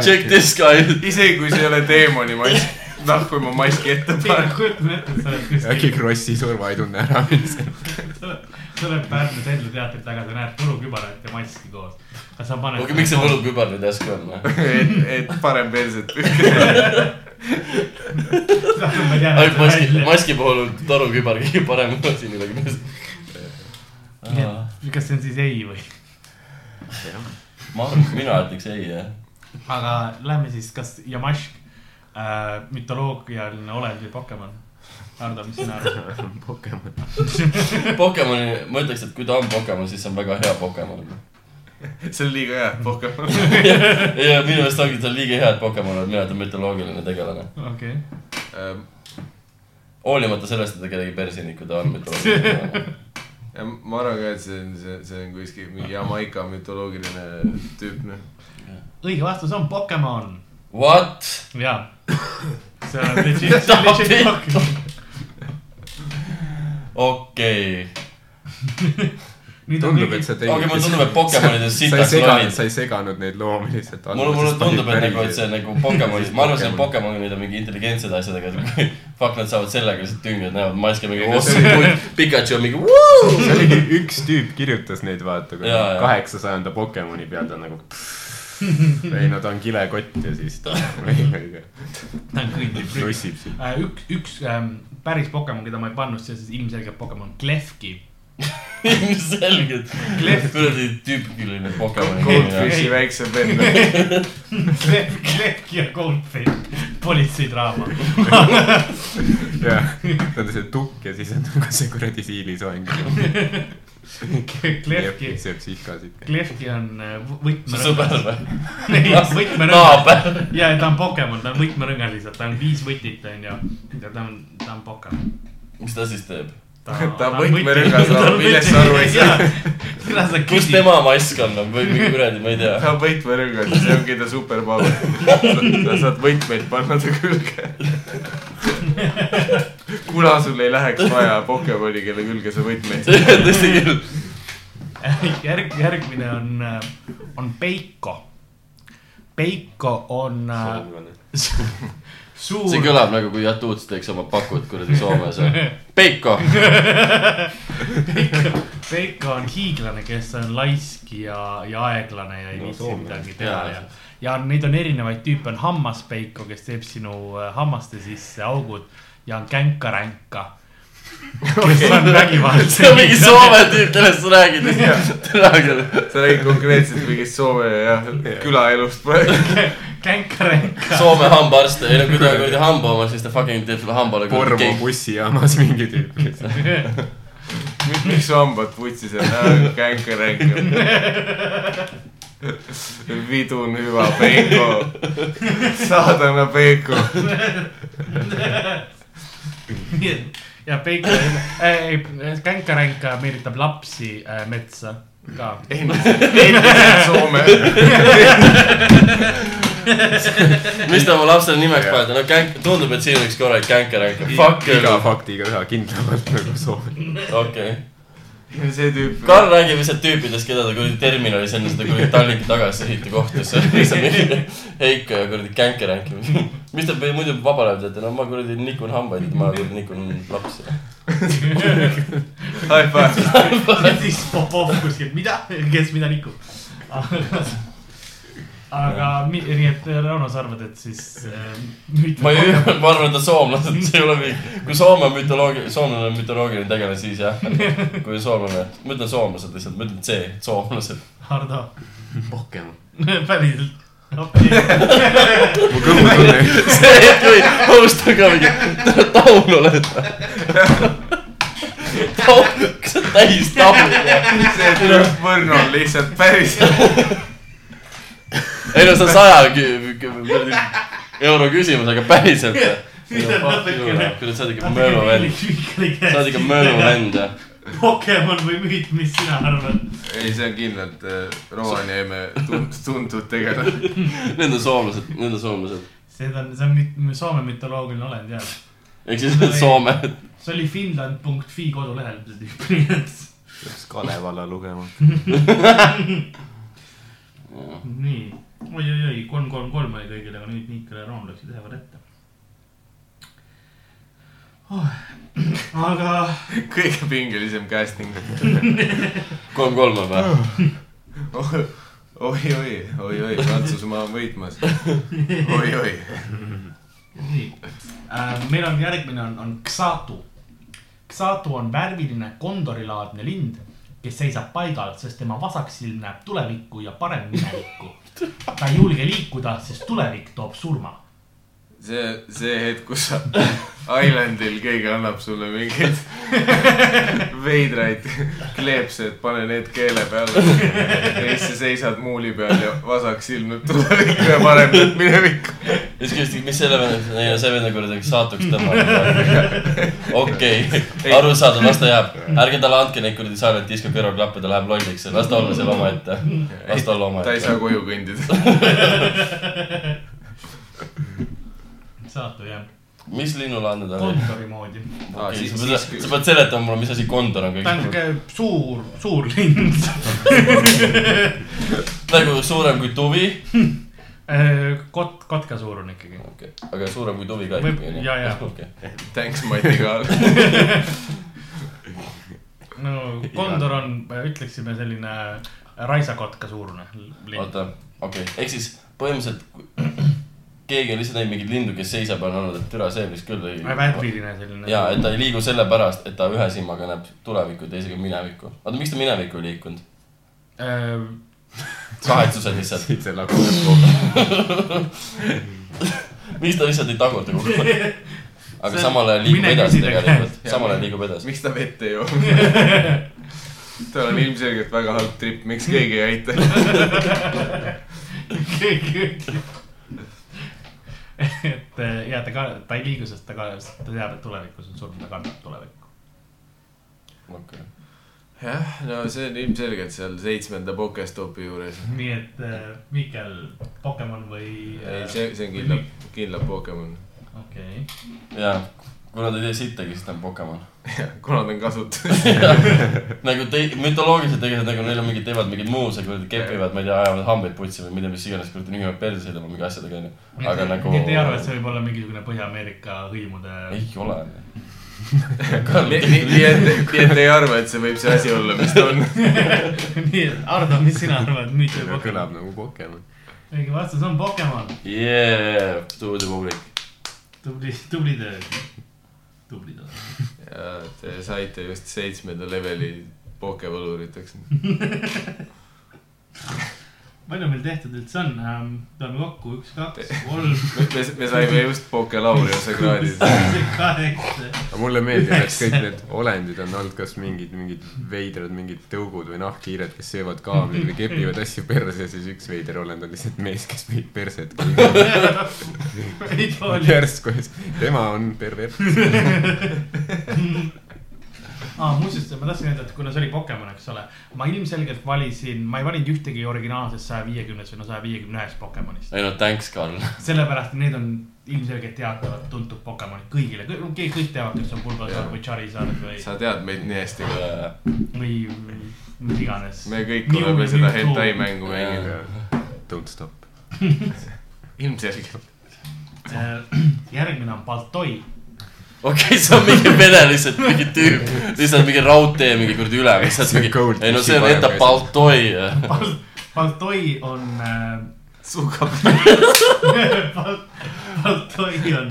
[SPEAKER 5] check this guy .
[SPEAKER 4] isegi kui see ei ole teemoni mask , noh , kui ma maski ette panen .
[SPEAKER 6] kujutame ette , et sa oled
[SPEAKER 3] äkki Krossi surma ei tunne ära .
[SPEAKER 6] sa oled- sa oled Pärnu Tellu teatri taga , sa näed võlukübarat ja maski koos . kas sa paned ?
[SPEAKER 5] okei , miks see võlukübar nüüd järsku on ?
[SPEAKER 4] et , et parem perset .
[SPEAKER 5] ainult maski ,
[SPEAKER 6] võlukübarat ?
[SPEAKER 5] maski puhul on torukübar kõige parem asi millegipärast . Ah,
[SPEAKER 6] kas see on siis ei või ?
[SPEAKER 5] ma arvan , mina ütleks ei jah .
[SPEAKER 6] aga lähme siis , kas Yamash äh, , mütoloogialine olend või Pokemon ? Hardo , mis sina arvad ?
[SPEAKER 3] Pokemon .
[SPEAKER 5] Pokemoni , ma ütleks , et kui ta on Pokemon , siis see on väga hea Pokemon .
[SPEAKER 4] see on liiga hea , Pokemon .
[SPEAKER 5] ja minu meelest ongi ta liiga hea , et Pokemon on , mina ütlen mütoloogiline tegelane .
[SPEAKER 6] okei okay. ,
[SPEAKER 4] Ähm,
[SPEAKER 5] hoolimata sellest , et ta kellegi persiniku ta on mütoloogiline tegelane .
[SPEAKER 4] ma arvan ka , et see on , see , see on kuskil mingi Jamaica mütoloogiline tüüp , noh .
[SPEAKER 6] õige vastus on Pokemon .
[SPEAKER 5] What ?
[SPEAKER 6] jaa . see on legit , see on legit Pokemon .
[SPEAKER 5] okei .
[SPEAKER 6] nüüd on
[SPEAKER 3] tundub , et
[SPEAKER 6] kõigil
[SPEAKER 3] sa tegid .
[SPEAKER 5] okei , mulle tundub , et Pokemonid on
[SPEAKER 3] sa ei
[SPEAKER 5] sitaks
[SPEAKER 3] seganud ,
[SPEAKER 5] lollid .
[SPEAKER 3] sa ei seganud neid loomi lihtsalt .
[SPEAKER 5] mulle , mulle tundub , et nagu , et see . nagu Pokemonid , ma arvan , et see
[SPEAKER 3] Pokemon.
[SPEAKER 5] Pokemonid on mingi intelligentsed asjadega , fuck nad saavad sellega lihtsalt tünged , näevad maske mingi ossi , Pikachu on mingi vuu .
[SPEAKER 3] see oligi üks tüüp kirjutas neid , vaata , kui
[SPEAKER 5] Jaa, jaa.
[SPEAKER 3] kaheksasajanda Pokemoni peal ta nagu . ei no ta on kilekott ja siis ta
[SPEAKER 6] ta on kõigil prügis .
[SPEAKER 3] lossib sind .
[SPEAKER 6] Äh, üks , üks ähm, päris Pokemon , keda ma ei pannud , see on siis ilmselgelt Pokemon Klefki .
[SPEAKER 5] ilmselgelt ,
[SPEAKER 6] Klefk.
[SPEAKER 5] kuradi tüüpiline Pokemon .
[SPEAKER 4] Goldfishi väiksem vend .
[SPEAKER 6] Klefk , Klefki ja Goldfish , politseidraama .
[SPEAKER 3] jah , ta on see tukk ja siis on nagu see kuradi siilisoeng .
[SPEAKER 6] Klefki ,
[SPEAKER 3] sööb sihkasid .
[SPEAKER 6] Klefki on äh, võ-
[SPEAKER 5] su sõber
[SPEAKER 6] võtmerõngas .
[SPEAKER 5] või ?
[SPEAKER 6] ei , võtmerõngas .
[SPEAKER 5] naaber .
[SPEAKER 6] ja , ta on Pokemon , ta on võtmerõngas lihtsalt , ta on viis võtit , onju . ja ta on , ta on Pokemon .
[SPEAKER 5] mis ta siis teeb ?
[SPEAKER 4] Ta on võtmerõngas, aga millest sa aru ei saa. .
[SPEAKER 6] kuidas sa
[SPEAKER 5] kus
[SPEAKER 6] küsid ?
[SPEAKER 5] tema mask on või mingi kuradi , ma ei tea .
[SPEAKER 4] ta on võtmerõngas , see ongi ta superpower . sa saad võtmeid panna ta külge . kuna sul ei läheks vaja Pokemoni , kelle külge sa võtmeid saad .
[SPEAKER 5] tõesti küll .
[SPEAKER 6] järg , järgmine on , on Peiko . Peiko on äh, suur .
[SPEAKER 5] see kõlab nagu , kui Jatuuts teeks oma pakud kuradi Soomes . Peiko .
[SPEAKER 6] Peiko , Peiko on hiiglane , kes on laisk ja , ja aeglane ja ei
[SPEAKER 3] No,
[SPEAKER 6] viitsi
[SPEAKER 3] soomlane.
[SPEAKER 6] midagi teha
[SPEAKER 5] Jaa.
[SPEAKER 6] ja , ja neid on erinevaid tüüpe , on hammaspeiko , kes teeb sinu äh, hammaste sisse augud ja on känkaränka , kes on
[SPEAKER 5] see on mingi
[SPEAKER 6] vägivaldne .
[SPEAKER 5] Soome tüüp , kellest sa räägid . täna küll .
[SPEAKER 4] sa räägid konkreetselt mingist Soome jah , külaelust praegu .
[SPEAKER 6] känkaränka ,
[SPEAKER 5] Soome hambaarst , ei no kui ta kuradi hamba omas , siis ta fucking teeb sulle hambale
[SPEAKER 3] Porvo bussijaamas mingi tüüp lihtsalt .
[SPEAKER 4] miks su hambad putsis on , känkeränk . vidun hüva Peiko , saadana Peiko .
[SPEAKER 6] nii et ja Peiko , ei , känkaränka meelitab lapsi äh, metsa ka .
[SPEAKER 4] endiselt Soome .
[SPEAKER 5] mis te oma lapsele nimeks panete , no känk , tundub , et siin oleks korralik känkeränk . Fuck
[SPEAKER 3] iga
[SPEAKER 5] you .
[SPEAKER 3] faktiga üha kindlamalt nagu soovin .
[SPEAKER 5] okei .
[SPEAKER 4] see tüüp .
[SPEAKER 5] Karl räägib lihtsalt tüüpidest , keda ta kuradi terminalis enne seda kuradi Tallinki tagasisõitu kohtus . Heiko ja kuradi känkeränk . mis te muidu vabal ajal teete ? no ma kuradi nikun hambaid , ma kuradi nikun lapsi .
[SPEAKER 4] High five .
[SPEAKER 6] siis Popov kuskilt , mida , kes mida nikub . aga , aga mi- nii , et Rauno , sa arvad , et siis äh, müüt-
[SPEAKER 5] ma ei , ma arvan , et on soomlased , see ei ole mingi , kui Soome mütoloogia , soomlane on mütoloogiline tegelane , siis jah . kui soomlane , ma ütlen soomlased lihtsalt , ma ütlen see , soomlased .
[SPEAKER 6] Hardo ,
[SPEAKER 3] Pokemon .
[SPEAKER 6] päriselt . okei ,
[SPEAKER 3] mu kõhutunne ,
[SPEAKER 5] see hetk oli , host on ka mingi , taun oled . taun , kas sa oled täis taun ?
[SPEAKER 4] see tüüp Võrno on lihtsalt päris .
[SPEAKER 5] ei no see on saja kü- kü- kuradi euro küsimus , aga päriselt . kuidas sa oled ikka möönu vend , sa oled ikka möönu . vend jah .
[SPEAKER 6] Pokemon või müüt , mis sina arvad ?
[SPEAKER 4] ei , see on kindlalt äh, Rovaniemi tunt- , tuntud tegelane .
[SPEAKER 5] Need on soomlased , need on soomlased .
[SPEAKER 6] see on , see on müt- Soome mütoloogiline olend jah .
[SPEAKER 5] ehk siis Soome ,
[SPEAKER 6] see oli finland.fi kodulehel see tüüp , nii et ,
[SPEAKER 3] peaks Kalevala lugema .
[SPEAKER 6] nii oi, . oi-oi-oi , kolm , kolm , kolm oli kõigil , aga nüüd Mihkel ja Rauno läksid ühe võrra ette oh. . aga
[SPEAKER 4] kõige pingelisem casting .
[SPEAKER 5] kolm-kolm on või ?
[SPEAKER 4] oi , oi , oi , oi , Prantsusmaa on võitmas . oi , oi .
[SPEAKER 6] nii äh, , meil on järgmine on , on Xatu . Xatu on värviline kondorilaadne lind , kes seisab paigal , sest tema vasak silm näeb tulevikku ja parem minevikku . ta ei julge liikuda , sest tulevik toob surma .
[SPEAKER 4] see , see hetk , kus sa Islandil keegi annab sulle mingeid veidraid kleepse , et pane need keele peale . ja siis sa seisad muuli peal ja vasak silm nüüd tulevikku ja parem nüüd minevikku .
[SPEAKER 5] ja siis küsiti , mis selle vene , ei no see vene kuradi saatuks tõmbab . okei , arusaadav , las ta jääb , ärge talle andke neid kuradi silent disco kõrvaklappe , ta läheb lolliks , las ta olla seal omaette , las ta olla
[SPEAKER 4] ta ei saa
[SPEAKER 5] omaette .
[SPEAKER 4] koju kõndida .
[SPEAKER 6] Xatu jah ,
[SPEAKER 5] mis linnulaadne ta oli ?
[SPEAKER 6] kondori moodi .
[SPEAKER 4] Aa, Ah,
[SPEAKER 5] okei ,
[SPEAKER 4] siis-
[SPEAKER 5] sa pead
[SPEAKER 4] siis- ,
[SPEAKER 5] sa pead seletama mulle , mis asi kondor on
[SPEAKER 6] ta on
[SPEAKER 5] kõik .
[SPEAKER 6] siuke suur , suur lind .
[SPEAKER 5] nagu suurem kui tuvi ,
[SPEAKER 6] Äh, kot- , kotka suurune ikkagi .
[SPEAKER 5] aga suurem kui tuvi ka
[SPEAKER 6] Võib-
[SPEAKER 5] ikkagi on
[SPEAKER 6] jaa, jaa.
[SPEAKER 5] Okei.
[SPEAKER 4] Thanks , Mati Kaal .
[SPEAKER 6] no kondor on , ütleksime selline raisakotka suurune lind .
[SPEAKER 5] oota , okei okay. , ehk siis põhimõtteliselt kui- keegi on lihtsalt näinud mingeid lindu , kes seisab ja on olnud , et türa see vist küll ei .
[SPEAKER 6] värviline selline .
[SPEAKER 5] ja , et ta ei liigu sellepärast , et ta ühe silmaga näeb tulevikku , teisega minevikku . oota , miks ta minevikku ei liikunud ?
[SPEAKER 6] et .
[SPEAKER 5] kahetsused lihtsalt .
[SPEAKER 3] siit see
[SPEAKER 6] nagu
[SPEAKER 3] laguneb kogu aeg .
[SPEAKER 5] miks ta lihtsalt ei tagurda kogu aeg ? aga
[SPEAKER 6] See-
[SPEAKER 5] samal ajal liigub
[SPEAKER 6] mine
[SPEAKER 5] edasi
[SPEAKER 6] küsi ta
[SPEAKER 5] tegelikult ,
[SPEAKER 4] käest.
[SPEAKER 5] samal ajal liigub edasi .
[SPEAKER 4] miks ta vett ei joo ? tal on ilmselgelt väga halb trip , miks keegi ei aita ?
[SPEAKER 6] keegi ütleb . et eh, ja ta ka , ta ei liigu , sest ta ka , ta teab , et tulevikus on surm , ta kardab tulevikku .
[SPEAKER 4] jah , no see on ilmselgelt seal seitsmenda Pokestopi juures .
[SPEAKER 6] nii et eh, Mihkel , Pokemon või ?
[SPEAKER 4] ei , see , see on kindlalt , kindlalt Pokemon .
[SPEAKER 6] okei okay. ,
[SPEAKER 5] jaa , kuna ta ei tee sittagi , siis ta on Pokemon .
[SPEAKER 4] kuna ta on kasutus .
[SPEAKER 5] nagu tei- , mütoloogilised tegelased , nagu neil on mingid , teevad mingeid muuse , kuradi kepivad , ma ei tea , ajavad hambaid putsi või mida , mis iganes , kuradi nügivad perseid oma mingi asjadega , onju . aga nagu .
[SPEAKER 6] nii et ei arva , et see võib olla mingisugune Põhja-Ameerika hõimude .
[SPEAKER 5] ei ole .
[SPEAKER 4] nii , nii , nii et , nii et ei arva , et see võib see asi olla , mis ta on .
[SPEAKER 6] nii et Ardo , mis sina arvad , müüt või Pokemon ?
[SPEAKER 3] kõlab nagu Pokemon .
[SPEAKER 6] õige vastus on Pokemon ,
[SPEAKER 5] Yeah , tuudi publik .
[SPEAKER 6] tubli , tubli töö , tubli töö .
[SPEAKER 4] ja te saite just seitsmenda leveli pokevõluriteks .
[SPEAKER 6] palju meil tehtud üldse on ähm, ? tuleme kokku , üks , kaks , kolm ,
[SPEAKER 4] me , me saime just pokelaureuse kraadi .
[SPEAKER 6] seitse , kaheksa
[SPEAKER 3] aga mulle meeldib , et kõik need olendid on olnud kas mingid , mingid veidrad , mingid tõugud või nahkhiired , kes söövad kaableid või kepivad asju perse , siis üks veider olend on lihtsalt mees , kes viib perset .
[SPEAKER 6] ei too oli .
[SPEAKER 3] järsku , tema on pervert .
[SPEAKER 6] aa , Ah, muuseas , ma tahtsin öelda , et kuna see oli Pokemon , eks ole , ma ilmselgelt valisin , ma ei valinud ühtegi originaalsest saja viiekümnest või no saja viiekümne ühest Pokemonist .
[SPEAKER 5] ei no thanks , Karl .
[SPEAKER 6] sellepärast , et need on ilmselgelt teatavad , tuntud Pokemonid kõigile , kõik , kõik teavad , kes on Bulbasaur või Charizard või ,
[SPEAKER 4] sa tead meid nii hästi ka .
[SPEAKER 6] või mis iganes .
[SPEAKER 4] me kõik oleme seda hentai mängu mänginud .
[SPEAKER 3] Don't stop .
[SPEAKER 4] ilmselgelt .
[SPEAKER 6] Äh, järgmine on Baltoi .
[SPEAKER 5] okei , see on mingi vene lihtsalt mingi tüüp , lihtsalt mingi raudtee mingi kuradi üle , lihtsalt
[SPEAKER 3] See on
[SPEAKER 5] mingi
[SPEAKER 3] gold ,
[SPEAKER 5] ei no
[SPEAKER 3] fish'i
[SPEAKER 5] see on
[SPEAKER 3] parem
[SPEAKER 5] enda
[SPEAKER 3] asi.
[SPEAKER 5] Baltoi .
[SPEAKER 6] Baltoi on äh, ,
[SPEAKER 4] sugab .
[SPEAKER 6] Baltoi on ,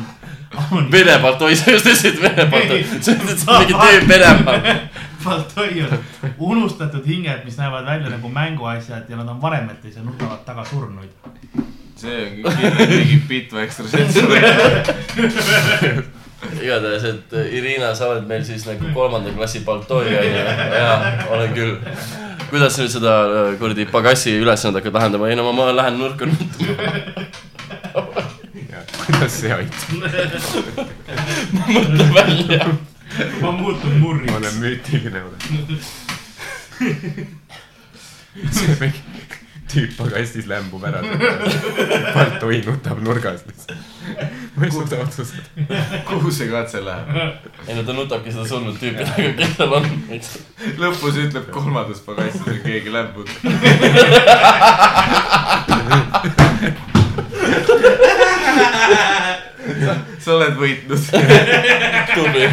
[SPEAKER 6] on ,
[SPEAKER 5] Vene Baltoi , sa just ütlesid Vene Baltoi , sa ütlesid see on mingi tüüp Venemaal .
[SPEAKER 6] Baltoi on unustatud hinged , mis näevad välja nagu mänguasjad ja nad on varemetes ja nutavad taga surnuid .
[SPEAKER 4] see on kindlasti mingi Pitva ekstra sensor .
[SPEAKER 5] igatahes , et äh, Irina , sa oled meil siis nagu kolmanda klassi Baltoi onju , jaa , olen küll . kuidas sa nüüd seda äh, kuradi pagassi ülesannet hakkad lahendama , ei no ma- ma lähen nurka nutma ,
[SPEAKER 3] kuidas see aitab ?
[SPEAKER 5] mõtlen välja .
[SPEAKER 6] ma muutun murriks
[SPEAKER 3] ma . olen müütiline , olen . see on mingi tüüp aga Eestis lämbub ära . Baltoi nutab nurgas lihtsalt . ma ei suuda otsustada .
[SPEAKER 4] kuhu see katse läheb ?
[SPEAKER 5] ei no ta nutabki seda surnud tüüpi taga , kes tal on .
[SPEAKER 4] lõpus ütleb kolmandas pagassis , et keegi lämbub . sa oled võitnud .
[SPEAKER 5] tubli ,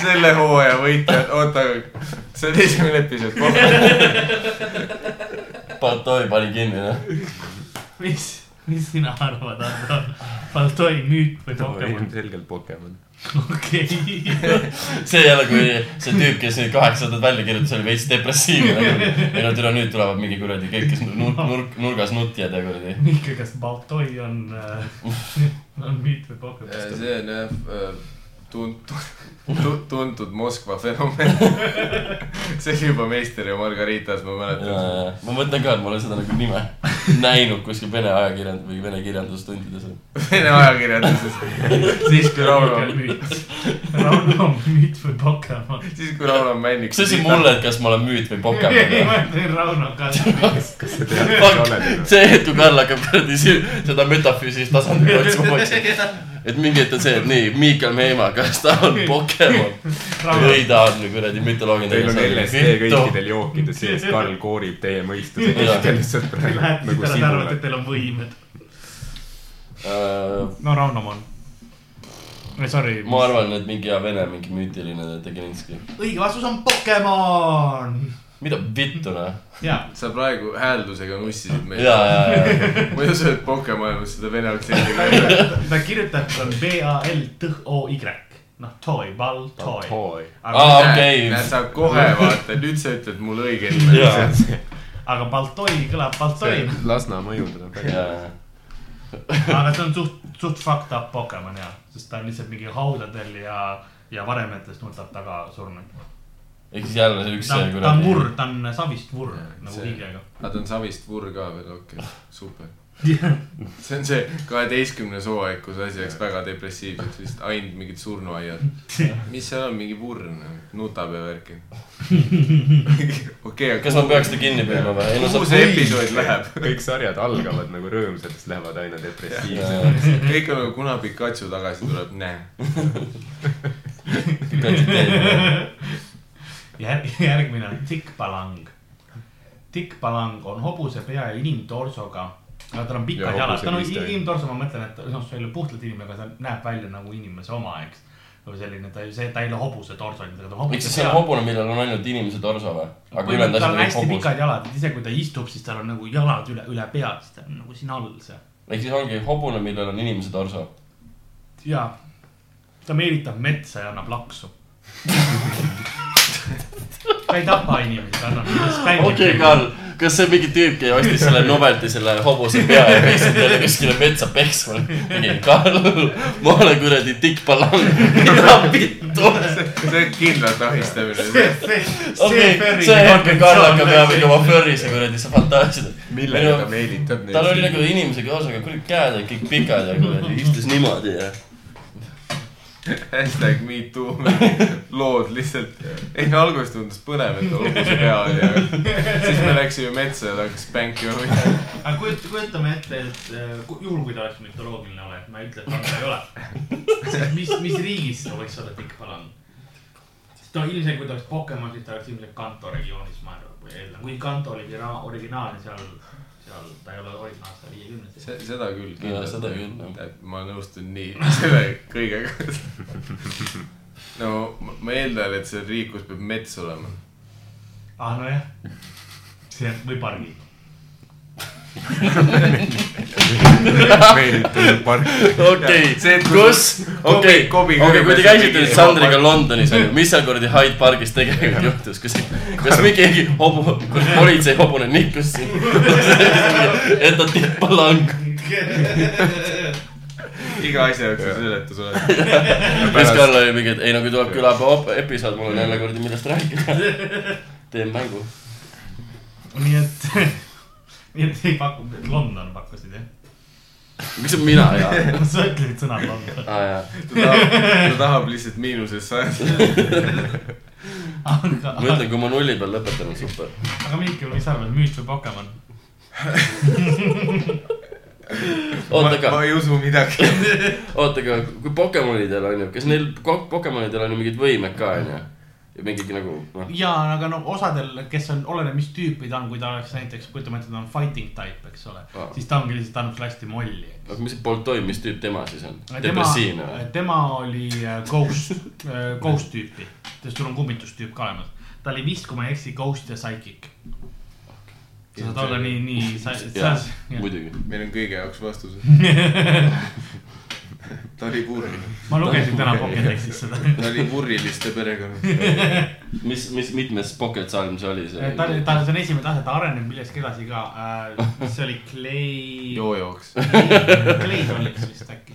[SPEAKER 4] selle hooaja võitjad , oota , see on esimene episood kokku .
[SPEAKER 5] Baltoi pani kinni noh .
[SPEAKER 6] mis , mis sina arvad , Ando ? Baltoi müüt või Pokemon ?
[SPEAKER 3] ilmselgelt Pokemon .
[SPEAKER 6] okei ,
[SPEAKER 5] see jälle , kui see tüüp , kes neid kaheksandat välja kirjutas , oli veits depressiivne . ei no türa , nüüd tulevad mingi kuradi kõik , kes nurk , nurk , nurgas nutjad ja kuradi .
[SPEAKER 6] Mihkel , kas Baltoi on äh, , on müüt või Pokemon ?
[SPEAKER 4] see on jah tuntud , tuntud Moskva fenomen . see oli juba Meister ja Margaritas , ma mäletan .
[SPEAKER 5] ma mõtlen ka , et ma olen seda nagu nime näinud kuskil vene ajakirjand- või vene kirjandustundides .
[SPEAKER 4] Vene ajakirjanduses , siis kui Rauno ,
[SPEAKER 6] Rauno on müüt või Pokemon ?
[SPEAKER 4] siis kui Rauno Männik .
[SPEAKER 5] kas sa ütlesid mulle , et kas ma olen müüt või
[SPEAKER 6] ei ,
[SPEAKER 5] Pokemon ?
[SPEAKER 6] ma ütlen Rauno ka .
[SPEAKER 3] kas sa tead , mis sa oled ?
[SPEAKER 5] see hetk , kui Karl hakkab kuradi si- seda metafüüsilist tasandit otsima , ma mõtlesin , et mingi hetk on see , et nii , Miikal Meemaa , kas ta on Pokemon või ta on kuradi mütoloogiline .
[SPEAKER 3] Teil on LSD kõikidel jookide sees , Karl koorib teie mõistuse keskel lihtsalt praegu
[SPEAKER 6] Lähete
[SPEAKER 3] nagu
[SPEAKER 6] ära , te arvate , et
[SPEAKER 3] sibulad .
[SPEAKER 6] teil on võimed .
[SPEAKER 5] kõikidel .
[SPEAKER 6] no Rauno on . Sorry .
[SPEAKER 5] ma arvan , et mingi hea vene , mingi müütiline Tegelinski .
[SPEAKER 6] õige vastus on Pokemon .
[SPEAKER 5] mida vittu noh ?
[SPEAKER 6] ja ,
[SPEAKER 4] sa praegu hääldusega nussisid meid .
[SPEAKER 5] ja , ja , ja ,
[SPEAKER 4] ma ei usu , et Pokemonis seda vene aktsendiga ei ole .
[SPEAKER 6] ta kirjutab , on B A L T O Y , noh , toy , ball , toy .
[SPEAKER 3] Toy .
[SPEAKER 5] Aa,
[SPEAKER 6] aga ,
[SPEAKER 5] okei.
[SPEAKER 4] näed , sa kohe vaata , nüüd sa ütled mulle õige nime .
[SPEAKER 5] ja ,
[SPEAKER 6] aga Baltoi kõlab Baltoi ,
[SPEAKER 3] Lasna mõju tuleb
[SPEAKER 5] ja
[SPEAKER 3] välja .,
[SPEAKER 6] aga see on suht , suht fucked up Pokemon ja , sest ta on lihtsalt mingi haudadel ja , ja varemetes nutab taga surnud .
[SPEAKER 5] ehk siis jälle see üks
[SPEAKER 6] ta
[SPEAKER 5] see
[SPEAKER 6] on , ta on
[SPEAKER 5] kuradi .
[SPEAKER 6] murr , ta on savist murr nagu
[SPEAKER 4] see-
[SPEAKER 6] hiigega .
[SPEAKER 4] aga ta on Savist Vur ka veel , okei okay. , super . see on see kaheteistkümnes hooaeg , kus asi läks väga depressiivseks , vist ainult mingid surnuaiad . mis seal on , mingi noh, vurn , nutab ja värki . okei , aga
[SPEAKER 5] kas ma peaks ta kinni püüdma või ? ei no sa
[SPEAKER 4] kuhu see episood läheb ?
[SPEAKER 3] kõik sarjad algavad nagu rõõmsatest , lähevad aina depressiivseks .
[SPEAKER 5] Äh,
[SPEAKER 4] kõik on nagu , kuna Pikachu tagasi tuleb , näe .
[SPEAKER 5] kuradi teed.
[SPEAKER 6] järg , järgmine on tikkpalang . tikkpalang on hobuse pea ja inimtorsoga , aga tal on
[SPEAKER 3] Ja
[SPEAKER 6] pikad
[SPEAKER 3] hobuse
[SPEAKER 6] jalad , tal on
[SPEAKER 3] piste.
[SPEAKER 6] inimtorso , ma mõtlen , et noh , see ei ole puhtalt inimene , aga ta näeb välja nagu inimese oma , eks . või selline , ta ei , see , ta ei ole hobuse torso , ta on
[SPEAKER 5] miks
[SPEAKER 6] hobuse
[SPEAKER 5] see on hobune , millel on ainult inimese torso või ? aga
[SPEAKER 6] Põhimõtteliselt
[SPEAKER 5] ülejäänud
[SPEAKER 6] tal on
[SPEAKER 5] asjad
[SPEAKER 6] hästi
[SPEAKER 5] on kõik hobus .
[SPEAKER 6] pikad jalad , et ise kui ta istub , siis tal on nagu jalad üle , üle pea , siis ta on nagu siin all seal .
[SPEAKER 5] ehk siis ongi hobune , millel on inimese torso .
[SPEAKER 6] ja ta meelitab metsa ja annab laksu . ta ei tapa inimesi , ta annab neile spämmi .
[SPEAKER 5] okei , Karl , kas see mingi tüüp , kes ostis selle Novelti selle hobuse pea ja peksis talle kuskile metsa peksma ? mingi Karl , ma olen kuradi tikkpalang , mida vittu .
[SPEAKER 4] see on kindlalt ahistamine .
[SPEAKER 5] okei , see hetk , kui Karl hakkab jah mingi oma flörrise kuradi , sa fantaasiad .
[SPEAKER 3] millega ta meelitab neid ?
[SPEAKER 5] tal oli nagu inimese kaasa , aga kuradi käed olid kõik pikad ja kuradi istus niimoodi ja .
[SPEAKER 4] hashtag me too lood lihtsalt . ei , alguses tundus põnev , et olgu see hea onju . siis me läksime metsa ja ta hakkas pänkima mind .
[SPEAKER 6] aga kujut- , kujutame ette , et äh, ku- juhul , kui ta oleks mütoloogiline olend , ma ei ütle , et ta seda ei ole . siis mis , mis riigis ta võiks olla Tikkala on ? sest no ilmselt , kui ta oleks Pokemon , siis ta oleks ilmselt Kanto regioonis , ma arvan , või eeldan , kui Kanto oli origina- originaalne , seal , seal ta ei ole originaalne , ta on viiekümnes .
[SPEAKER 4] seda küll
[SPEAKER 5] Jaa, seda küll, jah. .
[SPEAKER 4] ma nõustun nii selle kõigega . no ma- ma eeldan , et see on riik , kus peab mets olema .
[SPEAKER 6] ah , nojah , see või pargi .
[SPEAKER 3] meil tuleb park .
[SPEAKER 5] okei
[SPEAKER 4] See, et , kui
[SPEAKER 5] kus , okei ,
[SPEAKER 4] Kobi-
[SPEAKER 5] okei
[SPEAKER 4] Kobi ,
[SPEAKER 5] kui te
[SPEAKER 4] kõigepealt
[SPEAKER 5] käisite
[SPEAKER 4] tegi-
[SPEAKER 5] nüüd Sandriga Londonis , mis seal kuradi Hyde pargis tegelikult juhtus , kas , kas mingi keegi hobu , kuradi politseihobune nikkus sind ? et ta tippa lang- .
[SPEAKER 4] iga asja jaoks on seletus olemas .
[SPEAKER 5] siis Karl oli mingi , et ei no kui tuleb külapäeva op- episood , mul on jälle kuradi , millest rääkida . teen mängu .
[SPEAKER 6] nii et , nii et ei pakkunud , et London pakkusid jah ?
[SPEAKER 5] miks mina ja ,
[SPEAKER 6] sa ütlesid sõna London .
[SPEAKER 5] aa Ah, jaa ,
[SPEAKER 4] ta tahab , ta tahab lihtsalt miinusesse ajada .
[SPEAKER 6] aga ,
[SPEAKER 5] ma ütlen , kui ma nulli peal lõpetan , on super .
[SPEAKER 6] aga Mihkel , mis sa arvad , müüt või Pokemon ?
[SPEAKER 5] oota , aga
[SPEAKER 4] ma ei usu midagi .
[SPEAKER 5] oota , aga kui Pokemonidel on ju , kas neil ko- Pokemonidel on ju mingid võimed ka on ju ? ja mingid nagu noh ,
[SPEAKER 6] jaa , aga no osadel , kes on , oleneb , mis tüüpi ta on , kui ta oleks näiteks , kujutame ette , ta on fighting type , eks ole
[SPEAKER 5] Aa.
[SPEAKER 6] oh. , siis ta ongi lihtsalt annab sulle hästi molli .
[SPEAKER 5] aga mis see Boltoi , mis tüüp tema siis on ?
[SPEAKER 6] tema
[SPEAKER 5] depressiivne või ?,
[SPEAKER 6] tema oli äh, ghost , ghost tüüpi , sest sul on kummitustüüp ka olemas . ta oli vist , kui ma ei eksi , ghost ja psychic . sa saad olla nii , nii , sa , sa
[SPEAKER 5] jaa ,, muidugi .
[SPEAKER 4] meil on kõige jaoks vastused . ta oli kurb .
[SPEAKER 6] ma lugesin täna Pokedexis seda .
[SPEAKER 4] ta oli kurriliste perekond .
[SPEAKER 5] mis , mis , mitmes Pocket Salm see oli see ?
[SPEAKER 6] ta , ta , see on esimene tase , ta areneb millestki edasi ka äh, , see oli Clay ,
[SPEAKER 4] joojoks .
[SPEAKER 6] Clay Dolliks vist äkki .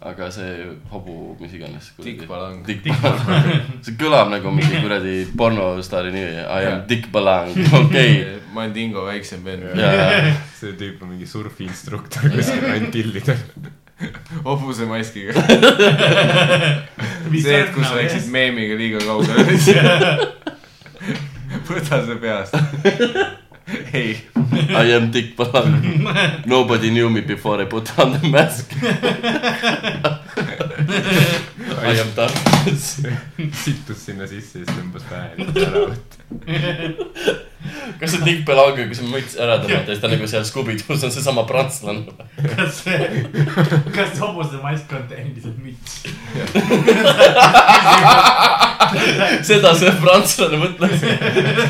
[SPEAKER 5] aga see hobu , mis iganes .
[SPEAKER 4] Dick Balang.
[SPEAKER 5] Dick Balang . see kõlab nagu mingi kuradi pornostaari nimi . I am Dick Balang , okei .
[SPEAKER 4] ma olen Dingo väiksem vend .
[SPEAKER 5] jaa ,
[SPEAKER 3] see tüüp on mingi surfiinstruktor kuskil Antillidel .
[SPEAKER 4] hobuse maskiga .
[SPEAKER 6] Mis nagu,
[SPEAKER 4] see hetk , kus
[SPEAKER 6] sarnane,
[SPEAKER 4] sa läksid
[SPEAKER 6] jah.
[SPEAKER 4] meemiga liiga kaugele . võta see peast . ei ,
[SPEAKER 5] I am Dick Balang . Nobody knew me before I put on the mask . I am Tartus .
[SPEAKER 3] sittus sinna sisse ja siis tõmbas pähe ära võtta .
[SPEAKER 5] kas see Dick Belangi , kui see müts ära tõmmata , siis ta nagu seal Scooby-Doo's on seesama prantslane .
[SPEAKER 6] kas see , kas hobuse mask on endiselt müts ?
[SPEAKER 5] seda see prantslane mõtles .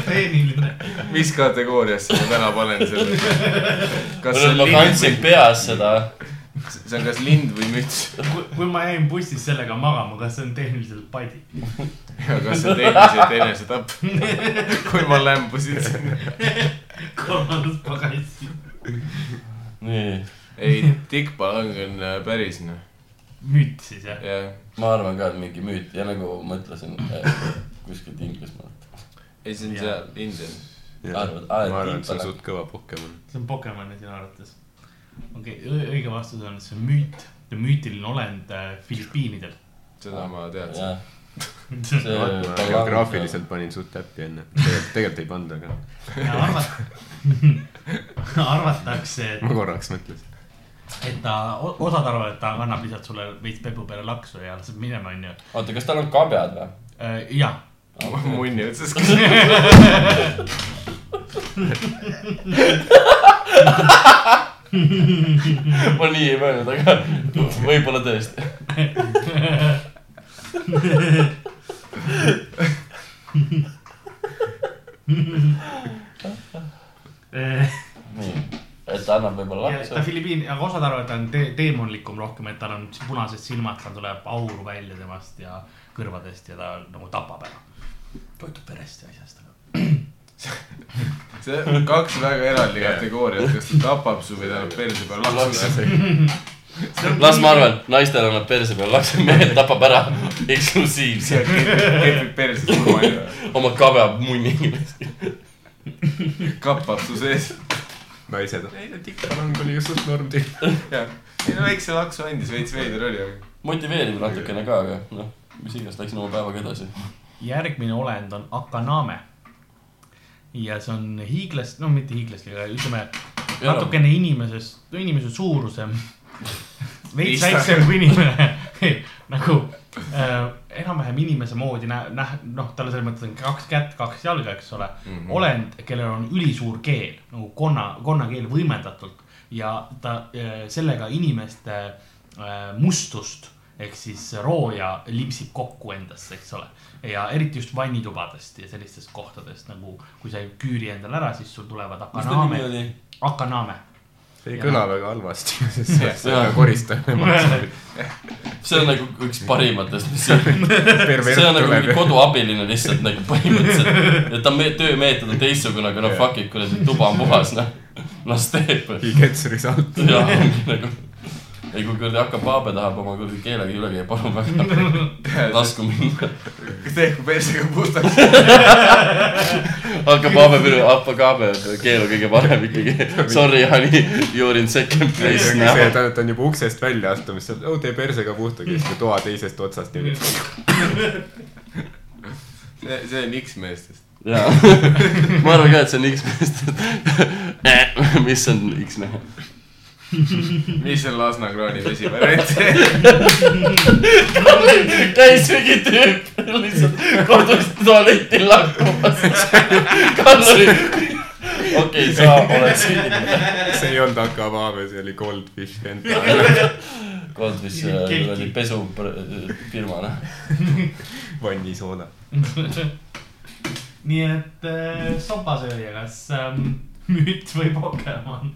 [SPEAKER 6] treeniline .
[SPEAKER 4] mis kategooriasse ma täna panen selle ? kas see on
[SPEAKER 5] ma kandsin
[SPEAKER 4] lind või ,
[SPEAKER 5] peas seda .
[SPEAKER 4] see on kas lind või müts ?
[SPEAKER 6] kui ma jäin bussis sellega magama , kas see on tehniliselt padi ?
[SPEAKER 4] ja kas see on tehniliselt enesetapp ? kui ma lämbusin sinna .
[SPEAKER 6] kolmandas pagasis .
[SPEAKER 5] nii ,
[SPEAKER 4] ei , Dick Palang on äh, päris noh ,
[SPEAKER 6] müts siis jah ?
[SPEAKER 4] jah .
[SPEAKER 5] ma arvan ka , et mingi müüt ja nagu ma ütlesin äh, kuskilt Inglismaalt .
[SPEAKER 4] ei , see on
[SPEAKER 6] Jah.
[SPEAKER 4] seal Indian .
[SPEAKER 5] Arvad,
[SPEAKER 3] ma
[SPEAKER 5] aa, et
[SPEAKER 3] arvan , et
[SPEAKER 5] Tiit
[SPEAKER 3] see on
[SPEAKER 5] Palang.
[SPEAKER 3] suht kõva Pokemon .
[SPEAKER 6] see on Pokemoni sinu arvates . okei okay, , õige vastus on , see on müüt , müütiline olend äh, Filipiinidel .
[SPEAKER 4] seda ma teadsin .
[SPEAKER 5] jah , see
[SPEAKER 3] geograafiliselt panin suht täppi enne . tegelikult ei pannud , aga
[SPEAKER 6] arvatakse ,
[SPEAKER 3] ma
[SPEAKER 6] et ,
[SPEAKER 3] korraks mõtlesin .
[SPEAKER 6] et ta , osad arvavad , et ta annab lihtsalt sulle veits pepu peale laksu ja laseb minema , onju .
[SPEAKER 5] oota , kas tal on kabjad või ?
[SPEAKER 6] jah ,
[SPEAKER 4] munni otsas küsisin .
[SPEAKER 5] ma nii ei mõelnud , aga võib-olla tõesti . nii , et ta annab võib-olla
[SPEAKER 6] Ja ta
[SPEAKER 5] lapse .
[SPEAKER 6] Filipiin , aga osad arvavad , et ta on de- teemonlikum rohkem , et tal on punased silmad , tal tuleb aur välja temast ja kõrvadest ja ta nagu tapab ära . toitub perest ja asjast , aga .
[SPEAKER 4] see on kaks väga eraldi kategooriat , kas ta tapab su või ta annab perse peale lapse .
[SPEAKER 5] las ma arvan , naistel annab perse peal lapse , mehel tapab ära eksklusiivse
[SPEAKER 4] seal kehvib , kehvib perse surmani .
[SPEAKER 5] oma kabja munni .
[SPEAKER 4] kappab su sees .
[SPEAKER 3] naised , ei no Tiit Palang oli ju suht norm tüüp .
[SPEAKER 4] jah , ei no väikse laksu andis , veits veider oli , aga
[SPEAKER 5] motiveerib natukene ka , aga noh , mis iganes , läksin oma päevaga edasi .
[SPEAKER 6] järgmine olend on Akaname . ja see on hiiglast , no mitte hiiglastki , aga ütleme
[SPEAKER 5] Enam.
[SPEAKER 6] natukene inimesest , inimese suurusem , veits
[SPEAKER 4] Istakas.
[SPEAKER 6] väiksem kui inimene nagu äh, enam-vähem inimese moodi nä- , näh- , noh , tal selles mõttes on kaks kätt , kaks jalga , eks ole mm .
[SPEAKER 5] Mhm.
[SPEAKER 6] -hmm. olend , kellel on ülisuur keel nagu konna , konnakeel võimendatult ja ta äh, sellega inimeste äh, mustust ehk siis rooja limpsib kokku endasse , eks ole . ja eriti just vannitubadest ja sellistest kohtadest nagu , kui sa ei küüri endale ära , siis sul tulevad
[SPEAKER 5] mis ta nimi
[SPEAKER 6] akanaame ,
[SPEAKER 5] oli ?
[SPEAKER 6] akanaame .
[SPEAKER 3] see ei
[SPEAKER 6] Jaa.
[SPEAKER 3] kõla väga halvasti , sest see on
[SPEAKER 5] Jaa.
[SPEAKER 3] väga koristav .
[SPEAKER 5] see on nagu üks parimatest , mis siin , see on nagu mingi
[SPEAKER 3] pervert tuleb .
[SPEAKER 5] koduabiline lihtsalt nagu põhimõtteliselt . et ta me- töömeetod on teistsugune , aga noh , fuck it , kuna see tuba on puhas , noh , las teeb .
[SPEAKER 3] He gets result .
[SPEAKER 5] jah , nagu , ei kui kuradi Akapaabe tahab oma kuradi keelega üle käia , palun väga , lasku minna .
[SPEAKER 4] tehku persega puhtaks .
[SPEAKER 5] Akapaabe , Akapaabe keel on kõige parem ikkagi . Sorry , honey , you are in second place
[SPEAKER 3] see ,
[SPEAKER 5] now .
[SPEAKER 3] ta , ta on juba uksest välja astumas , seal , oo tee persega puhtaks ja siis ta toa teisest otsast niimoodi .
[SPEAKER 4] see , see on X-meestest .
[SPEAKER 5] jaa , ma arvan ka , et see on X-meestest . mis on X-mehe ?
[SPEAKER 4] mis on Lasna kraani vesi variant ?
[SPEAKER 5] käis mingi tüüp lihtsalt kodus tualetil lakkumas . Kallari , okei , sa oled süüdi .
[SPEAKER 3] see ei olnud Akavaave , see oli Goldfish Kenta .
[SPEAKER 5] Goldfish
[SPEAKER 6] Keegi.
[SPEAKER 5] äh, oli pesufirma , noh .
[SPEAKER 3] vannisoola .
[SPEAKER 6] nii et äh, sopasööja , kas ähm, müüt või Pokemon ?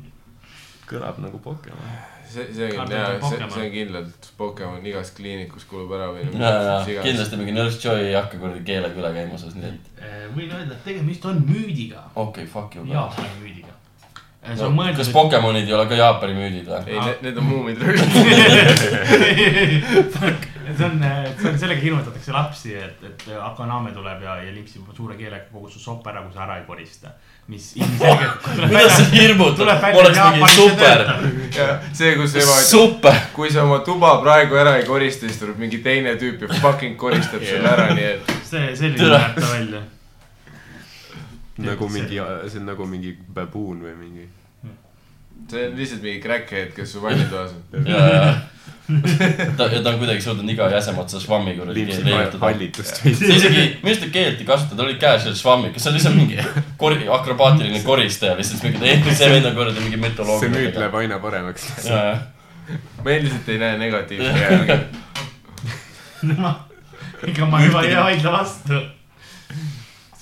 [SPEAKER 3] kõlab nagu Pokemon .
[SPEAKER 4] see , see on
[SPEAKER 6] Kardan
[SPEAKER 4] jaa , see ,
[SPEAKER 6] Pokemon.
[SPEAKER 4] see on kindlalt Pokemon igas kliinikus kulub ära või
[SPEAKER 5] ja , ja . kindlasti mingi Nurse Joy ei hakka kuradi keelega üle käima sellest , nii et
[SPEAKER 6] Äh, võin öelda , et tegemist on müüdiga ,
[SPEAKER 5] okei okay, , fuck you .
[SPEAKER 6] Jaapani müüdiga . see on
[SPEAKER 5] No,
[SPEAKER 6] mõeldud
[SPEAKER 5] kas . Pokemonid ei ole ka Jaapani müüdid või ?
[SPEAKER 4] ei , need on muumid röögid .
[SPEAKER 6] see on , see on , sellega hirmutatakse lapsi , et , et Akaname tuleb ja , ja limpsib oma suure keelega kogu su sopp ära , kui sa ära ei korista . mis ilmselgelt
[SPEAKER 5] kuidas see hirmutab
[SPEAKER 6] Tuleb , välja,
[SPEAKER 5] oleks mingi
[SPEAKER 6] Jaapanis see
[SPEAKER 5] super ,
[SPEAKER 4] see , kus ema ütleb ,
[SPEAKER 5] super .
[SPEAKER 4] kui sa oma tuba praegu ära ei korista , siis tuleb mingi teine tüüp ja fucking koristab selle ära , nii et .
[SPEAKER 6] see , selline
[SPEAKER 5] Tere.
[SPEAKER 6] näeb ta välja .
[SPEAKER 3] nagu mingi , see on nagu mingi baboon või mingi .
[SPEAKER 4] see on lihtsalt mingi crackhead , kes su vannitoas on .
[SPEAKER 5] ja , ja , ta , ja ta on kuidagi suutnud iga jäseme otsa švammi kuradi
[SPEAKER 3] limpsid
[SPEAKER 5] leiutada .
[SPEAKER 3] hallitust
[SPEAKER 5] see
[SPEAKER 3] veits .
[SPEAKER 5] isegi , minu arust ta keelt ei kasuta , tal oli käes veel švammi , kas see on lihtsalt mingi kori- , akrobaatiline koristaja lihtsalt mingi , ei , see vend on kuradi mingi mütoloog .
[SPEAKER 3] see müüt läheb aina paremaks .
[SPEAKER 5] jaa ,
[SPEAKER 4] ma endiselt ei näe negatiivset .
[SPEAKER 6] ega ma juba ei vaidle vastu .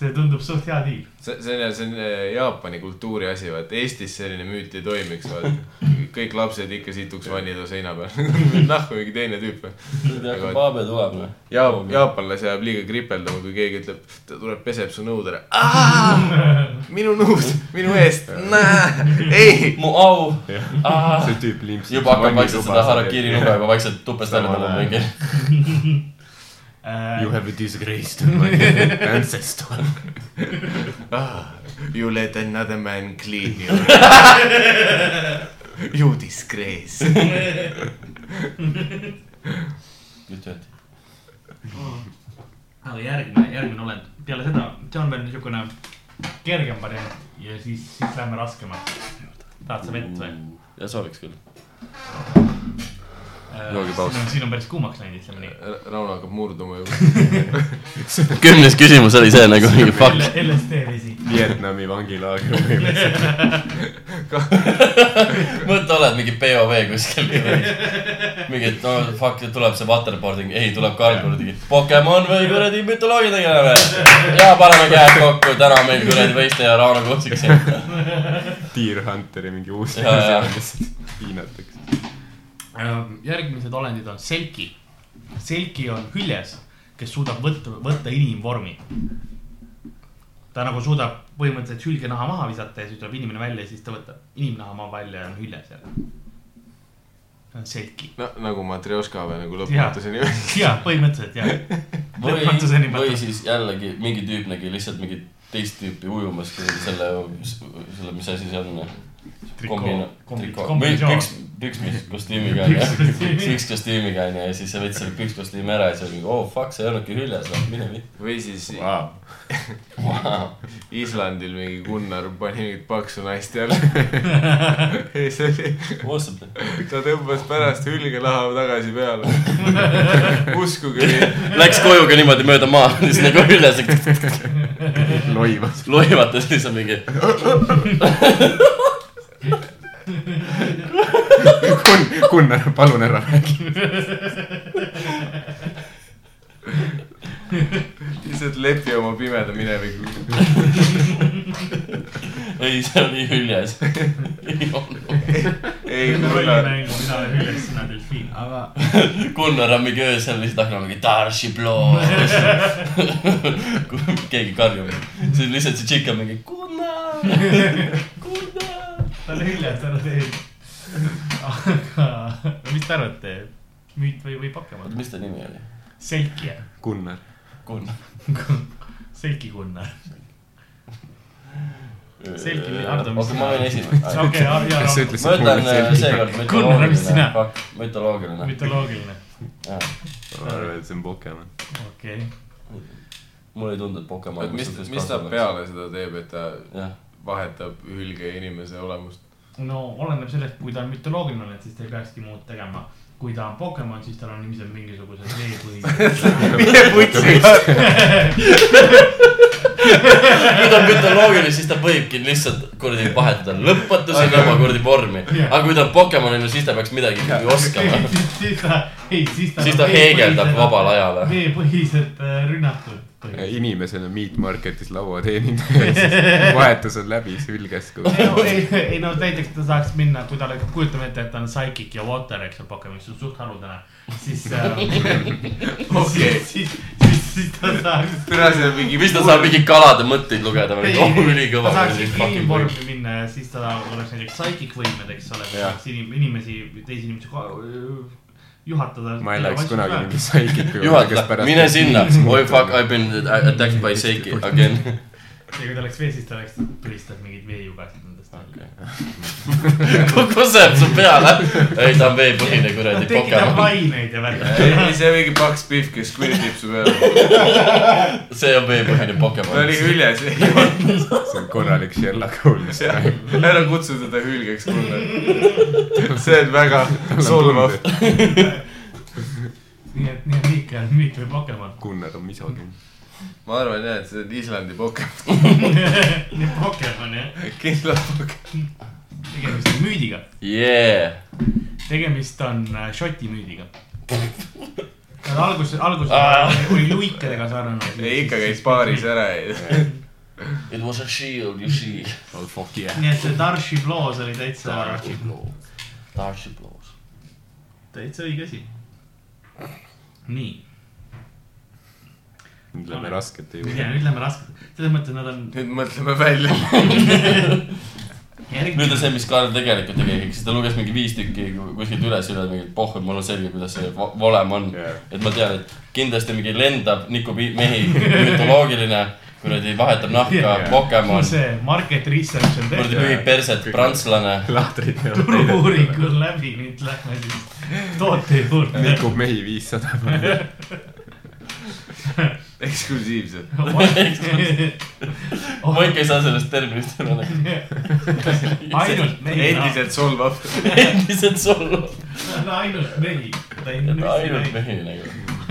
[SPEAKER 6] see tundub suht hea diil .
[SPEAKER 4] see , see on , see on äh, Jaapani kultuuri asi , vaata Eestis selline müüt ei toimiks , vaata . kõik lapsed ikka situks vannitoa seina peal . nahku mingi teine tüüp .
[SPEAKER 5] ja , ja Paabe tuleb noh. või ?
[SPEAKER 4] Jaap- , jaapanlase jääb liiga kripeldama , kui keegi ütleb , ta tuleb , peseb su nõud ära . minu nõud , minu eest , ei .
[SPEAKER 5] mu au ,
[SPEAKER 3] see tüüp limpsib .
[SPEAKER 5] juba hakkab vaikselt seda harakiri nube . juba vaikselt tupest välja tulema mingi .
[SPEAKER 3] You have disgraced my ancestor .
[SPEAKER 4] Ah, You let another man clean you . You disgrace .
[SPEAKER 5] just öeldi .
[SPEAKER 6] aga Äh, järgmine , järgmine olend , peale seda , see on veel niisugune kergem variant ja siis , siis lähme raskemaks . tahad sa vett või ?
[SPEAKER 5] ja sooviks küll .
[SPEAKER 4] joogipaus.
[SPEAKER 6] Äh, siin on päris kuumaks läinud , ütleme nii .
[SPEAKER 4] Rauno hakkab murduma juba .
[SPEAKER 5] kümnes küsimus oli see nagu mingi fuck .
[SPEAKER 6] LSD vesi .
[SPEAKER 3] Vietnami vangilaagri võimes .
[SPEAKER 5] mõtle , oled mingi POV kuskil . mingi , et no fuck , tuleb see waterboarding , ei , tuleb Karl kuradi Pokemon või kuradi mütoloogia tegelane . ja paneme käed kokku , täna on meil kuradi võistleja Rauno Kutsik siin .
[SPEAKER 3] Deer Hunteri mingi uus
[SPEAKER 5] Jaa, jaa.
[SPEAKER 3] versioon lihtsalt piinatakse .
[SPEAKER 6] Ähm, järgmised olendid on selki . selki on hüljes , kes suudab võtta , võtta inimvormi . ta nagu suudab põhimõtteliselt hülgenaha maha visata ja siis tuleb inimene välja ja siis ta võtab inimnaha maha välja ja on hüljes jälle . see on selki .
[SPEAKER 4] no nagu Matrjoška või nagu lõpmatuseni .
[SPEAKER 6] jaa , põhimõtteliselt jaa .
[SPEAKER 5] või
[SPEAKER 6] Lõpmatuseni , mõtlen.
[SPEAKER 5] või siis jällegi mingi tüüp nägi lihtsalt mingit teist tüüpi ujumas kuradi selle , selle , mis asi see on ? kombina- , trikoo , või
[SPEAKER 6] kombinatsioon.
[SPEAKER 5] üks pükskostüümiga onju , pükskostüümiga onju ja siis sa võtsid selle pükskostüümi ära ja siis oli mingi oh fuck , sa ei olnudki hüljes , noh mine vitt
[SPEAKER 4] või siis
[SPEAKER 3] wow. .
[SPEAKER 5] wow. .
[SPEAKER 4] Islandil mingi Gunnar pani mingit paksu naist jälle . ei , see oli ,
[SPEAKER 5] ausalt ,
[SPEAKER 4] ta tõmbas pärast hülgelahava tagasi peale . uskuge mind ,
[SPEAKER 5] läks koju ka niimoodi mööda maad , siis nagu hüljes
[SPEAKER 3] loivas .
[SPEAKER 5] loivatas lihtsalt mingi
[SPEAKER 3] Kun- , Gunnar , palun ära räägi .
[SPEAKER 4] lihtsalt lepi oma pimeda minevikuga .
[SPEAKER 5] ei , see oli hüljes . ei olnud .
[SPEAKER 4] ei ,
[SPEAKER 6] rolli
[SPEAKER 4] Gunnar ,
[SPEAKER 6] mängu , mina olen Hüljes , sina delfiin , aga
[SPEAKER 5] Gunnar on mingi öösel lihtsalt hakkab mingi Darcy Blow . keegi karjub , siis lihtsalt see tšikk on mingi Gunnar , Gunnar .
[SPEAKER 6] ta oli Hüljes , ta oli teil . aga , no mis te arvate , müüt või , või pakemad
[SPEAKER 5] oota , mis ta nimi oli ?
[SPEAKER 6] Selki ,
[SPEAKER 3] Gunnar .
[SPEAKER 5] Gunnar .
[SPEAKER 6] Selki Gunnar . Selgi- Hardo, mis
[SPEAKER 5] oota , ma
[SPEAKER 6] sina-
[SPEAKER 5] olin esimene .
[SPEAKER 6] okei , ja
[SPEAKER 3] kas sa
[SPEAKER 6] no
[SPEAKER 3] ütlesid
[SPEAKER 5] ma ütlen äh, seekord
[SPEAKER 6] Gunnar, mis
[SPEAKER 5] mütoloogiline
[SPEAKER 6] sina? ,
[SPEAKER 5] fuck , mütoloogiline .
[SPEAKER 6] mütoloogiline ,
[SPEAKER 3] ma arvan , et see on Pokemon .
[SPEAKER 6] okei .
[SPEAKER 5] mulle ei tundu , et Pokemon .
[SPEAKER 4] mis , mis ta ? peale seda teeb , et ta
[SPEAKER 5] jah ,
[SPEAKER 4] vahetab hülge inimese olemust ?
[SPEAKER 6] no oleneb sellest , kui ta on mütoloogiline , siis ta ei peakski muud tegema . kui ta on Pokemon , siis tal on ilmselt mingisugused veepõhised .
[SPEAKER 5] kui ta on mütoloogiline , siis ta võibki lihtsalt kuradi vahetada lõpmatuseni oma kuradi vormi . aga kui ta on Pokemonina , siis ta peaks midagi ikkagi oskama .
[SPEAKER 6] siis ta , ei , siis ta .
[SPEAKER 5] siis ta heegeldab vabal ajal .
[SPEAKER 6] veepõhised äh, rünnakud .
[SPEAKER 3] inimesena Meat Marketis lauateenindaja ja siis vahetus on läbi sülges , kui
[SPEAKER 6] ei no , ei , ei no näiteks ta saaks minna , kui talle , kujutame ette , et ta on psychic ja water , eks ole , Pokemonis on suht haruldane , siis äh, .
[SPEAKER 4] Okei.
[SPEAKER 6] siis , siis, siis , siis ta saaks .
[SPEAKER 4] täna see on mingi ,
[SPEAKER 5] mis ta saab mingi kalade mõtteid lugeda või
[SPEAKER 6] Ei, ?
[SPEAKER 5] oh ,
[SPEAKER 6] ta saaks
[SPEAKER 5] ülikõva .
[SPEAKER 6] inimvormi minna ja siis ta oleks näiteks psychic võimed , eks ole ,
[SPEAKER 5] Jah.
[SPEAKER 6] saaks inim- , inimesi , teisi inimesi ko- juhatada .
[SPEAKER 3] ma ei läheks kunagi mingi saigikuga .
[SPEAKER 5] juhata , mine sinna . oi fuck , I been attacked by Seiki again .
[SPEAKER 6] ja kui ta läks vees , siis ta läks , tulistab mingeid veejugasid nendest välja .
[SPEAKER 5] kogu see on su peale . ei , ta on veepõhine kuradi
[SPEAKER 6] ta tekitab
[SPEAKER 5] Pokemon .
[SPEAKER 6] laineid ja värki .
[SPEAKER 4] ei , see on mingi paks pihv , kes kuni tipsu peale .
[SPEAKER 5] see on veepõhine
[SPEAKER 4] ta oli
[SPEAKER 5] Pokemon .
[SPEAKER 4] hüljes , ei olnud .
[SPEAKER 3] see on korralik Sherlock Holmes .
[SPEAKER 4] ära kutsu teda hülgeks mulle . see on väga solvav .
[SPEAKER 6] nii et , nii et Miik , Miik või Pokemon .
[SPEAKER 3] Gunnar on misogüün .
[SPEAKER 4] ma arvan jah , et see on Islandi Pokemon ,
[SPEAKER 6] nii et Pokemon jah ,
[SPEAKER 4] kindlalt Pokemon .
[SPEAKER 6] tegemist on müüdiga ,
[SPEAKER 5] Yeah ,
[SPEAKER 6] tegemist on äh, Šoti müüdiga . alguses , alguses
[SPEAKER 5] Aa.
[SPEAKER 6] oli luikadega sarnane .
[SPEAKER 4] ei ikka käis baaris ära .
[SPEAKER 5] it was a shield you see .
[SPEAKER 3] oh fuck yeah .
[SPEAKER 6] nii et see Darshi Blows oli täitsa ,
[SPEAKER 5] Darcy Blows .
[SPEAKER 6] täitsa õige asi . nii ,
[SPEAKER 3] nüüd lähme raskete
[SPEAKER 6] ja
[SPEAKER 3] juurde .
[SPEAKER 6] nüüd lähme raskelt , selles mõttes nad on .
[SPEAKER 4] nüüd mõtleme välja .
[SPEAKER 5] nüüd on see , mis Karl tegelikult tegi , siis ta luges mingi viis tükki kuskilt üles , üle mingi pohh , et mul on selge , kuidas see vo- volem on
[SPEAKER 3] Jah.
[SPEAKER 5] yeah. . et ma tean , et kindlasti mingi lendab , nikub i- mehi , mütoloogiline , kuradi vahetab nahka yeah.
[SPEAKER 6] Jah. ,
[SPEAKER 5] Pokemon ,
[SPEAKER 6] see market research on
[SPEAKER 5] kuradi
[SPEAKER 6] tehtud ,
[SPEAKER 5] pühib perset , prantslane .
[SPEAKER 3] lahtrid peavad
[SPEAKER 6] turu-uuring on läbi , nüüd lähme siis toote juurde .
[SPEAKER 3] nikub mehi viissada .
[SPEAKER 4] eksklusiivselt .
[SPEAKER 5] ma ikka ei saa sellest terminist aru . nagu
[SPEAKER 6] ainult mehi ,
[SPEAKER 4] endiselt solvav .
[SPEAKER 5] endiselt solvab .
[SPEAKER 6] ainult mehi .
[SPEAKER 5] ainult mehi nagu .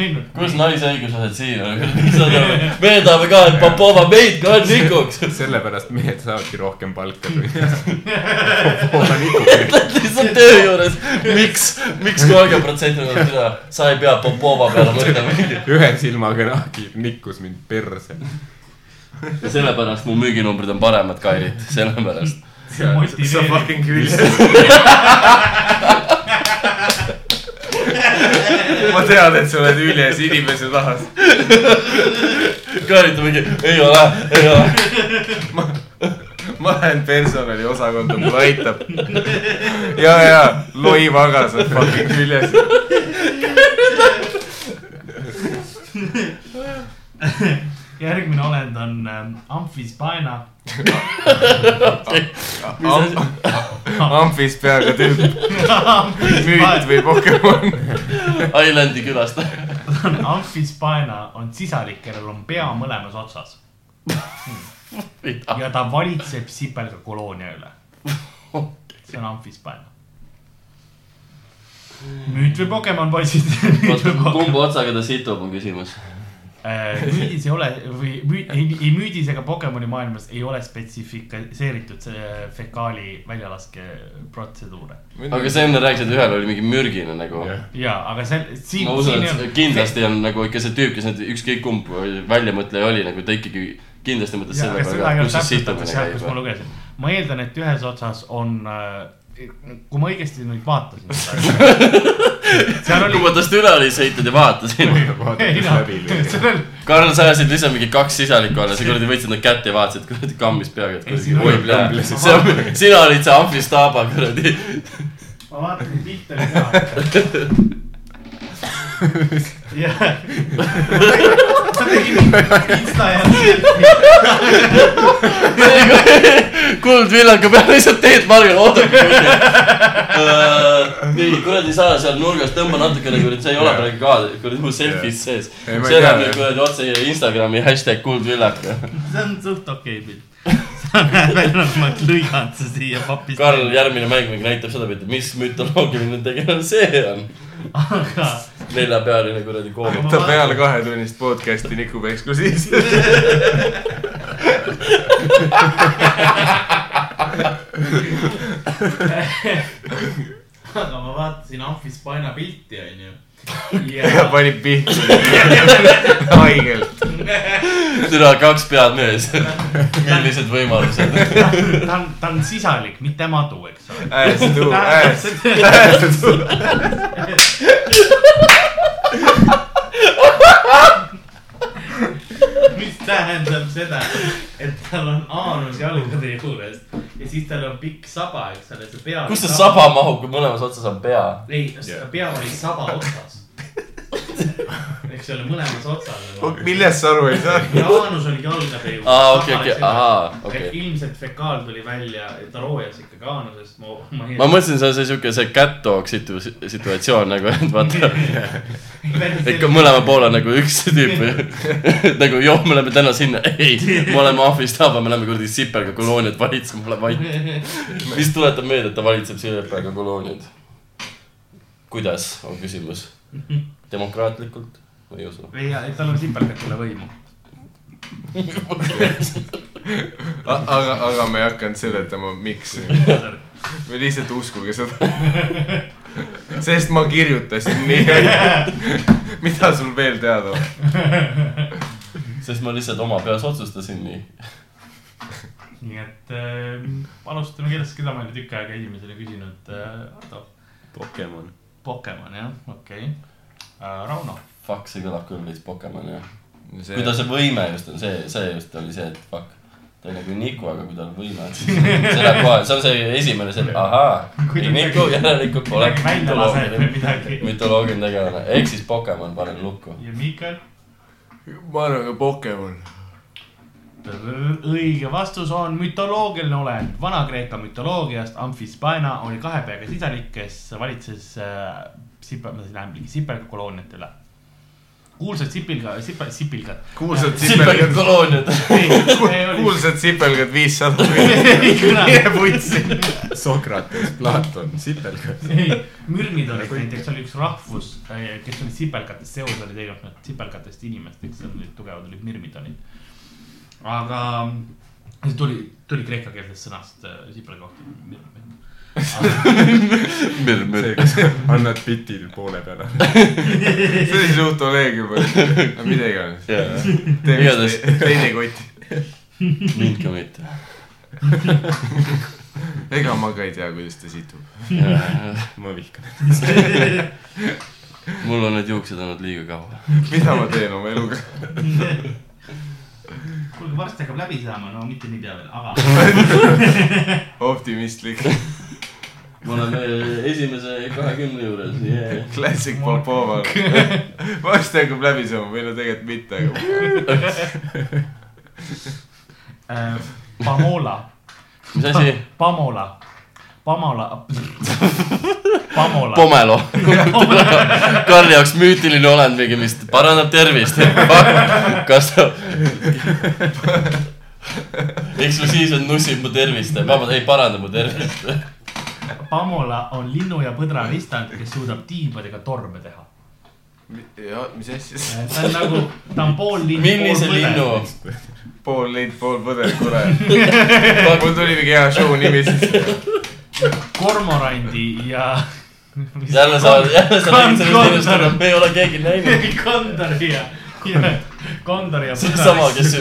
[SPEAKER 6] ainult
[SPEAKER 5] kus naise õiguslased siin on ? me tahame ka , et Popova meid ka nikuks .
[SPEAKER 3] sellepärast mehed saavadki rohkem palka . Popova nikub mehi .
[SPEAKER 5] lihtsalt töö juures , miks , miks kolmkümmend protsenti on seda , sa ei pea Popova peale mõtlema .
[SPEAKER 3] ühe silmaga nahki nikkus mind perse .
[SPEAKER 5] sellepärast mu müüginumbrid on paremad , Kairit , sellepärast .
[SPEAKER 4] sa
[SPEAKER 6] motiveerib ,
[SPEAKER 4] fucking hüljes . ma tean , et sa oled hüljes inimese tahas .
[SPEAKER 5] Kairit on mingi , ei ole , ei ole .
[SPEAKER 4] ma lähen personaliosakonda , mulle aitab . ja , ja Loi Vagas on fucking hüljes .
[SPEAKER 6] järgmine olend on ähm, Amphis Paena .
[SPEAKER 5] mis asi ,
[SPEAKER 4] amfis peaga tüüp . müüt või Pokemon .
[SPEAKER 5] Islandi külastaja .
[SPEAKER 6] Amphispaena on sisalik , kellel on pea mõlemas otsas ja ta valitseb sipelga koloonia üle . see on Amphispaena . müüt või Pokemon poisid ?
[SPEAKER 5] kumba otsaga ta situb , on küsimus .
[SPEAKER 6] Äh, müüdis ei ole või müü- , ei, ei müüdis ega Pokemoni maailmas ei ole spetsifiseeritud see fekaali väljalaske protseduure .
[SPEAKER 5] aga sa enne rääkisid , ühel oli mingi mürgine nagu .
[SPEAKER 6] ja , aga see , siin .
[SPEAKER 5] ma usun , et kindlasti on nagu ikka see tüüp , kes nüüd ükskõik kumb väljamõtleja oli , nagu ta ikkagi kindlasti mõtles
[SPEAKER 6] ja ,
[SPEAKER 5] selle
[SPEAKER 6] aga seda
[SPEAKER 5] peale
[SPEAKER 6] ei
[SPEAKER 5] ka ,
[SPEAKER 6] ole
[SPEAKER 5] kus see
[SPEAKER 6] täpselt
[SPEAKER 5] situmine
[SPEAKER 6] seal , kus ma
[SPEAKER 5] käib .
[SPEAKER 6] lugesin . ma eeldan , et ühes otsas on , kui ma õigesti nüüd vaatasin seda asja. seal
[SPEAKER 5] kui
[SPEAKER 6] oli ,
[SPEAKER 5] ma tast üle olin sõitnud ja vaatasin .
[SPEAKER 6] ei noh , seal oli ,
[SPEAKER 5] Karl , sa ajasid lihtsalt mingi kaks sisalikku alla , sa kuradi võtsid nad kätte ja vaatasid , kuradi kammis peaga , et kuradi
[SPEAKER 6] siin oli-
[SPEAKER 5] oi plee . see on , sina olid see amfistaaba kuradi .
[SPEAKER 6] ma vaatasin pilte ka . jah . sa tegid insta ja .
[SPEAKER 5] kuldvillaka peal lihtsalt teed margal , oodake . Äh, nii , kuradi sa seal nurgas tõmba natukene , kuradi , see ei ole praegu ka kuradi mu selfis sees .
[SPEAKER 4] Ei, ma ei
[SPEAKER 5] see
[SPEAKER 4] tea,
[SPEAKER 5] läheb nüüd
[SPEAKER 4] jah.
[SPEAKER 5] kuradi otse Instagrami hashtag kuldvillaka .
[SPEAKER 6] see on suht okei pilt . sa näed välja nagu ma oleks lõiganud su siia papist .
[SPEAKER 5] Karl , järgmine mäng mingi näitab seda pilti , mis mütoloogiline tegelane see on .
[SPEAKER 6] aga
[SPEAKER 5] neljapealine kuradi koobra .
[SPEAKER 4] ta peale kahetunnist podcast'i nikub eksklusiivselt .
[SPEAKER 6] aga ma vaatasin Amphispaina pilti , onju .
[SPEAKER 4] ja pani pihku . haigelt .
[SPEAKER 5] türa , kaks pead mees . millised võimalused .
[SPEAKER 6] ta on , ta on sisalik , mitte madu , eks ole .
[SPEAKER 4] Ass to ass .
[SPEAKER 6] mis tähendab seda , et tal on aanus jalgade juures ja siis tal on pikk saba , eks ole , see pea .
[SPEAKER 5] kus see saba mahub , kui mõlemas otsas on pea ?
[SPEAKER 6] ei , pea oli saba otsas . eks ole , mõlemas otsas .
[SPEAKER 4] millest sa aru ei saa ?
[SPEAKER 6] ja Jaanus oli jalgade juures .
[SPEAKER 5] aa , okei , okei , ahaa ,
[SPEAKER 6] et
[SPEAKER 5] okei .
[SPEAKER 6] ilmselt fekaal tuli välja , ta roojas ikkagi Jaanusest , ma , ma ei
[SPEAKER 5] ma mõtlesin , see on see siuke , see cat-dog situ- , situatsioon nagu , et vaata , et kui mõlema poole on nagu üks tüüp . nagu joo , me läheme täna sinna , ei , me oleme ahvis taha , me läheme kuradi sipelga kolooniat valitsema , ole vait . mis tuletab meelde , et ta valitseb sipelga kolooniat ? kuidas , on küsimus . demokraatlikult ? ma ei usu .
[SPEAKER 6] ei , tal on sipelgad üle võimu .
[SPEAKER 4] aga , aga ma ei hakanud seletama , miks . või lihtsalt uskuge seda . sest ma kirjutasin nii . mida sul veel teada on ?
[SPEAKER 5] sest ma lihtsalt oma peas otsustasin nii .
[SPEAKER 6] nii et äh, alustame kellest , keda ma ei ole tükk aega esimesena küsinud äh, . Ardo ,
[SPEAKER 3] Pokemon .
[SPEAKER 6] Pokemon jah , okei okay. äh, . Rauno ,
[SPEAKER 5] Fuck , see kõlab küll veits Pokemon jah . kui
[SPEAKER 6] eh,
[SPEAKER 5] tal see võime just on see , see just oli see , et fuck . ta oli nagu Niku , aga kui tal on võime , siis see läheb kohe , see on see esimene , see et ahaa ,
[SPEAKER 6] Kui ta
[SPEAKER 5] ei Niku
[SPEAKER 6] midagi-
[SPEAKER 5] järelikult pole
[SPEAKER 6] midagi välja laseb või
[SPEAKER 5] mütoloogiline ,
[SPEAKER 6] midagi .
[SPEAKER 5] mütoloogiline tegelane , ehk siis Pokemon panen lukku .
[SPEAKER 6] ja Miikal ,
[SPEAKER 4] ma arvan , et Pokemon .
[SPEAKER 6] õige vastus on mütoloogiline olend . Vana-Kreeka mütoloogiast Amphispaena oli kahe peaga sisalik , kes valitses äh, sipel- , ma siin lähen mingi sipelgakolooniate üle . kuulsad sipilga , sipel- , sipilgad .
[SPEAKER 4] kuulsad
[SPEAKER 5] sipelgad
[SPEAKER 4] sipelgad ,
[SPEAKER 5] kolooniad ,
[SPEAKER 4] kuulsad sipelgad viissada .
[SPEAKER 6] kuulsad .
[SPEAKER 4] putsi .
[SPEAKER 3] Sokrates , Platon , Sipelgas .
[SPEAKER 6] ei , mürnid olid näiteks , oli üks rahvus , kes oli sipelgatest , seos oli teinud nad sipelgatest inimesteks , seal olid tugevad olid mürmid olid . aga see tuli , tuli kreeka keelsest sõnast äh, sipelga kohta .
[SPEAKER 3] see , kes annad bitid poole peale .
[SPEAKER 4] see oli suht Olegjuba . aga mida iganes . tee
[SPEAKER 5] Igatahes-
[SPEAKER 4] mis te- teine kott .
[SPEAKER 5] mind ka mitte .
[SPEAKER 4] ega ma ka ei tea , kuidas ta situb .
[SPEAKER 3] ma vihkan .
[SPEAKER 5] mul on need juuksed olnud liiga kaua .
[SPEAKER 4] mida ma teen oma eluga ?
[SPEAKER 6] kuulge , varsti hakkab läbi saama , no mitte niipea veel , aga
[SPEAKER 4] optimistlik .
[SPEAKER 5] me oleme eh, esimese kahekümne juures , jee .
[SPEAKER 4] Classic Popova . varsti hakkab läbi saama või no tegelikult mitte , aga
[SPEAKER 6] äh, Pamola ,
[SPEAKER 5] mis asi ?
[SPEAKER 6] Pamola , Pamala , Pamola .
[SPEAKER 5] Pomelo . Karli jaoks müütiline olend mingi , mis parandab tervist . kas ta . eksklusiivselt nussib mu tervist , vabandust , ei paranda mu tervist .
[SPEAKER 6] Pamola on linnu ja põdra ristand , kes suudab tiibadega torme teha .
[SPEAKER 4] jah , mis asja siis ?
[SPEAKER 6] ta on nagu , ta on pool linn ,
[SPEAKER 5] millise
[SPEAKER 6] pool põder .
[SPEAKER 5] linnu ?
[SPEAKER 4] pool lind , pool põder , kurat . mul tuli mingi hea show nimi sisse .
[SPEAKER 6] kormorandi ja
[SPEAKER 5] jälle sa , jälle sa
[SPEAKER 6] Kon-
[SPEAKER 5] räägid sellest linnust ,
[SPEAKER 6] Kondor.
[SPEAKER 5] mida me ei ole keegi näinud .
[SPEAKER 6] kondori ja , ja kondori ja
[SPEAKER 5] see on sama , kes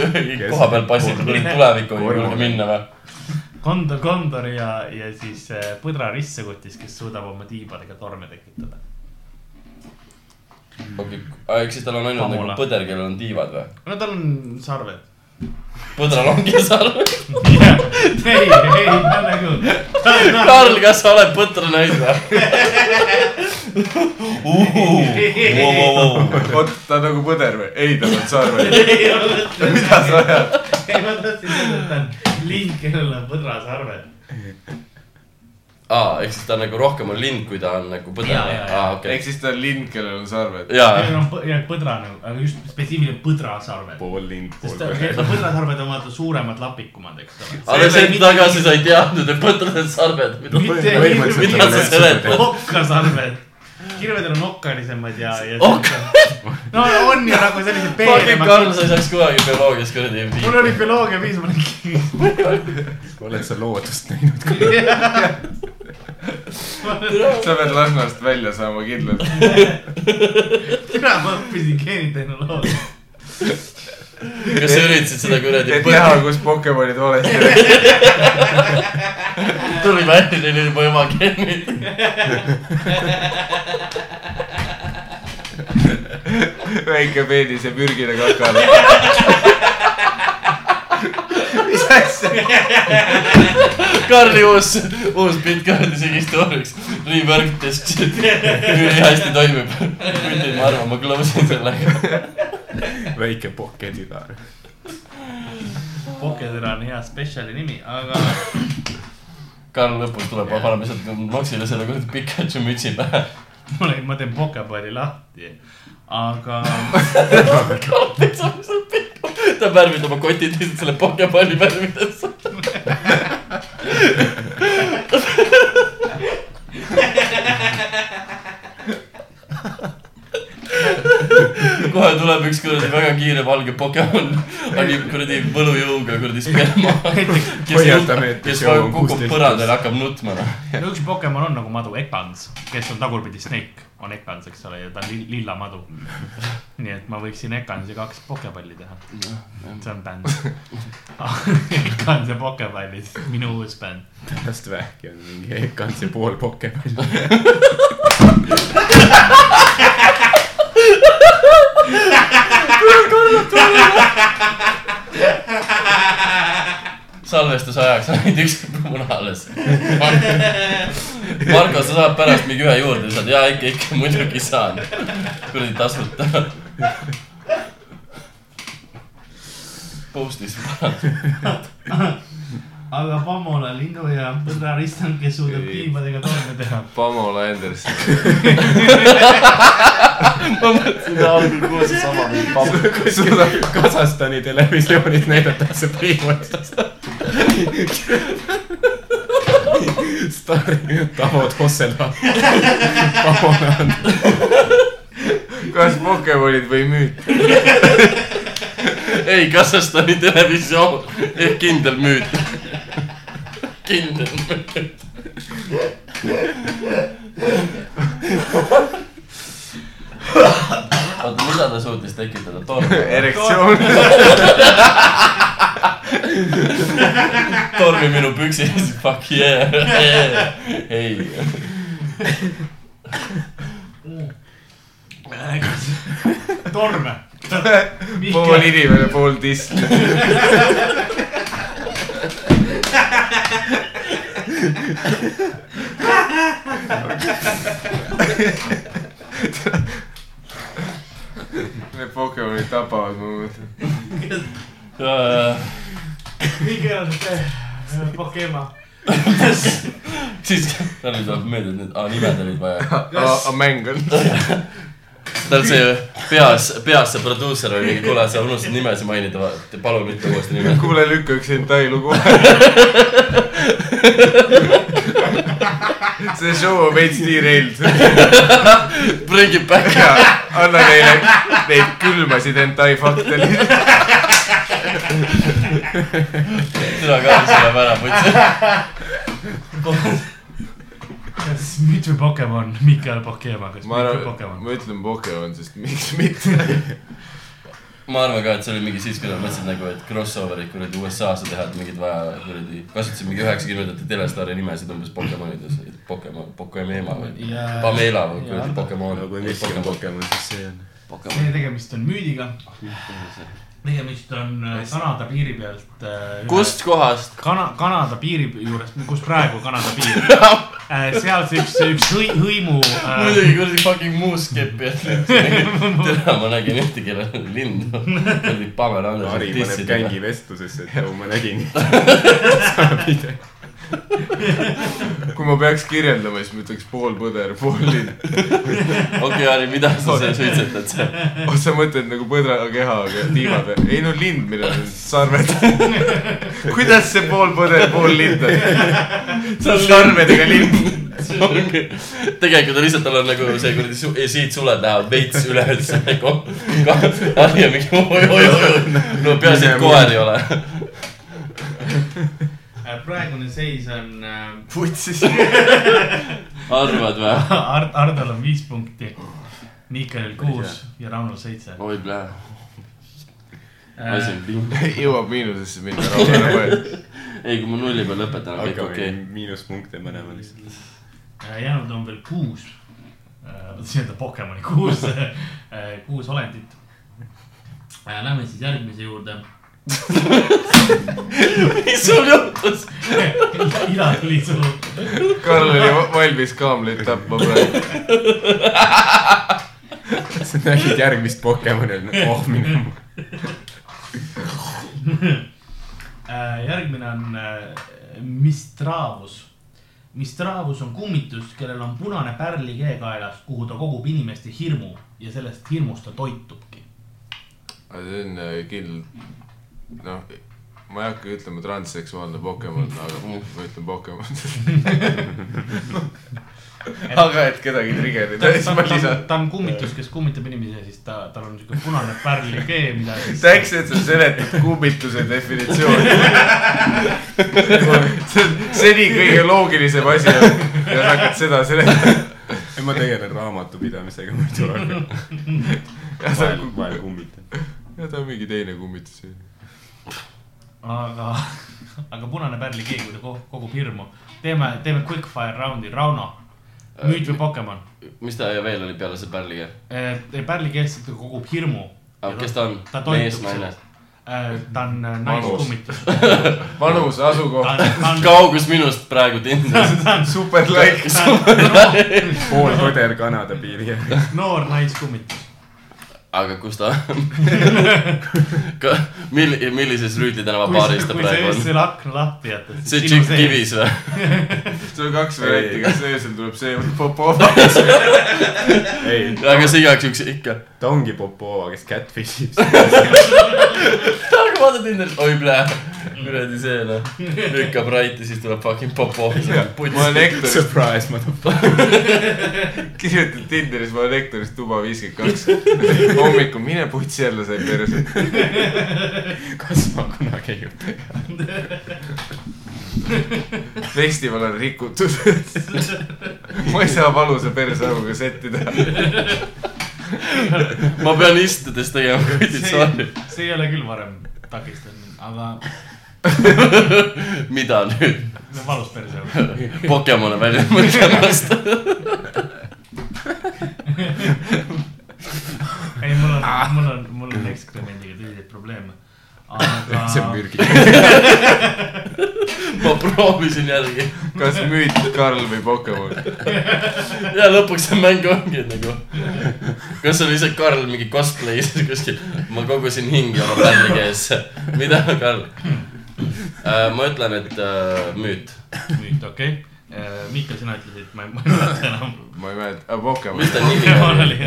[SPEAKER 5] koha peal passib , kui tulevikku võib
[SPEAKER 3] Kormu.
[SPEAKER 5] julge minna või ?
[SPEAKER 6] kondor , kondori ja , ja siis eh, põdra ristsakutis , kes suudab oma tiibadega torme tekitada .
[SPEAKER 5] okei , eks siis tal on ainult nagu
[SPEAKER 6] Pamula.
[SPEAKER 5] põder , kellel on tiivad või ?
[SPEAKER 6] no tal on sarved .
[SPEAKER 5] põdral ongi sarv .
[SPEAKER 6] ei , ei , ta nagu , ta on
[SPEAKER 5] Karl , kas sa oled põtra näinud või ?
[SPEAKER 4] oot , ta on nagu põder või ? ei , tal on sarved . mida sa ajad ?
[SPEAKER 6] ei , ma tahtsin öelda , et ta on lind , kellel on põdra sarved .
[SPEAKER 5] aa , ehk siis ta nagu rohkem on lind , kui ta on nagu põder
[SPEAKER 6] Jaa, . jaa, jaa.
[SPEAKER 5] aa , okei
[SPEAKER 4] ehk . siis ta on lind , kellel on sarved .
[SPEAKER 5] jaa ,
[SPEAKER 6] kellel on põ- jah, põdra nagu , aga just spetsiifiline põdra sarved .
[SPEAKER 3] pool lind , pool
[SPEAKER 6] sest ta-
[SPEAKER 3] põder .
[SPEAKER 6] põdra sarved on vaata suuremad lapikumad , eks ole .
[SPEAKER 5] alles hetk tagasi sa ei teadnud , et põdrad on sarved , mida
[SPEAKER 6] Mitte-
[SPEAKER 3] põhimõtteliselt
[SPEAKER 5] mida
[SPEAKER 3] on
[SPEAKER 5] sa
[SPEAKER 3] üldse
[SPEAKER 5] seletad ?
[SPEAKER 6] okkasarved . kirvedel on okkalisemad ja , ja .
[SPEAKER 5] Okk-
[SPEAKER 6] no on ju nagu sellised
[SPEAKER 5] fucking
[SPEAKER 6] peenemad .
[SPEAKER 5] Karl , sa ei saaks kunagi bioloogias kuradi
[SPEAKER 6] mul
[SPEAKER 5] viia .
[SPEAKER 6] oli bioloogia viis , ma olin ,
[SPEAKER 3] oled sa loodust näinud ?
[SPEAKER 4] sa pead Lasnast välja saama kindlalt .
[SPEAKER 6] mina ma õppisin geenitehnoloogiat .
[SPEAKER 5] kas sa üritasid seda kuradi
[SPEAKER 4] et näha
[SPEAKER 5] põdra ,,
[SPEAKER 4] kus Pokemonid valesti läksid .
[SPEAKER 5] tuli välja , neil oli juba ema geenid .
[SPEAKER 4] väike peenis ja pürgine kakale . mis asja ?
[SPEAKER 5] Karli uus , uus bitt ka isegi story'ks . Rework test , ülihästi toimib . kuigi ma arvan , ma close in sellega .
[SPEAKER 3] väike poketiga .
[SPEAKER 6] Pokedera on hea spetsiali nimi , aga
[SPEAKER 5] Karl lõpus tuleb , paneme sealt Maxile selle kuradi Pikachu mütsi pähe .
[SPEAKER 6] mul oli , ma teen Pokebari lahti , aga
[SPEAKER 5] Karl täitsab selle Pikachu , ta värvib oma kotid lihtsalt selle Pokemoni värvides . kohe tuleb üks kuradi väga kiire valge Pokemon , annab kuradi võlujõuga kuradi sperma .
[SPEAKER 6] näiteks
[SPEAKER 3] Hoiatame, et
[SPEAKER 5] kes
[SPEAKER 3] see on
[SPEAKER 5] kukub
[SPEAKER 3] 16
[SPEAKER 5] põrandale , hakkab nutma noh .
[SPEAKER 6] no üks Pokemon on nagu madu , Ekans , kes on tagurpidi Snake , on Ekans , eks ole , ja ta on li lilla madu . nii et ma võiksin Ekansi kaks pokepalli teha . see on bänd . Ekans ja pokepallid , minu uus bänd .
[SPEAKER 3] pärast vähki on mingi ekantsi pool pokemon .
[SPEAKER 5] salvestuse ajaks on ainult üks muna alles . Marko , sa saad pärast mingi ühe juurde , saad ja ikka , ikka muidugi saan . kuradi tasuta . Postis .
[SPEAKER 6] aga Pamola linnu ja põdra ristand , kes suudab tiibadega torme teha .
[SPEAKER 4] Pamola Anderson .
[SPEAKER 5] ma mõtlesin , et algul kuulsin sama mingi pamm .
[SPEAKER 3] kuskil Kasahstani televisioonis näidatakse põhimõtteliselt . staari Tavo Tossela .
[SPEAKER 4] kas Pokemonid või müüt ?
[SPEAKER 5] ei , Kasahstani televisioon ehk kindel müüt . kindel müüt . oota , mida ta suutis tekitada tormi ?
[SPEAKER 4] erektsioon .
[SPEAKER 5] tormi minu püksis , fuck yeah , ei .
[SPEAKER 6] Äh, torme .
[SPEAKER 4] pool inimene , pool diss . Need Pokemonid tapavad mu mõte .
[SPEAKER 6] eh, mingi on see Pokemon .
[SPEAKER 5] siis tal tuleb meelde , et need aa, nimed olid vaja .
[SPEAKER 4] Ah, mäng on .
[SPEAKER 5] tal see peas , peas see produusser oli , kuule , sa unustasid nimesid mainida , palun ütle uuesti nime .
[SPEAKER 4] kuule , lükka üks hentai lugu . see show on veits derailed .
[SPEAKER 5] Bring it back .
[SPEAKER 4] anna neile neid külmasid hentai fakte lihtsalt .
[SPEAKER 5] sina ka selle ära võtsid .
[SPEAKER 6] kas müüt või Pokemon , Mikael Pokemon , kas müüt
[SPEAKER 4] ma
[SPEAKER 6] või
[SPEAKER 4] arvan ,
[SPEAKER 6] Pokemon ?
[SPEAKER 4] ma ütlen Pokemon , sest miks mitte .
[SPEAKER 5] ma arvan ka , et see oli mingi siis , kui nad mõtlesid nagu , et crossover'id kuradi USA-sse teha , et mingid vaja kuradi , kasutasid mingi üheksakümnendate telestaari nimesid umbes Pokemonides , Pokemon , Pokemema või
[SPEAKER 6] Jaa.
[SPEAKER 5] Pamela või kuradi Pokemon .
[SPEAKER 3] no kui miski on Pokemon , siis see on .
[SPEAKER 6] meie tegemist on müüdiga . tegemist on äh, Kanada piiri pealt .
[SPEAKER 5] kust ? kohast ?
[SPEAKER 6] Kana- , Kanada piiri juures , kus praegu Kanada piir . seal see üks , üks hõi- hõimu äh,
[SPEAKER 5] muidugi kuradi fucking muuskeppi , et täna ma nägin ühte , kellel oli lind . oli Pamela
[SPEAKER 3] Harri
[SPEAKER 5] Anderson
[SPEAKER 3] paneb
[SPEAKER 5] dissidega .
[SPEAKER 3] gängi vestlusesse , et joo , ma nägin .
[SPEAKER 4] kui ma peaks kirjeldama , siis ma ütleks pool põder , pool linn .
[SPEAKER 5] okei , Harri , mida sa seal suitsetad seal ?
[SPEAKER 4] oh , sa mõtled nagu põdra keha , aga tiivad . ei no lind , millel on sarved . kuidas see pool põder , pool lind on ? sarvedega lind .
[SPEAKER 5] tegelikult on lihtsalt , tal on nagu see kuradi su- , siit suled lähevad veits üleüldse nagu . Harri on mingi oi-oi-oi , no peaasi , et koer ei ole .
[SPEAKER 6] äh, praegune seis on äh,
[SPEAKER 4] vutsis .
[SPEAKER 5] arvad või ?
[SPEAKER 6] Ard- , Hardol on viis punkti , Miikalil kuus ja Raunol seitse . Äh,
[SPEAKER 5] oi plää , asi on ping .
[SPEAKER 4] jõuab miinusesse minna , rahu ära mõelda .
[SPEAKER 5] ei , kui ma nulli peal lõpetan , on kõik
[SPEAKER 3] hakkame
[SPEAKER 5] okei .
[SPEAKER 3] miinuspunkte panema lihtsalt .
[SPEAKER 6] äh, jäänud on veel kuus , Äh, nii-öelda Pokemoni kuus , kuus olendit . Lähme siis järgmise juurde .
[SPEAKER 5] mis sul juhtus ?
[SPEAKER 6] Ila tuli sul ,
[SPEAKER 4] Karl oli va- valmis kaamleid tapma praegu .
[SPEAKER 3] sa nägid järgmist Pokemoni , oh minu .
[SPEAKER 6] järgmine on äh, Mistravus . Mistravus on kummitus , kellel on punane pärli keekaelas , kuhu ta kogub inimeste hirmu ja sellest hirmust ta toitubki .
[SPEAKER 4] aga see on äh, kill , noh , ma ei hakka ütlema transseksuaalne Pokemon , aga ma ütlen Pokemon . aga et kedagi trigerida , siis
[SPEAKER 6] ta, ta,
[SPEAKER 4] ma
[SPEAKER 6] ta,
[SPEAKER 4] lisan .
[SPEAKER 6] ta on kummitus , kes kummitab inimesi ja siis ta , tal on siuke punane pärlikee , mida siis .
[SPEAKER 4] täpselt , sa seletad kummituse definitsiooni . see on seni kõige loogilisem asi on ja sa hakkad seda seletama .
[SPEAKER 3] ei , ma tegelen raamatupidamisega muidu , aga
[SPEAKER 4] ja ta
[SPEAKER 3] vahel , vahel kummitan .
[SPEAKER 4] ja ta on mingi teine kummitus .
[SPEAKER 6] aga , aga punane pärlikee , kui ta ko- kogub hirmu . teeme , teeme quickfire raundi , Rauno , müüt või Pokemon ?
[SPEAKER 5] mis ta veel oli peale selle pärliga ?
[SPEAKER 6] pärlikeest ta kogub hirmu .
[SPEAKER 5] aga kes ta on ?
[SPEAKER 6] ta
[SPEAKER 5] mees ,
[SPEAKER 6] toitub
[SPEAKER 5] naine
[SPEAKER 6] sellest ?. ta on äh, naiskummitus .
[SPEAKER 4] vanus ,
[SPEAKER 6] ta on ,
[SPEAKER 4] asukoht ,
[SPEAKER 6] ta on ,
[SPEAKER 5] kaugus minust praegu Tinderis .
[SPEAKER 4] super like .
[SPEAKER 3] pool põder Kanada piiri järgi .
[SPEAKER 6] noor naiskummitus .
[SPEAKER 5] aga kus ta on ? mil- , millises Rüütli tänava
[SPEAKER 6] kui
[SPEAKER 5] baaris
[SPEAKER 6] sa ,
[SPEAKER 5] ta
[SPEAKER 6] kui sa
[SPEAKER 5] praegu
[SPEAKER 6] just
[SPEAKER 5] on ?
[SPEAKER 6] selle akna lahti jätad .
[SPEAKER 5] see tšikk . kivis või ?
[SPEAKER 4] sul on kaks varianti , kas öösel tuleb see või Popov .
[SPEAKER 3] ei ,
[SPEAKER 5] aga see igaks juhuks ikka .
[SPEAKER 3] ta ongi Popova , kes catfish ib .
[SPEAKER 5] aga vaata Tinderis , oi plää ,
[SPEAKER 6] Mm.
[SPEAKER 5] kuradi see noh , lükkab raiti , siis tuleb fucking popov .
[SPEAKER 4] ma olen Hektorist ,
[SPEAKER 3] Surprise , ma tahan .
[SPEAKER 4] kirjutad Tinderis , ma olen Hektorist tuba viiskümmend kaks . hommikul mine putsi jälle sai perse .
[SPEAKER 3] kas ma kunagi ei juhtu ?
[SPEAKER 4] festival on rikutud . ma ei saa valusa perse aruga settida .
[SPEAKER 5] ma pean istudes tegema kuradi sorry .
[SPEAKER 6] see ei ole küll varem takistanud , aga
[SPEAKER 5] mida nüüd ?
[SPEAKER 6] no valus perse .
[SPEAKER 5] Pokemone välja mõtlemast .
[SPEAKER 6] ei , mul on , mul on , mul on ekskremendiga tõsiseid probleeme . aga .
[SPEAKER 3] see on mürgi .
[SPEAKER 5] ma proovisin jällegi .
[SPEAKER 4] kas müüd Karl või Pokemon ?
[SPEAKER 5] ja lõpuks see mäng ongi et nagu . kas oli see Karl mingi cosplay's kuskil , ma kogusin hingi oma bändi käes . mida , Karl äh, ? ma ütlen , et äh, müüt .
[SPEAKER 6] nüüd , okei okay. . Mihkel , sina ütlesid , ma ei , ma ei mäleta enam .
[SPEAKER 4] ma ei mäleta , Pokemon
[SPEAKER 5] mis ta nimi oli ?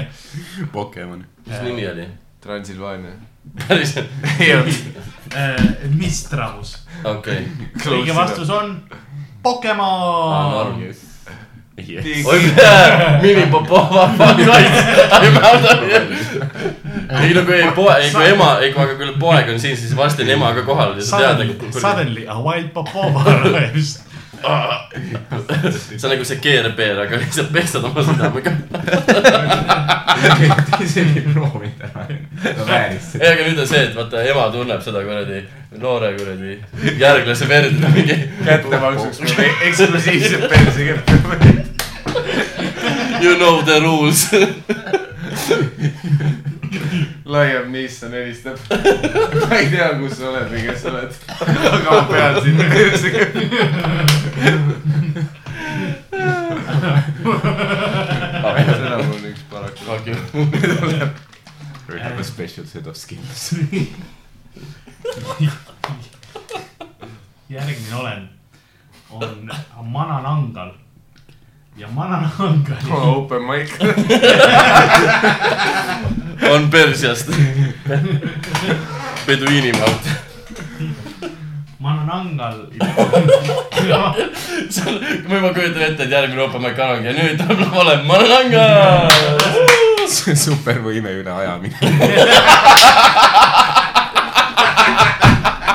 [SPEAKER 3] Pokemon .
[SPEAKER 5] mis nimi oli ?
[SPEAKER 4] Transilvaania .
[SPEAKER 5] päriselt ?
[SPEAKER 4] ei olnud .
[SPEAKER 6] Mistravus .
[SPEAKER 5] okei .
[SPEAKER 6] äh, õige vastus on Pokemon .
[SPEAKER 5] oi , mini Popova , ei no kui ei poe , ei kui ema , ei kui aga kui poeg on siin , siis varsti on ema ka kohal ja sa tead ,
[SPEAKER 6] Suddenly ,
[SPEAKER 5] et
[SPEAKER 6] suddenly a wild Popova arrives .
[SPEAKER 5] see on nagu see keerpeer , aga lihtsalt pestad oma südamega .
[SPEAKER 3] see oli proovinud ära . ta vääris seda .
[SPEAKER 5] ei , aga nüüd on see , et vaata ema tunneb seda kuradi noore kuradi järglase verd , mingi
[SPEAKER 4] kättemaksuks mulle eksklusiivselt perse kätte .
[SPEAKER 5] you know the rules .
[SPEAKER 4] laiem Nissan helistab . ma ei tea , kus sa oled või kes sa oled , aga ma pean sind perse kätte .
[SPEAKER 5] Ah,
[SPEAKER 4] seda mul üks paraku .
[SPEAKER 5] fuck you .
[SPEAKER 3] We have a special set of skills .
[SPEAKER 6] järgmine olend on Mananangal . ja Mananangali
[SPEAKER 4] Open mic .
[SPEAKER 5] on Persiast . peduiinimaalt .
[SPEAKER 6] Mananangal
[SPEAKER 5] ma juba kujutan ette , et järgmine Euroopa Mäe kanang ja nüüd tuleb lavale Mananga .
[SPEAKER 3] supervõime üle ajamine .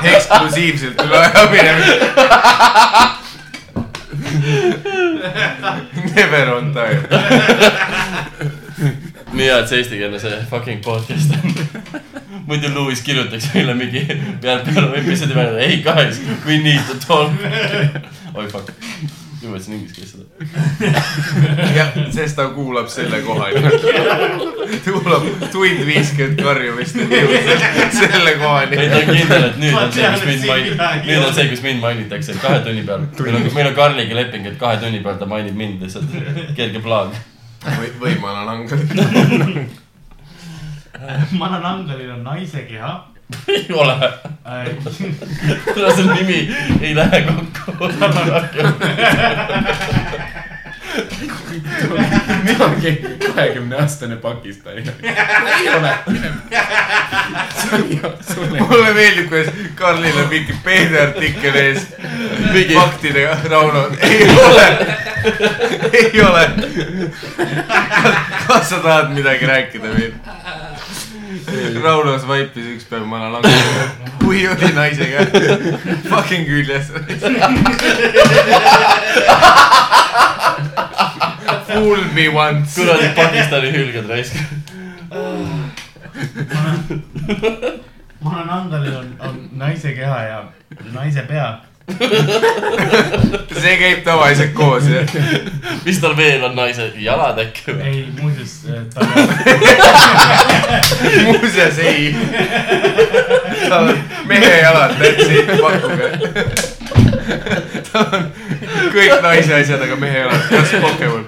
[SPEAKER 4] eksklusiivselt üle aja minemine . Never on time .
[SPEAKER 5] nii hea , et see eestikeelne see fucking podcast on . muidu Lewis kirjutaks meile mingi peal peal või mis see nimi on , hey guys , we need to talk . oi fuck , nüüd ma ütlesin inglise keeles seda .
[SPEAKER 4] jah , sest ta kuulab selle kohani . ta kuulab tund viiskümmend karjumist ja jõuab selle
[SPEAKER 5] ei , ta on
[SPEAKER 4] kohani .
[SPEAKER 5] kindel , et nüüd on see , kus mind mainitakse , nüüd on see , kus mind mainitakse kahe tunni peal . meil on , meil on Karliga leping , et kahe tunni peal ta mainib mind lihtsalt , kerge plaan .
[SPEAKER 4] või , või ma olen langenud .
[SPEAKER 6] Mananangalil on naise keha
[SPEAKER 5] ei ole
[SPEAKER 6] äh,
[SPEAKER 5] kuna see nimi ei lähe kokku .
[SPEAKER 3] mina olen kahekümne aastane Pakistani . ei ole , mine .
[SPEAKER 4] mulle meeldib , kuidas Karlil on Vikipeedia artikkel ees mingi faktidega , Rauno , ei ole , ei ole . kas sa tahad midagi rääkida veel ? Rauno svaipis üks päev mana langusega , kui oli naisega , fucking küljes . Fool me once .
[SPEAKER 5] kuradi Pakistani hülged raisk .
[SPEAKER 6] Mananangalil on, on naise keha ja naise pea
[SPEAKER 4] see käib tavaliselt koos , jah .
[SPEAKER 5] mis tal veel on , naise jalad äkki või ?
[SPEAKER 6] ei muuseas äh, tal
[SPEAKER 4] muuseas ei . tal on mehe jalad täitsa pakuga . tal on kõik naise asjad , aga mehe jalad , kas Pokemon .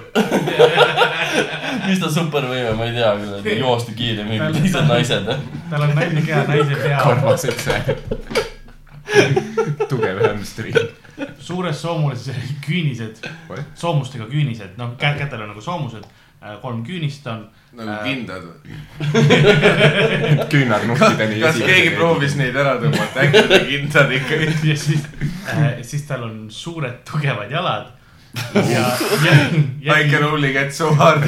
[SPEAKER 5] mis ta supervõime , ma ei tea küll , joosta kiiremini kui teised naised .
[SPEAKER 6] tal on naise keha , naise pea ,
[SPEAKER 3] armased sa . tugev hämstri .
[SPEAKER 6] suures soomulises küünised , soomustega küünised , noh kä- kätel on nagu soomused , kolm küünist on .
[SPEAKER 4] nagu kindad või ?
[SPEAKER 3] küünad nuhtideni .
[SPEAKER 4] kas keegi proovis ? neid ära tõmmata , äkki olid kindad ikkagi ?
[SPEAKER 6] ja siis äh, , siis tal on suured tugevad jalad ja , ja ,
[SPEAKER 4] I
[SPEAKER 6] ja
[SPEAKER 4] can , only get so hard .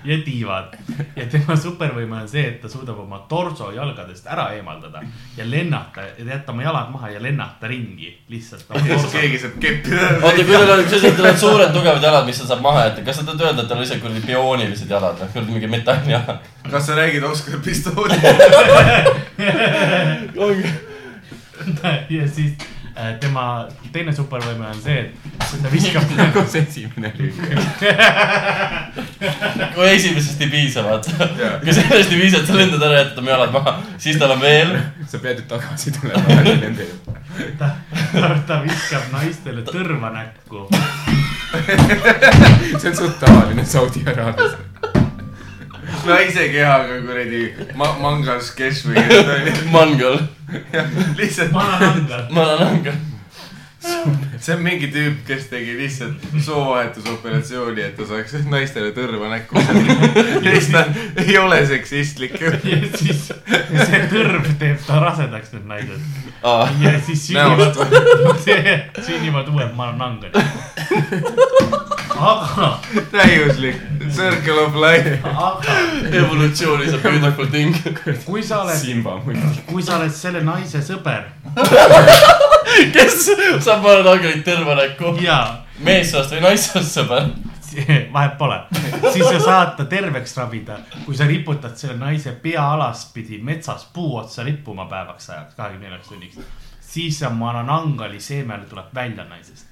[SPEAKER 6] ja tiivad . ja tema supervõime on see , et ta suudab oma torso jalgadest ära eemaldada ja lennata , jätta oma jalad maha ja lennata ringi lihtsalt .
[SPEAKER 4] kas keegi saab keppida ?
[SPEAKER 5] oota , kui tal on , kui sa ütled , et suured tugevad jalad , mis ta saab maha jätta , kas sa tahad öelda , et tal on lihtsalt kuradi bioonilised jalad või kuradi mingi metalljalad ?
[SPEAKER 4] kas sa räägid Oskar Pistooli ?
[SPEAKER 6] ja siis äh, tema teine supervõime on see , et kui ta viskab ,
[SPEAKER 3] nagu see esimene lüük .
[SPEAKER 5] kui esimesest ei piisa , vaata .
[SPEAKER 4] Jaa.
[SPEAKER 5] kui sellest ei piisa , et sa lendad ära ja jätad oma jalad maha , siis tal on veel .
[SPEAKER 3] sa pead ju tagasi tulema alati nende juurde .
[SPEAKER 6] ta, ta , ta viskab naistele tõrva näkku .
[SPEAKER 3] see on suht tavaline Saudi Araabias .
[SPEAKER 4] naise kehaga kuradi ma- , mangas , kes või kes ta oli .
[SPEAKER 5] Mangal ,
[SPEAKER 4] lihtsalt
[SPEAKER 6] vana nandar ,
[SPEAKER 5] ma olen Mangal .
[SPEAKER 4] see on mingi tüüp , kes tegi lihtsalt soovahetusoperatsiooni , et ta saaks naistele tõrva näkku . ja siis ta ei ole seksistlik ju .
[SPEAKER 6] ja siis see tõrv teeb ta rasedaks , need naised . ja siis sünnivad , sünnivad uued manangad . aga ,
[SPEAKER 4] täiuslik circle of life .
[SPEAKER 6] aga
[SPEAKER 5] evolutsioon is a beautiful thing .
[SPEAKER 6] kui sa oled ,
[SPEAKER 3] Simba muidugi .
[SPEAKER 6] kui sa oled selle naise sõber
[SPEAKER 5] kes saab panna nagrit tõrva näkku ?
[SPEAKER 6] ja
[SPEAKER 5] meessoost või naissoost sõber ?
[SPEAKER 6] vahet pole , siis sa saad ta terveks ravida , kui sa riputad selle naise pea alaspidi metsas puu otsa rippuma päevaks ajaks , kahekümne neljaks tunniks . siis see mananangali seemel tuleb välja naisest .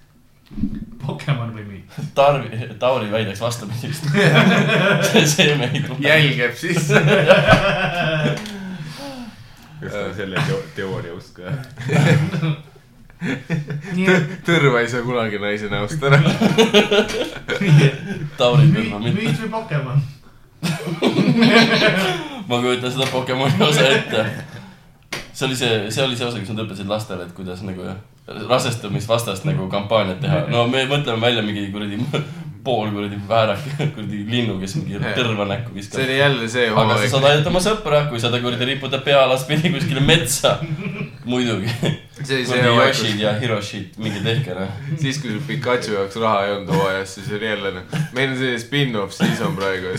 [SPEAKER 6] Pokemon või müüt .
[SPEAKER 5] Tarvi , Tauri väidaks vastupidi vist . see seeme ei tule .
[SPEAKER 4] jälg jääb sisse .
[SPEAKER 3] kas ta selle teo- teooria usku jah ?
[SPEAKER 4] tõrva ei saa kunagi naise näost ära .
[SPEAKER 5] Tauri tõrva mitte .
[SPEAKER 6] müüt või Pokemon ?
[SPEAKER 5] ma kujutan seda Pokemoni osa ette . see oli see , see oli see osa , kus nad õpetasid lastele , et kuidas nagu rasestumisvastast nagu kampaaniat teha . no me mõtleme välja mingi kuradi pool kuradi väärak , kuradi linnu , kes mingi tõrva näkku
[SPEAKER 4] see
[SPEAKER 5] viskab .
[SPEAKER 4] oli jälle see
[SPEAKER 5] aga sa
[SPEAKER 4] hooaeg .
[SPEAKER 5] saad aidata oma sõpra , kui sa ta kuradi riputab pea alaspidi kuskile metsa . muidugi .
[SPEAKER 4] see oli see
[SPEAKER 5] kuradi
[SPEAKER 4] hooaeg , kus
[SPEAKER 5] Yoshid ja Hiroshid , minge tehke noh .
[SPEAKER 4] siis , kui sul Pikachi jaoks raha ei olnud hooajas , siis oli jälle noh , meil on selline spin-off season praegu .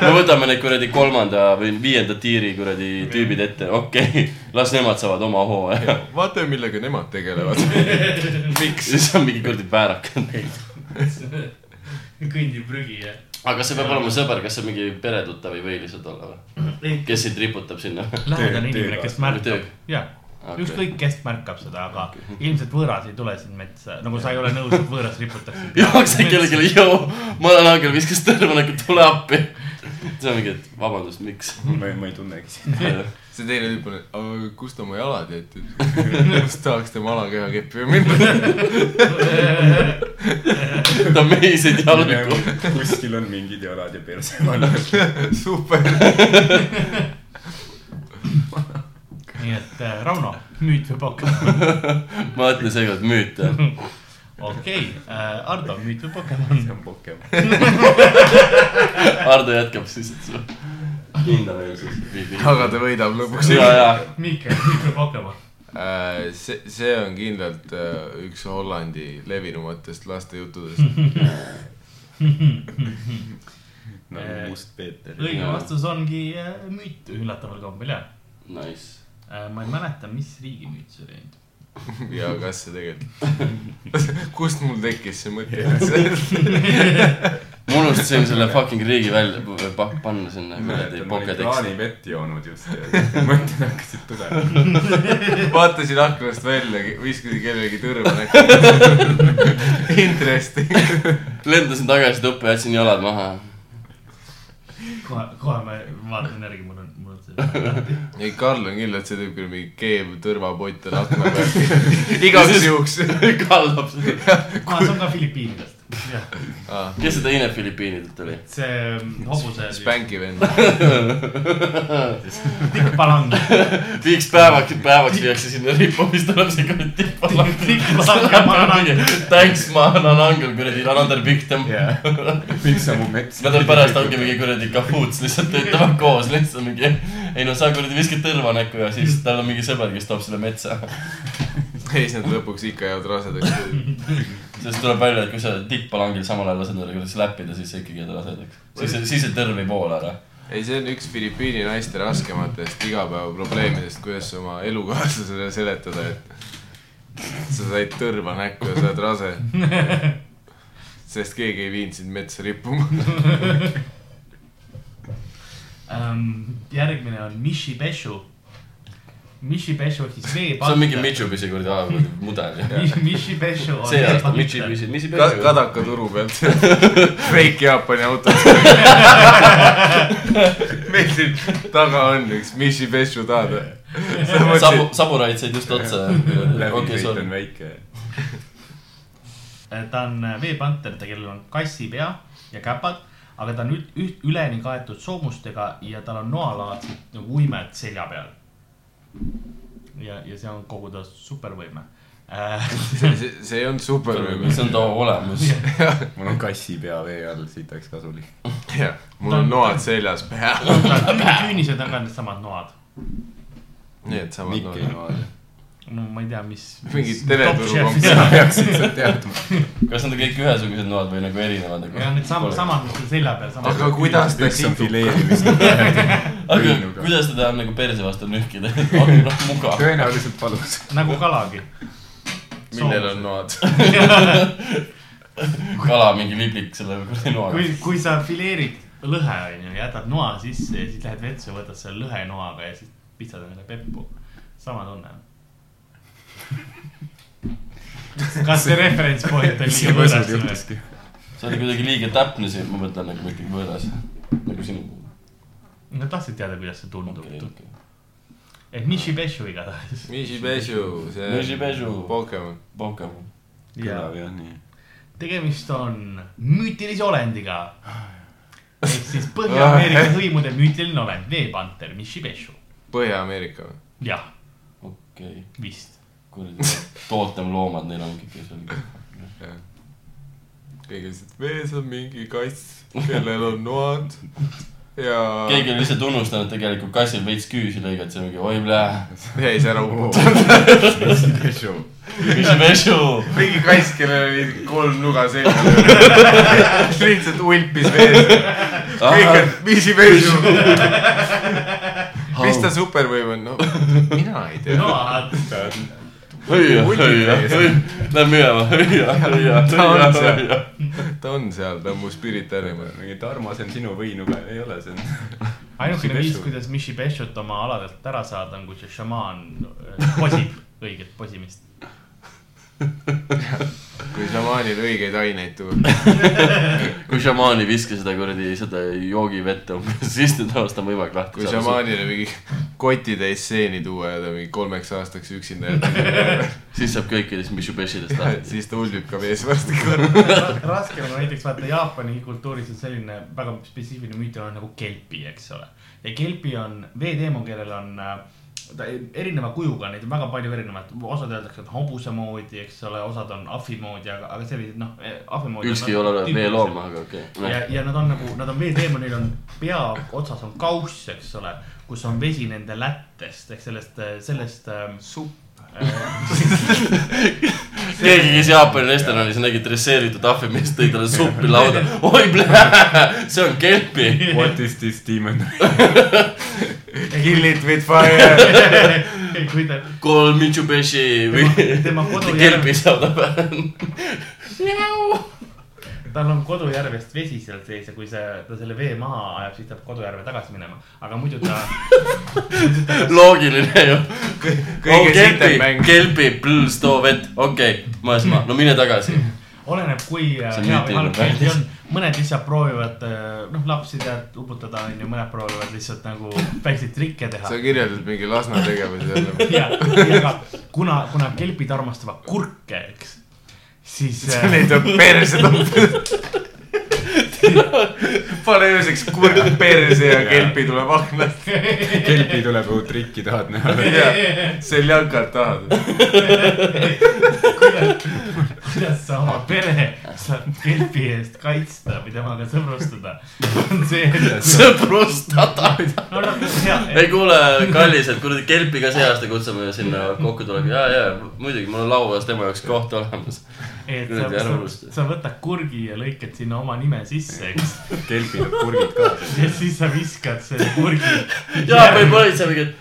[SPEAKER 5] me võtame need kuradi kolmanda või viienda tiiri kuradi tüübid ette , okei okay. , las nemad saavad oma hooaja .
[SPEAKER 4] vaata , millega nemad tegelevad . miks ?
[SPEAKER 5] siis on mingi kuradi väärak .
[SPEAKER 6] kõndib prügi ja .
[SPEAKER 5] aga see peab olema sõber , kas see on mingi peretuttav ei või lihtsalt olla või ? kes sind riputab sinna ?
[SPEAKER 6] lähedane inimene ,
[SPEAKER 3] Töö- tööga.
[SPEAKER 6] kes märkab
[SPEAKER 5] Tööga. ,
[SPEAKER 6] jah
[SPEAKER 5] Okei.
[SPEAKER 6] okay. , ükskõik kes märkab seda , aga ilmselt võõras ei tule sind metsa , nagu sa ei ole nõus , et võõras riputaks .
[SPEAKER 5] jookseb kellelegi , joo , ma olen Aagel , viskas tõrva nagu tule appi . see on mingi , et vabandust , miks ?
[SPEAKER 3] ma ei , ma ei tunnegi sind .
[SPEAKER 4] see teine tüüp on , aga kust ta oma jalad jättis ? kas tahaks tema alakeha keppi või minna ?
[SPEAKER 5] ta meiseid jalgu .
[SPEAKER 3] kuskil on mingid jalad ja perse vanus .
[SPEAKER 4] super .
[SPEAKER 6] nii et äh, Rauno , müüt või Pokemon ?
[SPEAKER 5] ma ütlen seekord müüt .
[SPEAKER 6] okei , Ardo , müüt või Pokemon ?
[SPEAKER 3] see on Pokemon .
[SPEAKER 5] Ardo jätkab siis , et su . hindame ju siis .
[SPEAKER 4] aga ta võidab lõpuks
[SPEAKER 5] ja , ja .
[SPEAKER 6] Mihkel , müüt või Pokemon ?
[SPEAKER 4] Äh, see , see on kindlalt äh, üks Hollandi levinumatest lastejuttudest .
[SPEAKER 3] nagu Must Peeter .
[SPEAKER 6] õige
[SPEAKER 5] Jaa.
[SPEAKER 6] vastus ongi äh, müüt , üllataval kombel jah .
[SPEAKER 5] Nice .
[SPEAKER 6] ma ei mäleta , mis riigi müüt see oli .
[SPEAKER 4] ja kas see tegelikult , kust mul tekkis see mõte , et see ,
[SPEAKER 5] ma unustasin selle fucking riigi välja pa- panna sinna kuradi
[SPEAKER 3] mäletan , ma olin
[SPEAKER 5] Pokedexi .
[SPEAKER 3] kraanivett joonud just ja mõtted hakkasid tulema .
[SPEAKER 4] vaatasin aknast välja , viskasin kellelegi tõrva näkku . Interesting .
[SPEAKER 5] lendasin tagasi tuppa , jätsin jalad maha .
[SPEAKER 6] kohe , kohe ma vaatan järgi , mul on , mul on see .
[SPEAKER 4] ei , Karl on kindlalt see tüüp , kellel mingi keeb tõrvapott on akna peal . igaks juhuks .
[SPEAKER 5] kallab seda .
[SPEAKER 6] aa , Ah, see on ka Filipiinidest . jah ,
[SPEAKER 5] kes see teine Filipiinidelt oli ?
[SPEAKER 6] see mm, hobuse .
[SPEAKER 4] Spanky vend .
[SPEAKER 6] Big Palang .
[SPEAKER 5] viiks päevaks , päevaks viiakse sinna rippu , mis tuleb see kuradi tipa lahti . Thanks , ma annan angel kuradi another victim .
[SPEAKER 3] miks sa mu metsa ?
[SPEAKER 5] Nad on pärast ongi mingi kuradi kahuuts , lihtsalt töötavad koos lihtsalt mingi . ei no sa kuradi viskad tõrva näkku ja siis tal on mingi sõber , kes toob selle metsa .
[SPEAKER 4] ja siis nad lõpuks ikka jäävad rasedaks .
[SPEAKER 5] siis tuleb välja , et kui sa tippalangil samal ajal lased endale kuradi läppida , siis sa ikkagi jääd rasedaks . siis , siis see tõrv ei voola ära .
[SPEAKER 4] ei , see on üks Filipiini naiste raskematest igapäevaprobleemidest , kuidas oma elukaaslasele seletada , et sa said tõrva näkku ja sa oled rase . sest keegi ei viinud sind metsa rippuma .
[SPEAKER 6] Ähm, järgmine on Mishi Peshu . Mishi Peshu ehk siis vee .
[SPEAKER 5] see on mingi . Mitsubishi kuradi ajaloo mudel .
[SPEAKER 6] Mishi Peshu on .
[SPEAKER 5] see aasta Mitsubishi , mis ei
[SPEAKER 4] Ka- ,
[SPEAKER 5] pea .
[SPEAKER 4] Kadaka turu pealt . Fake Jaapani auto . meil siin taga on üks Mishibeshu taada . sa
[SPEAKER 5] sabu
[SPEAKER 4] mõtlesid ,,
[SPEAKER 5] saburaid said just otsa . okei ,
[SPEAKER 3] läbipeit on
[SPEAKER 5] sorry .
[SPEAKER 3] väike .
[SPEAKER 6] Äh, ta on veepanter , ta , kellel on kassipea ja käpad , aga ta on üht, üht, üleni kaetud soomustega ja tal on noalaadsed nagu uimed selja peal . ja , ja see on kogu ta supervõime .
[SPEAKER 4] see , see , see ei olnud Superman .
[SPEAKER 5] mis on ta olemus ?
[SPEAKER 3] mul on kassipea vee all , siit oleks kasulik .
[SPEAKER 4] jah , mul on noad seljas peal .
[SPEAKER 6] küünised on ka needsamad noad .
[SPEAKER 4] nii et samad
[SPEAKER 3] Mikk ei
[SPEAKER 4] noad .
[SPEAKER 3] maali .
[SPEAKER 6] no ma ei tea , mis .
[SPEAKER 4] mingid teleturu
[SPEAKER 3] sina peaksid seda teadma .
[SPEAKER 5] kas nad on kõik ühesugused noad või nagu erinevad nagu ?
[SPEAKER 6] jah , need samad , samad , mis seal selja peal , samad .
[SPEAKER 4] aga kuidas ta
[SPEAKER 3] üks on
[SPEAKER 4] sidub ?
[SPEAKER 3] fileerimist .
[SPEAKER 5] aga
[SPEAKER 3] Õinuga.
[SPEAKER 5] kuidas ta tahab nagu perse vastu nühkida ? on noh mugav .
[SPEAKER 3] tõenäoliselt valus .
[SPEAKER 6] nagu kalagi .
[SPEAKER 4] millel on noad ?
[SPEAKER 5] kala mingi liblik selle kuradi noaga
[SPEAKER 6] kui ., kui sa fileerid lõhe , onju , jätad noa sisse ja siis lähed vetsu , võtad selle lõhe noaga ja siis pistad endale peppu . sama tunne on . kas see reference point on liiga võõras või ?
[SPEAKER 5] see oli kuidagi liiga täpne siin , ma mõtlen nagu ikkagi võõras . nagu sinu
[SPEAKER 6] no tahtsid teada , kuidas see tundub
[SPEAKER 5] puhul
[SPEAKER 6] okay. ?. et Mishi Peshu igatahes .
[SPEAKER 4] Mishi Peshu , see
[SPEAKER 5] Mishi Peshu.
[SPEAKER 4] Pokemon .
[SPEAKER 5] Pokemon .
[SPEAKER 6] ja
[SPEAKER 3] kõlab jah nii .
[SPEAKER 6] tegemist on müütilise olendiga . ehk siis Põhja-Ameerika hõimude müütiline olend , veepanter Mishi Peshu .
[SPEAKER 4] Põhja-Ameerika või ?
[SPEAKER 6] jah ,
[SPEAKER 5] okei ,
[SPEAKER 6] vist .
[SPEAKER 5] kuradi tootemloomad neil ongi , kes on .
[SPEAKER 4] keegi lihtsalt , mees on mingi kass , kellel on noad ja
[SPEAKER 5] keegi oli lihtsalt unustanud , et tegelikult kassil veits küüsi lõigati , see on mingi oi blää ,
[SPEAKER 4] jäi see ära uputama .
[SPEAKER 5] mis pesu .
[SPEAKER 4] mingi kass , kellel oli kolm nuga seljas . lihtsalt ulpis vees . kõik on Mishi Peshu . mis ta supervõim on , noh? no mina ei tea .
[SPEAKER 6] noad ,
[SPEAKER 5] hõia , hõia , hõia , lähme minema , hõia , hõia ,
[SPEAKER 4] Ta on
[SPEAKER 5] hõia ,
[SPEAKER 4] seal.
[SPEAKER 5] hõia .
[SPEAKER 4] ta on seal , ta on mu spirit animal .
[SPEAKER 3] mingi Tarmo , see on sinu võinuga , ei ole , see on .
[SPEAKER 6] ainukene
[SPEAKER 3] Mishi
[SPEAKER 6] viis
[SPEAKER 3] Peshu. ,
[SPEAKER 6] kuidas Mishi Peshut oma aladelt ära saada , on kui see šamaan äh, posib õiget posimist .
[SPEAKER 4] kui šamaanil õigeid aineid tuleb .
[SPEAKER 5] kui šamaan ei viska seda kuradi , seda joogivett umbes , siis teda ostab võimalik lahti
[SPEAKER 4] kui . šamaanile mingi kotitäis seeni tuua ja ta mingi kolmeks aastaks üksinda jätta ,
[SPEAKER 5] siis saab kõikidest Mishubeshidest lahti .
[SPEAKER 4] siis ta ulbib ka vees varsti korra .
[SPEAKER 6] raske on näiteks vaata Jaapani kultuuris on selline väga spetsiifiline müütiline nagu kelpi , eks ole . ja kelpi on veeteemon , kellel on äh, ta erineva kujuga , neid on väga palju erinevaid , osad öeldakse , et hobuse moodi , eks ole , osad on ahvi moodi , aga , aga sellised noh , ahvi moodi .
[SPEAKER 5] ükski ei ole veeloom , aga okei
[SPEAKER 6] ja
[SPEAKER 5] okay. .,
[SPEAKER 6] ja nad on nagu , nad on veeteemonil on pea otsas on kauss , eks ole , kus on vesi nende lättest ehk sellest , sellest . ähm, supp .
[SPEAKER 5] keegi , kes Jaapani restoranis nägi dresseeritud ahvimeest , tõi talle suppi lauda . oi , see on kelpi .
[SPEAKER 6] äh,
[SPEAKER 3] What is this demon ?
[SPEAKER 4] Kill it with fire .
[SPEAKER 6] kui ta ,
[SPEAKER 5] kolm Mishubeshi või
[SPEAKER 6] tema kodujärv
[SPEAKER 5] kelpi , saadab .
[SPEAKER 6] tal on kodujärvest vesi seal sees ja kui see , ta selle vee maha ajab , siis ta peab kodujärve tagasi minema , aga muidu ta
[SPEAKER 5] loogiline ju .
[SPEAKER 4] kõige
[SPEAKER 5] kelpi
[SPEAKER 4] sitem , mäng .
[SPEAKER 5] kelpi , plõs , too vett , okei okay, , maismaa , no mine tagasi .
[SPEAKER 6] oleneb , kui äh,
[SPEAKER 5] See
[SPEAKER 6] hea
[SPEAKER 5] on
[SPEAKER 6] või
[SPEAKER 5] müütiline
[SPEAKER 6] halb keeld see
[SPEAKER 5] päris.
[SPEAKER 6] on . mõned lihtsalt proovivad , noh , lapsi tead uputada , onju , mõned proovivad lihtsalt nagu väikseid trikke teha
[SPEAKER 4] sa . kirjeldad mingi Lasna tegevuse jälle .
[SPEAKER 6] ja , ja ka kuna , kuna kelpid armastavad kurke , eks , siis äh,
[SPEAKER 4] Neid on perse toppinud . pane ööseks kurg perse ja kelpi tuleb aknast .
[SPEAKER 3] kelpi tuleb uut trikki , tahad näha ?
[SPEAKER 4] seljakad tahad .
[SPEAKER 6] kuidas sa oma pere saad kelpi eest kaitsta või temaga sõbrustada , on see , et
[SPEAKER 5] sõprustada .
[SPEAKER 6] no nad on head
[SPEAKER 5] ei . kuule , kallis , et kuradi kelpi ka see aasta kutsume sinna kokkutuleku , ja , ja muidugi mul on lauas tema jaoks koht olemas .
[SPEAKER 6] et sa,
[SPEAKER 5] Kuradi
[SPEAKER 6] sa,
[SPEAKER 5] arvuruste.
[SPEAKER 6] sa võtad kurgi ja lõikad sinna oma nime sisse , eks .
[SPEAKER 3] kelpi tuleb kurgid kaasa .
[SPEAKER 6] ja siis sa viskad selle kurgi .
[SPEAKER 5] ja või politsei mingi , et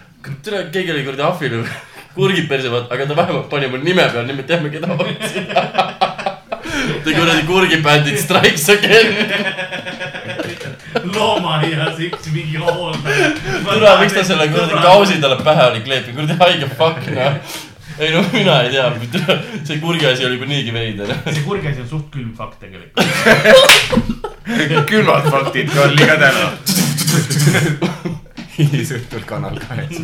[SPEAKER 5] tere , keegi oli kuradi ahvil kurgid perse vaata , aga ta vähemalt pani mul nime peal , nüüd me teame , keda ma võtsin . Te kuradi kurgibändid Strikes Again ,
[SPEAKER 6] loomaaias üks mingi hooldaja .
[SPEAKER 5] tule miks ta selle kuradi kausi talle pähe oli kleepinud , kuradi haige fuck noh . ei no mina ei tea , see kurgi asi oli juba niigi veider .
[SPEAKER 6] see kurgi asi on suht külm fakt tegelikult .
[SPEAKER 4] külmad faktid , Karl , iga täna .
[SPEAKER 3] hilisõhtul Kanal kahes .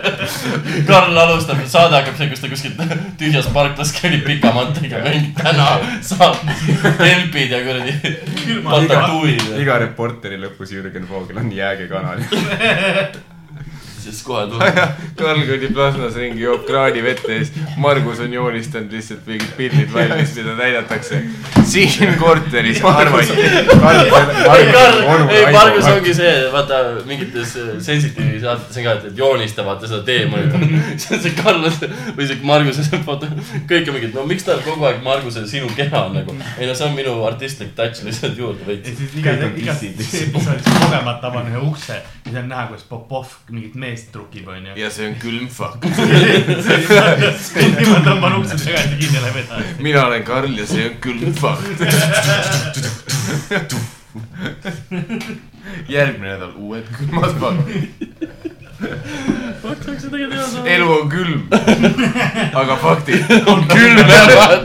[SPEAKER 5] Karl alustab , saade hakkab see , kus ta kuskilt tühjas parklas käib pika mantriga mingi täna saab kelbid ja kuradi
[SPEAKER 6] külma
[SPEAKER 5] patatuid .
[SPEAKER 3] iga reporteri lõpus Jürgen Voogel on jääge kanal .
[SPEAKER 5] siis kohe tuleb .
[SPEAKER 4] Karl kõnnib Lasnas ringi , joob kraani vett ja siis Margus on joonistanud lihtsalt mingid pildid valmis , mida näidatakse siin korteris arvati .
[SPEAKER 5] ei , Karl , ei , Margus ongi see , vaata mingites äh, sensitiivi saadetes on ka , et joonista , vaata seda teemani . see on see Karl on see- või see Margus , vaata kõik on mingid , no miks tal kogu aeg Margusel sinu keha on nagu . ei no see on minu artistlik touch lihtsalt juurde
[SPEAKER 6] ja
[SPEAKER 5] veits .
[SPEAKER 6] siis iga
[SPEAKER 3] Kõik on ,
[SPEAKER 6] iga
[SPEAKER 3] pissid
[SPEAKER 6] episoodis kogemata avan ühe ukse ja seal on näha , kuidas Popov mingit meest trukib , onju .
[SPEAKER 4] ja see on külm fuck .
[SPEAKER 6] ma tõmban ukse tagasi kinni , läheb edasi .
[SPEAKER 4] mina olen Karl ja see on külm fuck . järgmine nädal uued külmad fuck'id .
[SPEAKER 6] tahaks seda ka teha saada .
[SPEAKER 4] elu on külm , aga faktid on
[SPEAKER 5] küll
[SPEAKER 4] külmad .
[SPEAKER 5] näevad .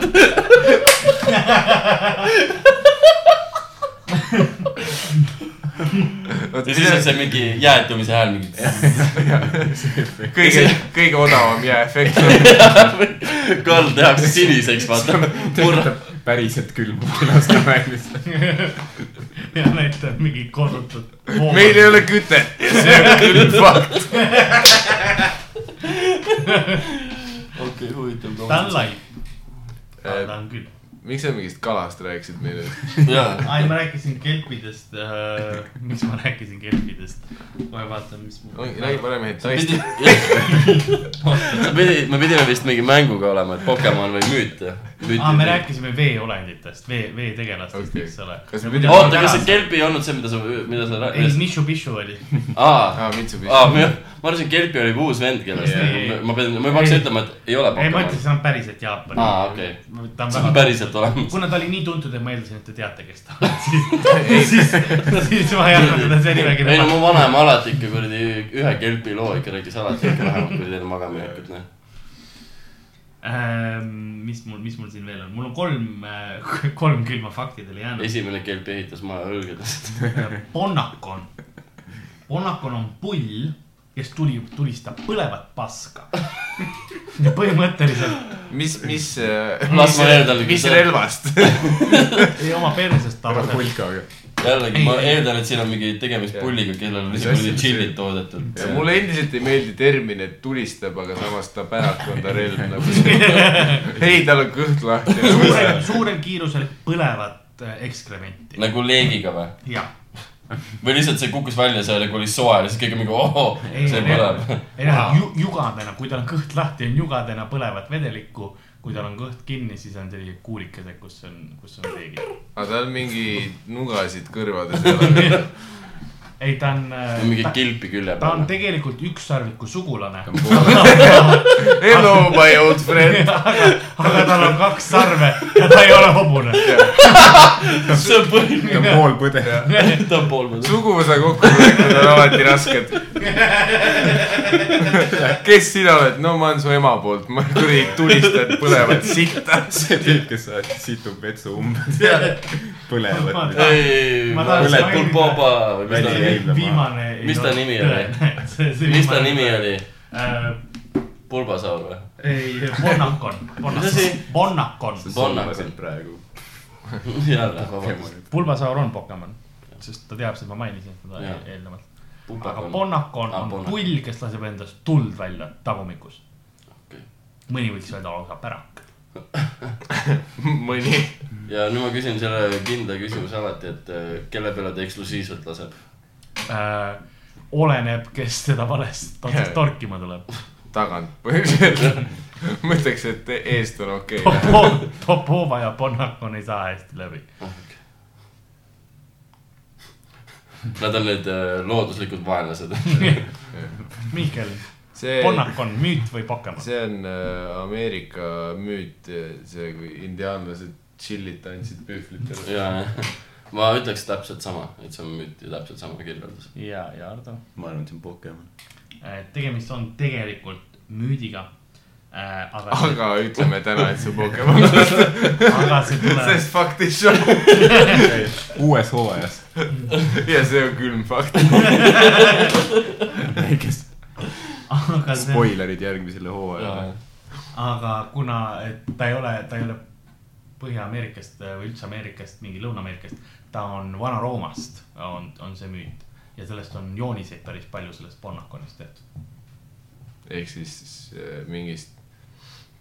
[SPEAKER 5] ja siis on see mingi jäätumise hääl mingi .
[SPEAKER 4] kõige , kõige odavam jääefekt on
[SPEAKER 5] Karl tehakse siniseks , vaata . murrab ,
[SPEAKER 3] päriselt külm Lasnamäel lihtsalt .
[SPEAKER 6] ja näitab mingi korrutud .
[SPEAKER 4] meil ei ole kütet ja see on külm fakt .
[SPEAKER 5] okei , huvitav
[SPEAKER 6] ta on . lai ,
[SPEAKER 4] Äh,
[SPEAKER 6] ta on küll .
[SPEAKER 4] miks sa mingist kalast rääkisid meile ?
[SPEAKER 5] jaa ,
[SPEAKER 6] ai , ma rääkisin kelpidest äh, . miks ma rääkisin kelpidest ? kohe vaatan , mis mul .
[SPEAKER 4] räägi parem hetk
[SPEAKER 5] sa
[SPEAKER 4] taist .
[SPEAKER 5] pidid , me pidime vist mingi mänguga olema , et Pokemon või müüt .
[SPEAKER 6] aa , Ah, me rääkisime veeolenditest , vee , veetegelastest
[SPEAKER 4] Okei.
[SPEAKER 6] okay. , eks ole .
[SPEAKER 4] Kas me pidime-
[SPEAKER 5] oota , kas see kelp ei olnud see , mida sa , mida sa
[SPEAKER 6] ei ,
[SPEAKER 5] rääkisid ?
[SPEAKER 6] Mišu-Pišu oli .
[SPEAKER 5] aa ,
[SPEAKER 4] aa , Mitsubishi
[SPEAKER 5] aa , ma ma arvasin , kelpi oli uus vend , kellest
[SPEAKER 6] Ei.
[SPEAKER 5] ma pean , ma peaks
[SPEAKER 6] Ei.
[SPEAKER 5] ütlema , et ei ole
[SPEAKER 6] ei , ma
[SPEAKER 5] Pokemon
[SPEAKER 6] ütlesin ,. see on päriselt Jaapani .
[SPEAKER 5] Aa, okei.
[SPEAKER 6] ta
[SPEAKER 5] see on
[SPEAKER 6] on väga ,
[SPEAKER 5] päriselt olemas .
[SPEAKER 6] kuna ta oli nii tuntud , et ma eeldasin , et te teate , kes ta on , siis , siis , siis ma ei arvanud , et ta see
[SPEAKER 5] ei no
[SPEAKER 6] nimekiri
[SPEAKER 5] mu vanaema alati ikka kuradi ühe kelpi loo ikka rääkis alati ikka vähemalt kui teil magama jääb , noh .
[SPEAKER 6] on . Ähm, mis mul , mis mul siin veel on , mul on kolm äh, , kolm külma fakti teile jäänud .
[SPEAKER 5] esimene kelp ehitas maja õlgadest .
[SPEAKER 6] Ponnakon , Ponnakon on pull , kes tuli , tulistab põlevat paska . põhimõtteliselt
[SPEAKER 4] mis , mis ,
[SPEAKER 5] Las ma eeldan, et
[SPEAKER 4] mis
[SPEAKER 5] see-
[SPEAKER 4] relvast ?
[SPEAKER 6] ei oma persest tavaliselt .
[SPEAKER 3] hulkaga .
[SPEAKER 5] jällegi ,
[SPEAKER 6] Ei,
[SPEAKER 5] ma
[SPEAKER 6] ei.
[SPEAKER 5] eeldan , et siin on mingi tegemist pulliga , kellel on lihtsalt
[SPEAKER 3] asja
[SPEAKER 5] mingi
[SPEAKER 3] on
[SPEAKER 5] tšillid toodetud .
[SPEAKER 4] mulle endiselt ei meeldi termin , et tulistab , aga samas ta pärak on ta relv nagu . ei , tal on kõht
[SPEAKER 6] suurel ,
[SPEAKER 4] lahti .
[SPEAKER 6] suurel kiirusel põlevat äh, ekskrementi ,
[SPEAKER 5] nagu leegiga või ?
[SPEAKER 6] jah .
[SPEAKER 5] või lihtsalt see kukkus välja seal ja kui oli soe , siis kõik on mingi ohoo ,
[SPEAKER 6] ei ,
[SPEAKER 5] see põleb .
[SPEAKER 6] ei lähe ju, jugadena , kui tal on kõht lahti , on jugadena põlevat vedelikku . kui tal on kõht kinni , siis on sellised kuulikesed , kus on , kus on leegi .
[SPEAKER 4] aga tal mingi nugasid kõrvades ei ole .
[SPEAKER 6] ei , ta on .
[SPEAKER 5] mingi kilpi külje
[SPEAKER 6] ta on
[SPEAKER 5] peal .
[SPEAKER 6] tegelikult ükssarviku sugulane .
[SPEAKER 4] Hello my old friend .
[SPEAKER 6] aga tal on kaks sarve ja ta ei ole hobune .
[SPEAKER 5] see on põhiline .
[SPEAKER 3] ta on pool põde .
[SPEAKER 5] ta on pool mõõdu .
[SPEAKER 4] suguvõsa kokkutulekud on alati rasked . kes sina oled ? no ma olen su ema poolt , ma kuradi tulistan põlevat sitta .
[SPEAKER 3] see tüüp , kes saatis situb vetsu umbes . põlevat .
[SPEAKER 5] ei ,
[SPEAKER 6] Ma tahan
[SPEAKER 5] Põle
[SPEAKER 6] seda
[SPEAKER 5] Pulpoba või mis
[SPEAKER 3] Välja
[SPEAKER 5] ta oli
[SPEAKER 3] jäi. ?
[SPEAKER 6] viimane .
[SPEAKER 5] Mis ta nimi oli? mis ta nimi ? oli ? Pulbasaur või ?
[SPEAKER 6] Äh, ei , Bonnakon ,
[SPEAKER 5] Mis asi?
[SPEAKER 6] Bonnakon ,
[SPEAKER 5] Bonnakon .
[SPEAKER 3] praegu .
[SPEAKER 5] jälle , vabandust .
[SPEAKER 6] pulbasaur on Pokemon , sest ta teab , sest ma mainisin seda
[SPEAKER 5] Jaa.
[SPEAKER 6] eelnevalt . aga
[SPEAKER 5] Pupakon .
[SPEAKER 6] Bonnakon
[SPEAKER 5] Aa,
[SPEAKER 6] on
[SPEAKER 5] Bonnakon.
[SPEAKER 6] pull , kes laseb endast tuld välja tagumikus
[SPEAKER 5] Okei. .
[SPEAKER 6] mõni võiks öelda lausa pärak .
[SPEAKER 4] mõni .
[SPEAKER 5] ja nüüd ma küsin selle kindla küsimuse alati , et äh, kelle peale ta eksklusiivselt laseb ?
[SPEAKER 6] Äh, oleneb , kes teda valest otsast
[SPEAKER 4] Jaa.
[SPEAKER 6] torkima tuleb .
[SPEAKER 4] tagant põhimõtteliselt . ma ütleks , et eest on okei okay. .
[SPEAKER 6] Popova ja Bonnakon ei saa hästi läbi .
[SPEAKER 5] Nad on need äh, looduslikud vaenlased .
[SPEAKER 6] Mihkel ,
[SPEAKER 4] see ,
[SPEAKER 6] Bonnakon , müüt või Pokemon ?
[SPEAKER 4] see on äh, Ameerika müüt , see kui indiaanlased tšillid tandsid pühvlitele .
[SPEAKER 5] ja , jah . ma ütleks täpselt sama , et see on müüt ja täpselt sama kirjeldus .
[SPEAKER 6] ja , ja Ardo ?
[SPEAKER 3] ma arvan , et see on Pokemon .
[SPEAKER 6] Äh, tegemist on tegelikult müüdiga . aga ,
[SPEAKER 4] aga ütleme täna , et see on Pokemon ,
[SPEAKER 6] aga see tuleb ,
[SPEAKER 4] sest fakt ei saa .
[SPEAKER 3] uues hooajas .
[SPEAKER 4] ja see on külm fakt .
[SPEAKER 3] väikest
[SPEAKER 6] aga see ,
[SPEAKER 3] spoilerid järgmisele hooajale .
[SPEAKER 6] aga kuna et ta ei ole , ta ei ole äh, Põhja-Ameerikast või üldse Ameerikast , mingi Lõuna-Ameerikast , ta on Vana-Roomast , on , on see müüt . ja sellest on jooniseid päris palju sellest Bonnaconist tehtud .
[SPEAKER 4] ehk siis äh, mingist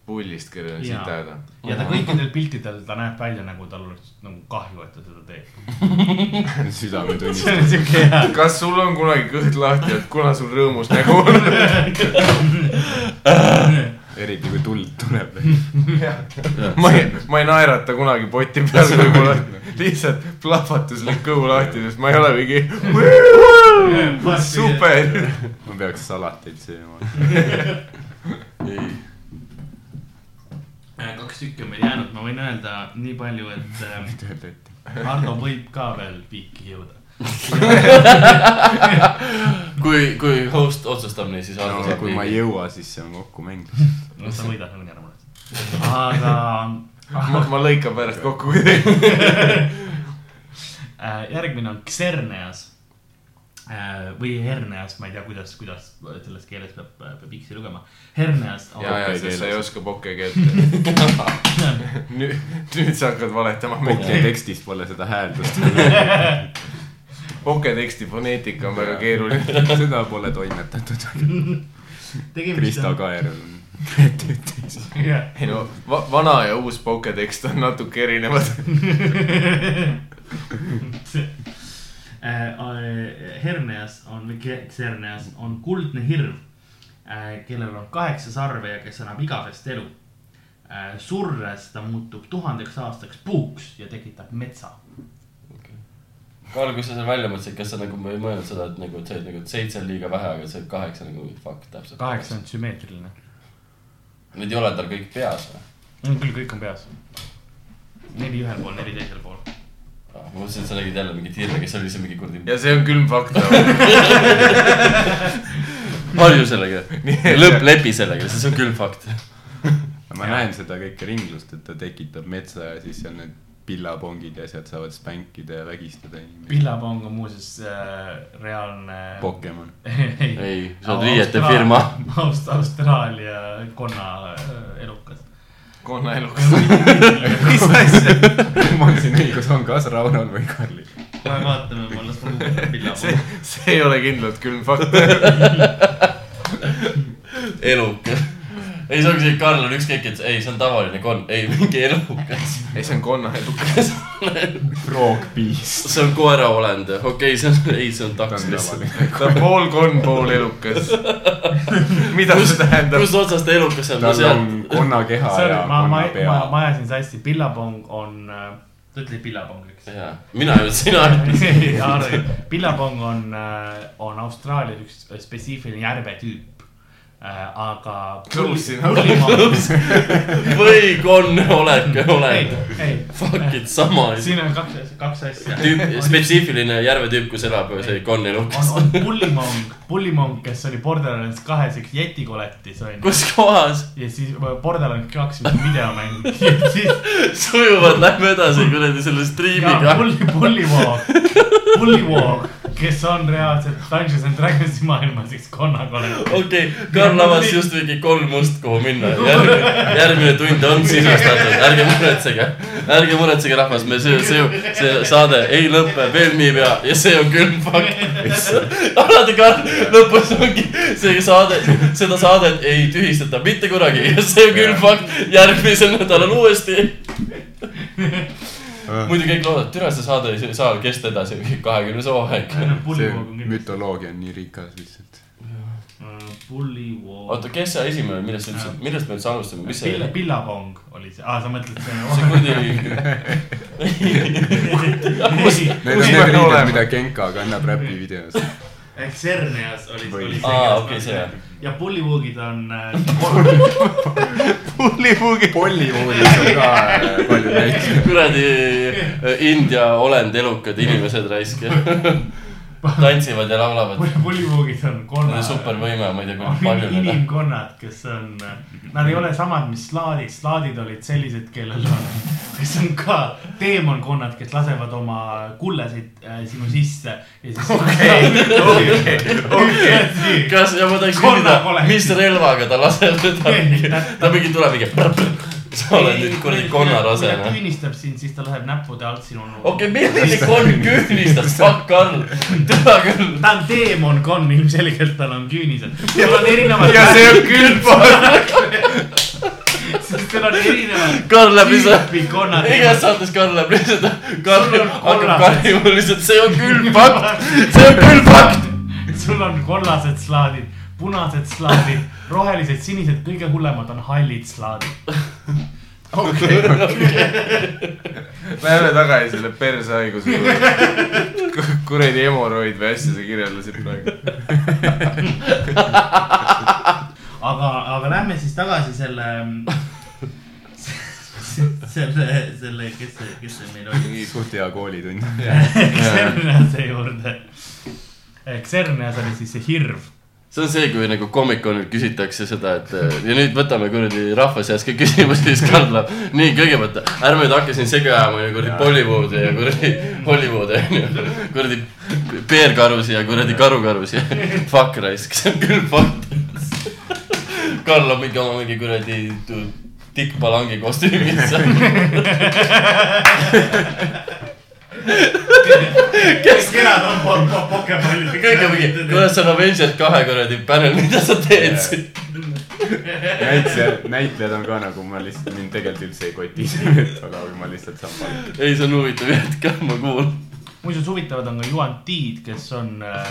[SPEAKER 4] pullist , kellel on
[SPEAKER 6] Jaa.
[SPEAKER 4] sita häda .
[SPEAKER 6] ja ta kõikidel piltidel , ta näeb välja nagu tal oleks nagu kahju , et ta seda teeb .
[SPEAKER 3] südametunnistus .
[SPEAKER 6] see on siuke hea .
[SPEAKER 4] kas sul on kunagi kõht lahti , et kuna sul rõõmus nägu on ?
[SPEAKER 3] eriti kui tuld tuleb .
[SPEAKER 4] ma ei , ma ei naerata kunagi poti peal , kui mul on lihtsalt plahvatuslik kõhu lahti , sest ma ei ole mingi super .
[SPEAKER 3] ma peaks salateid sööma .
[SPEAKER 6] Äh, kaks tükki on meil jäänud , ma võin öelda nii palju , et äh,
[SPEAKER 3] töötati .
[SPEAKER 6] Ardo võib ka veel piiki jõuda .
[SPEAKER 5] kui , kui host otsustab nii , siis Ardo saab
[SPEAKER 3] kui ma ei
[SPEAKER 5] nii .
[SPEAKER 3] jõua , siis see on kokkumäng .
[SPEAKER 6] no sa võidad nagunii ära mulle . aga Ah,
[SPEAKER 4] ma , ma lõikan pärast kokku kuidagi .
[SPEAKER 6] äh, järgmine on Xerneas äh, või Herneas , ma ei tea , kuidas , kuidas selles keeles peab , peab X-i lugema . Herneas on
[SPEAKER 4] ja , ja , sest sa ei oska pokke keelt . nüüd , nüüd sa hakkad valetama
[SPEAKER 3] Pokki
[SPEAKER 4] meile .
[SPEAKER 3] tekstis pole seda hääldust ,
[SPEAKER 4] poke teksti foneetika on väga keeruline .
[SPEAKER 3] seda pole toimetatud .
[SPEAKER 6] tegemist
[SPEAKER 3] Krista
[SPEAKER 6] on ,
[SPEAKER 3] Kaer on .
[SPEAKER 6] jah ,
[SPEAKER 4] ei no va, , vana ja uus poke tekst on natuke erinevad .
[SPEAKER 6] see . Eh, Herneas on , või Xe- Xerneas on kuldne hirv , kellel on kaheksa sarve ja kes elab igavest elu . surres ta muutub tuhandeks aastaks puuks ja tekitab metsa .
[SPEAKER 5] Karl , kui sa selle välja mõtlesid , kas sa nagu , ma ei mõelnud seda , et nagu , et see nagu et seitse on liiga vähe , aga see kaheksa nagu fuck täpselt .
[SPEAKER 6] kaheksa on sümmeetriline .
[SPEAKER 5] Need ei ole tal kõik peas või ?
[SPEAKER 6] on küll , kõik on peas . neli ühel pool , neli teisel pool .
[SPEAKER 5] Ah, ma mõtlesin , et sa nägid jälle mingit hirme , kes oli seal mingi kuradi .
[SPEAKER 4] ja see on külm fakt .
[SPEAKER 5] harju sellega , lõpp , lepi sellega , see on külm fakt .
[SPEAKER 3] ma näen seda kõike ringlust , et ta tekitab metsa ja siis seal need pillapongid ja asjad saavad spänkida ja vägistada inimesi .
[SPEAKER 6] pillapong on muuseas äh, reaalne .
[SPEAKER 3] Pokemon .
[SPEAKER 5] ei , sa oled riiete firma .
[SPEAKER 6] Aust- , Austraalia konna äh, elukas .
[SPEAKER 4] konna elukas . mis asja ?
[SPEAKER 3] ma andsin õigus , on kas Raunol või Karlil .
[SPEAKER 6] kohe vaatame , ma las ma guugeldan
[SPEAKER 4] see
[SPEAKER 6] pillapong .,
[SPEAKER 4] see ei ole kindlalt külm fakt .
[SPEAKER 5] elukas . ei , see ongi see , Karl on ükskõik , et ei , see on tavaline konn , ei , mingi elukas .
[SPEAKER 4] ei , see on konna elukas .
[SPEAKER 3] Frogbeast .
[SPEAKER 5] see on koeraolend , okei okay, , see on , ei , see on taks lihtsalt .
[SPEAKER 4] ta on pool konn , pool elukas . mida see tähendab ?
[SPEAKER 5] kust otsast ta elukas on , no
[SPEAKER 3] tal
[SPEAKER 5] seal
[SPEAKER 3] on , konna keha
[SPEAKER 6] Sorry
[SPEAKER 3] ja ,
[SPEAKER 6] ma , ma ma ,
[SPEAKER 3] konna , pea .
[SPEAKER 6] ma ajasin sassi , pillapong on , äh, ta ütles pillapong , eks .
[SPEAKER 5] jaa , mina ei öelnud , sina ütlesid .
[SPEAKER 6] pillapong on , on Austraalias üks äh, spetsiifiline järvetüüp , aga .
[SPEAKER 4] Close enough.
[SPEAKER 6] ei ,
[SPEAKER 5] või konn , oled , oled .
[SPEAKER 6] ei ,
[SPEAKER 5] Fuck it , sama asi .
[SPEAKER 6] siin on kaks , kaks asja .
[SPEAKER 5] tüüp , spetsiifiline järvetüüp , kus elab see konn elukas
[SPEAKER 6] on , on pullimong , pullimong , kes oli Borderlands kahes üks jetikoletis onju .
[SPEAKER 5] kus kohas ,
[SPEAKER 6] ja siis äh, Borderlands kaks , mis on videomäng . ja siis
[SPEAKER 5] sujuvalt lähme edasi kuradi selle
[SPEAKER 6] jaa ,
[SPEAKER 5] striimiga .
[SPEAKER 6] pulli , pullivoog , pullivoog , kes on reaalselt Dungeons and Dragonsi maailmas üks konnakole .
[SPEAKER 5] okei okay, , Karl avas just mingi kolm must , kuhu minna . järgmine , järgmine tund on sisustatud , ärge muretsege . ärge muretsege , rahvas , me see , see , see saade ei lõpe veel niipea ja see on külm fakt . alati Karl , lõpus ongi see saade , seda saadet ei tühistata mitte kunagi ja see on külm fakt . järgmisel nädalal uuesti . muidu kõik loodavad , et türa see saade ei saa kesta edasi , kahekümnes hooaeg .
[SPEAKER 3] see
[SPEAKER 6] pullivoog on Äh, kindlasti .
[SPEAKER 3] mütoloogia on nii rikas lihtsalt .
[SPEAKER 6] pullivoog .
[SPEAKER 5] oota , kes see esimene , millest sa ütlesid , millest me üldse alustame , mis see
[SPEAKER 6] Pill- , pillavong oli see , aa , sa mõtled
[SPEAKER 5] see
[SPEAKER 6] see .
[SPEAKER 5] kuradi ,
[SPEAKER 3] Need on need riided , mida Genka kannab räpi videos .
[SPEAKER 6] ehk Sernias oli , oli see .
[SPEAKER 5] Aa, okei, see, jah. .
[SPEAKER 6] ja pullivoogid on äh,
[SPEAKER 3] pullipuugi . Bollywoolis on ka äh, palju näiteid .
[SPEAKER 5] kuradi India olend , elukad inimesed raisk . tantsivad ja laulavad .
[SPEAKER 6] pull- pullivoogid on konna .
[SPEAKER 5] supervõime , ma ei tea ,
[SPEAKER 6] Ah,
[SPEAKER 5] kui palju neid on .
[SPEAKER 6] inimkonnad , kes on , nad ei ole samad , mis slaadid , slaadid olid sellised , kellel on , kes on ka teemankonnad , kes lasevad oma kullesid äh, sinu sisse ja siis . okei , okei .
[SPEAKER 5] kas , ja ma tahaks
[SPEAKER 6] Konna
[SPEAKER 5] küsida ,
[SPEAKER 6] kollektiiv.
[SPEAKER 5] mis relvaga ta laseb seda . ta mingi tuleb mingi . sa oled nüüd kuradi
[SPEAKER 6] kui ta
[SPEAKER 5] konnarasena .
[SPEAKER 6] küünistab sind , siis ta läheb näppude alt sinu
[SPEAKER 5] okei , milline konn küünistab , fuck on , teda küll .
[SPEAKER 6] ta on teemon konn , ilmselgelt tal on küünised . tal on erinevad ,
[SPEAKER 4] ja see on külmpood .
[SPEAKER 6] tal on erinevad
[SPEAKER 5] Karl läheb lihtsalt ,
[SPEAKER 6] tüüpi konnad .
[SPEAKER 5] igas saates Karl läheb lihtsalt , Karl
[SPEAKER 6] Sul on
[SPEAKER 5] hakkab
[SPEAKER 6] kollased.
[SPEAKER 5] karjuma lihtsalt , see on küll fakt , see on küll fakt .
[SPEAKER 6] sul on kollased slaadid , punased slaadid , rohelised , sinised , kõige hullemad on hallid slaadid .
[SPEAKER 4] Läheme tagasi selle persehaiguse juurde . kuradi hemoroid või asja sa kirjeldasid praegu .
[SPEAKER 6] aga , aga lähme siis tagasi selle , selle , selle , kes see , kes see meil oli ,
[SPEAKER 3] suht hea koolitund .
[SPEAKER 6] Xernease juurde . Xerneas oli siis see hirv .
[SPEAKER 5] see on see , kui nagu Comic-Conil küsitakse seda , et eh, ja nüüd võtame kuradi rahva seas ka küsimusi , siis Karl läheb , nii kõigepealt , ärme nüüd hakka siin segi ajama ja kuradi Bollywoodi ja kuradi Hollywoodi onju , kuradi peerkarusi ja kuradi karukarusi , fuck raisk , see on küll fakt . Karl on mingi oma mingi kuradi tu- Dick Palangi kostüümis seal ,
[SPEAKER 6] kenad on pol- po- pokepallid .
[SPEAKER 5] kõige mingi , kuidas on Avengers kahe kuradi panel , mida sa teed siin ?
[SPEAKER 3] näitlejad , näitlejad on ka nagu ma lihtsalt , mind tegelikult üldse ei koti see , et aga ma lihtsalt saan palka .
[SPEAKER 5] ei , see on huvitav jätk , ma kuulan .
[SPEAKER 6] muuseas huvitavad on ka juantiid , kes on äh,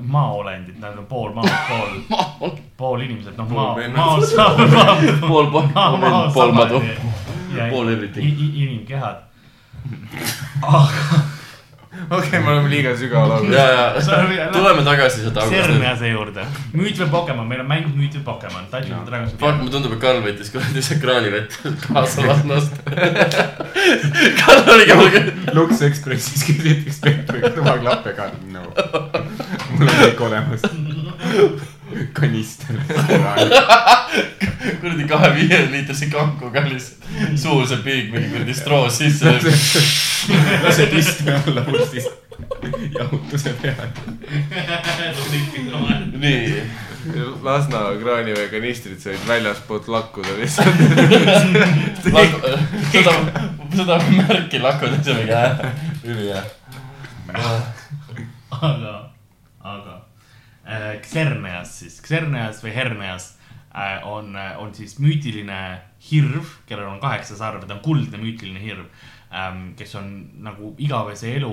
[SPEAKER 6] maaolendid , nad on pool maa , pool , pool inimesed , noh maa ,
[SPEAKER 4] vennad.
[SPEAKER 6] maa , maa ,
[SPEAKER 5] pool , pool ,
[SPEAKER 6] maa , maa ,
[SPEAKER 5] pool madu . pool everything.
[SPEAKER 6] inimkehad .
[SPEAKER 4] okei , me oleme liiga sügavalaul .
[SPEAKER 5] ja , ja tuleme tagasi seda august .
[SPEAKER 6] Serniase juurde , müüt või Pokemon , meil on mäng Müüt või Pokemon , Dungeons and Dragons .
[SPEAKER 5] Fuck , mulle tundub , et Karl võttis kuradi see kraanivett kaasa laskmast . Karl oli ka ,
[SPEAKER 3] Lux Expressis küsiti spektri tubaklappega , no . mul on kõik olemas . kanister .
[SPEAKER 5] kuradi kahe viie liitrise kankuga lihtsalt suur see piik , mingi kuradi stroo sisse .
[SPEAKER 3] lased istme alla pursist jahutuse peale .
[SPEAKER 5] nii ,
[SPEAKER 4] Lasna kraanivee kanistrid said väljaspoolt lakkuda lihtsalt .
[SPEAKER 5] seda , seda märki lakud üldse mingi hää , ülihää .
[SPEAKER 6] aga , aga äh, Xerneas siis , Xerneas või Herneas äh, on , on siis müütiline hirv , kellel on kaheksa sarve , ta on kuldne müütiline hirv ähm, kes on nagu igavese elu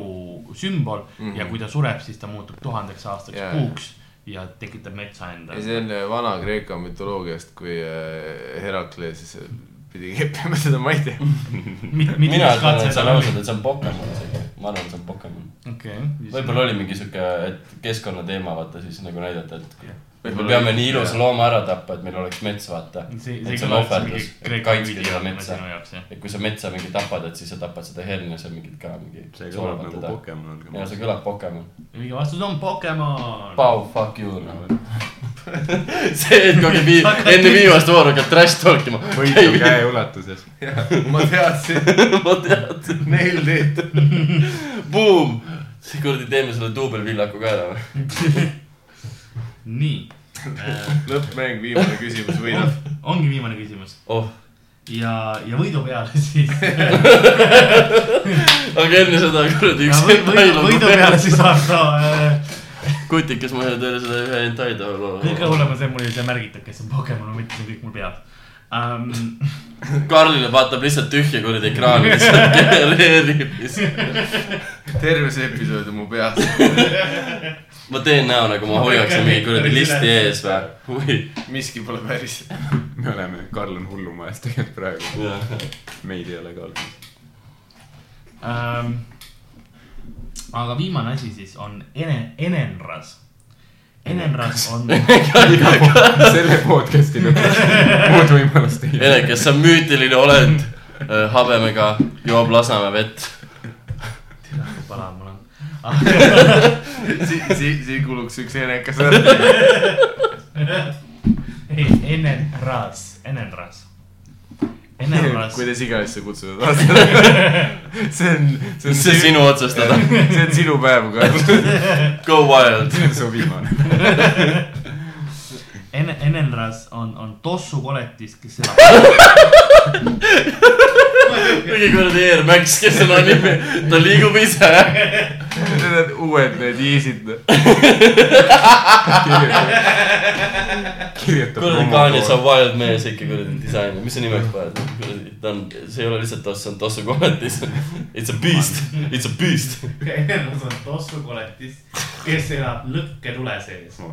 [SPEAKER 6] sümbol mm -hmm. ja kui ta sureb , siis ta muutub tuhandeks aastaks
[SPEAKER 4] Mhm. Jaa.
[SPEAKER 6] yeah. puuks ja tekitab metsa endale .
[SPEAKER 4] see on Vana-Kreeka mütoloogiast , kui äh, Herakles pidi keppima seda , ma ei tea .
[SPEAKER 5] mina arvan , et see on ausalt , et see on Pokemon isegi , ma arvan , et see on Pokemon .
[SPEAKER 6] okei ,
[SPEAKER 5] võib-olla oli mingi sihuke , et keskkonnateema , vaata siis nagu näidata , et me peame nii ilusa looma ära tappa , et meil oleks mets , vaata .
[SPEAKER 6] see ,
[SPEAKER 5] et
[SPEAKER 6] see
[SPEAKER 5] see on
[SPEAKER 6] kõlab
[SPEAKER 5] ohverdus
[SPEAKER 6] mingi ,
[SPEAKER 5] et
[SPEAKER 6] kreeka
[SPEAKER 5] kaitske seda
[SPEAKER 6] video
[SPEAKER 5] metsa
[SPEAKER 6] sinu . jaoks jah .
[SPEAKER 5] et kui sa metsa mingi tapad , et siis sa tapad seda hernia , see on mingit ka mingi .
[SPEAKER 3] see kõlab nagu . Pokemon .
[SPEAKER 5] ja see kõlab Pokemon .
[SPEAKER 6] õige vastus on Pokemon .
[SPEAKER 5] Pau , fuck you noh . see , et kui vii- , enne viimast vooru hakkad trash talk ima .
[SPEAKER 3] võitu käe ulatuses .
[SPEAKER 4] ma teadsin ,
[SPEAKER 5] ma tean ,
[SPEAKER 4] neil teed .
[SPEAKER 5] boom . siis kuradi teeme selle duubelvillaku ka ära .
[SPEAKER 6] nii äh, ,
[SPEAKER 4] lõppmäng , viimane küsimus võidab .
[SPEAKER 6] ongi viimane küsimus
[SPEAKER 5] oh ,
[SPEAKER 6] ja , ja võidu peale siis .
[SPEAKER 5] aga enne seda kuradi üks
[SPEAKER 6] võidu, võidu peale siis Ardo äh, .
[SPEAKER 5] kutikas ma ühe tööle seda ühe hentai taha
[SPEAKER 6] kõige
[SPEAKER 5] loodan .
[SPEAKER 6] hullem on see , mul ei ole märgitud , kes on Pokemon , ma mõtlesin kõik mul peas um, .
[SPEAKER 5] Karlile vaatab lihtsalt tühja kuradi ekraani , lihtsalt genereerib lihtsalt .
[SPEAKER 4] terve see episood on mu peas .
[SPEAKER 5] ma teen näo , nagu ma hoiaksin mingi kuradi listi ees või ? või ,
[SPEAKER 4] miski pole päris .
[SPEAKER 3] me oleme , Karl on hullumajas tegelikult praegu . meid ei ole ka olnud .
[SPEAKER 6] Um, aga viimane asi siis on Ene- , Enenras . Enenras on ,
[SPEAKER 3] selle podcast'i lõpuks muud võimalust ei ole .
[SPEAKER 5] Ene , kes sa müütiline oled , habemega joob Lasnamäe vett .
[SPEAKER 6] pala mul on ,
[SPEAKER 4] siin , siin , siin kuluks üks enekas ära .
[SPEAKER 6] ei , Enenras , Enenras . Enenras .
[SPEAKER 4] kuidas iganes sa kutsud . see on , see on
[SPEAKER 5] see on , sinu otsustada ,
[SPEAKER 4] see on sinu päev ka .
[SPEAKER 5] go wild .
[SPEAKER 3] su viimane .
[SPEAKER 6] En- , Enenras on , on tossu koletis , kes elab .
[SPEAKER 5] mingi kuradi Air Max , kes on anime , ta liigub ise .
[SPEAKER 4] Need on uued need jeesid .
[SPEAKER 3] kirjutab
[SPEAKER 5] kuradi Kanye saab wild mees ikka kuradi disainer , mis sa nimeks paned ? kuradi , ta on , see ei ole lihtsalt toss , see on tossu koletis . It's a beast , it's a beast .
[SPEAKER 6] Enenras on tossu koletis , kes elab lõkketule sees . ja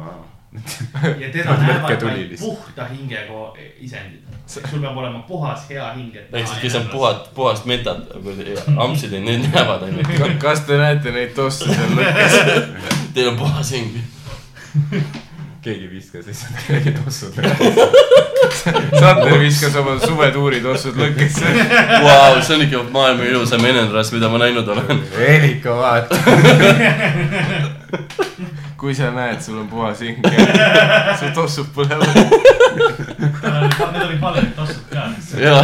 [SPEAKER 6] teda näevad
[SPEAKER 3] lõkketuli
[SPEAKER 6] vaid
[SPEAKER 3] lihtsalt.
[SPEAKER 6] puhta hingega isendid . sul peab olema puhas , hea hing , et .
[SPEAKER 5] ehk siis , kes on . puhat , puhast metat , kuradi ampsid , need näevad ainult .
[SPEAKER 4] kas te näete neid tosse seal lõkkes ?
[SPEAKER 5] Teil on puhas hing .
[SPEAKER 3] keegi viskas lihtsalt kellegi tossud .
[SPEAKER 4] Sander viskas oma suvetuuri tossud lõkkesse .
[SPEAKER 5] Vau , see on ikka maailma ilusam enenras , mida ma näinud olen .
[SPEAKER 3] Erika vaata ,
[SPEAKER 4] kui sa näed , sul on puhas hing , su tossud põlevad .
[SPEAKER 6] Need olid valed tossud ka .
[SPEAKER 5] jaa .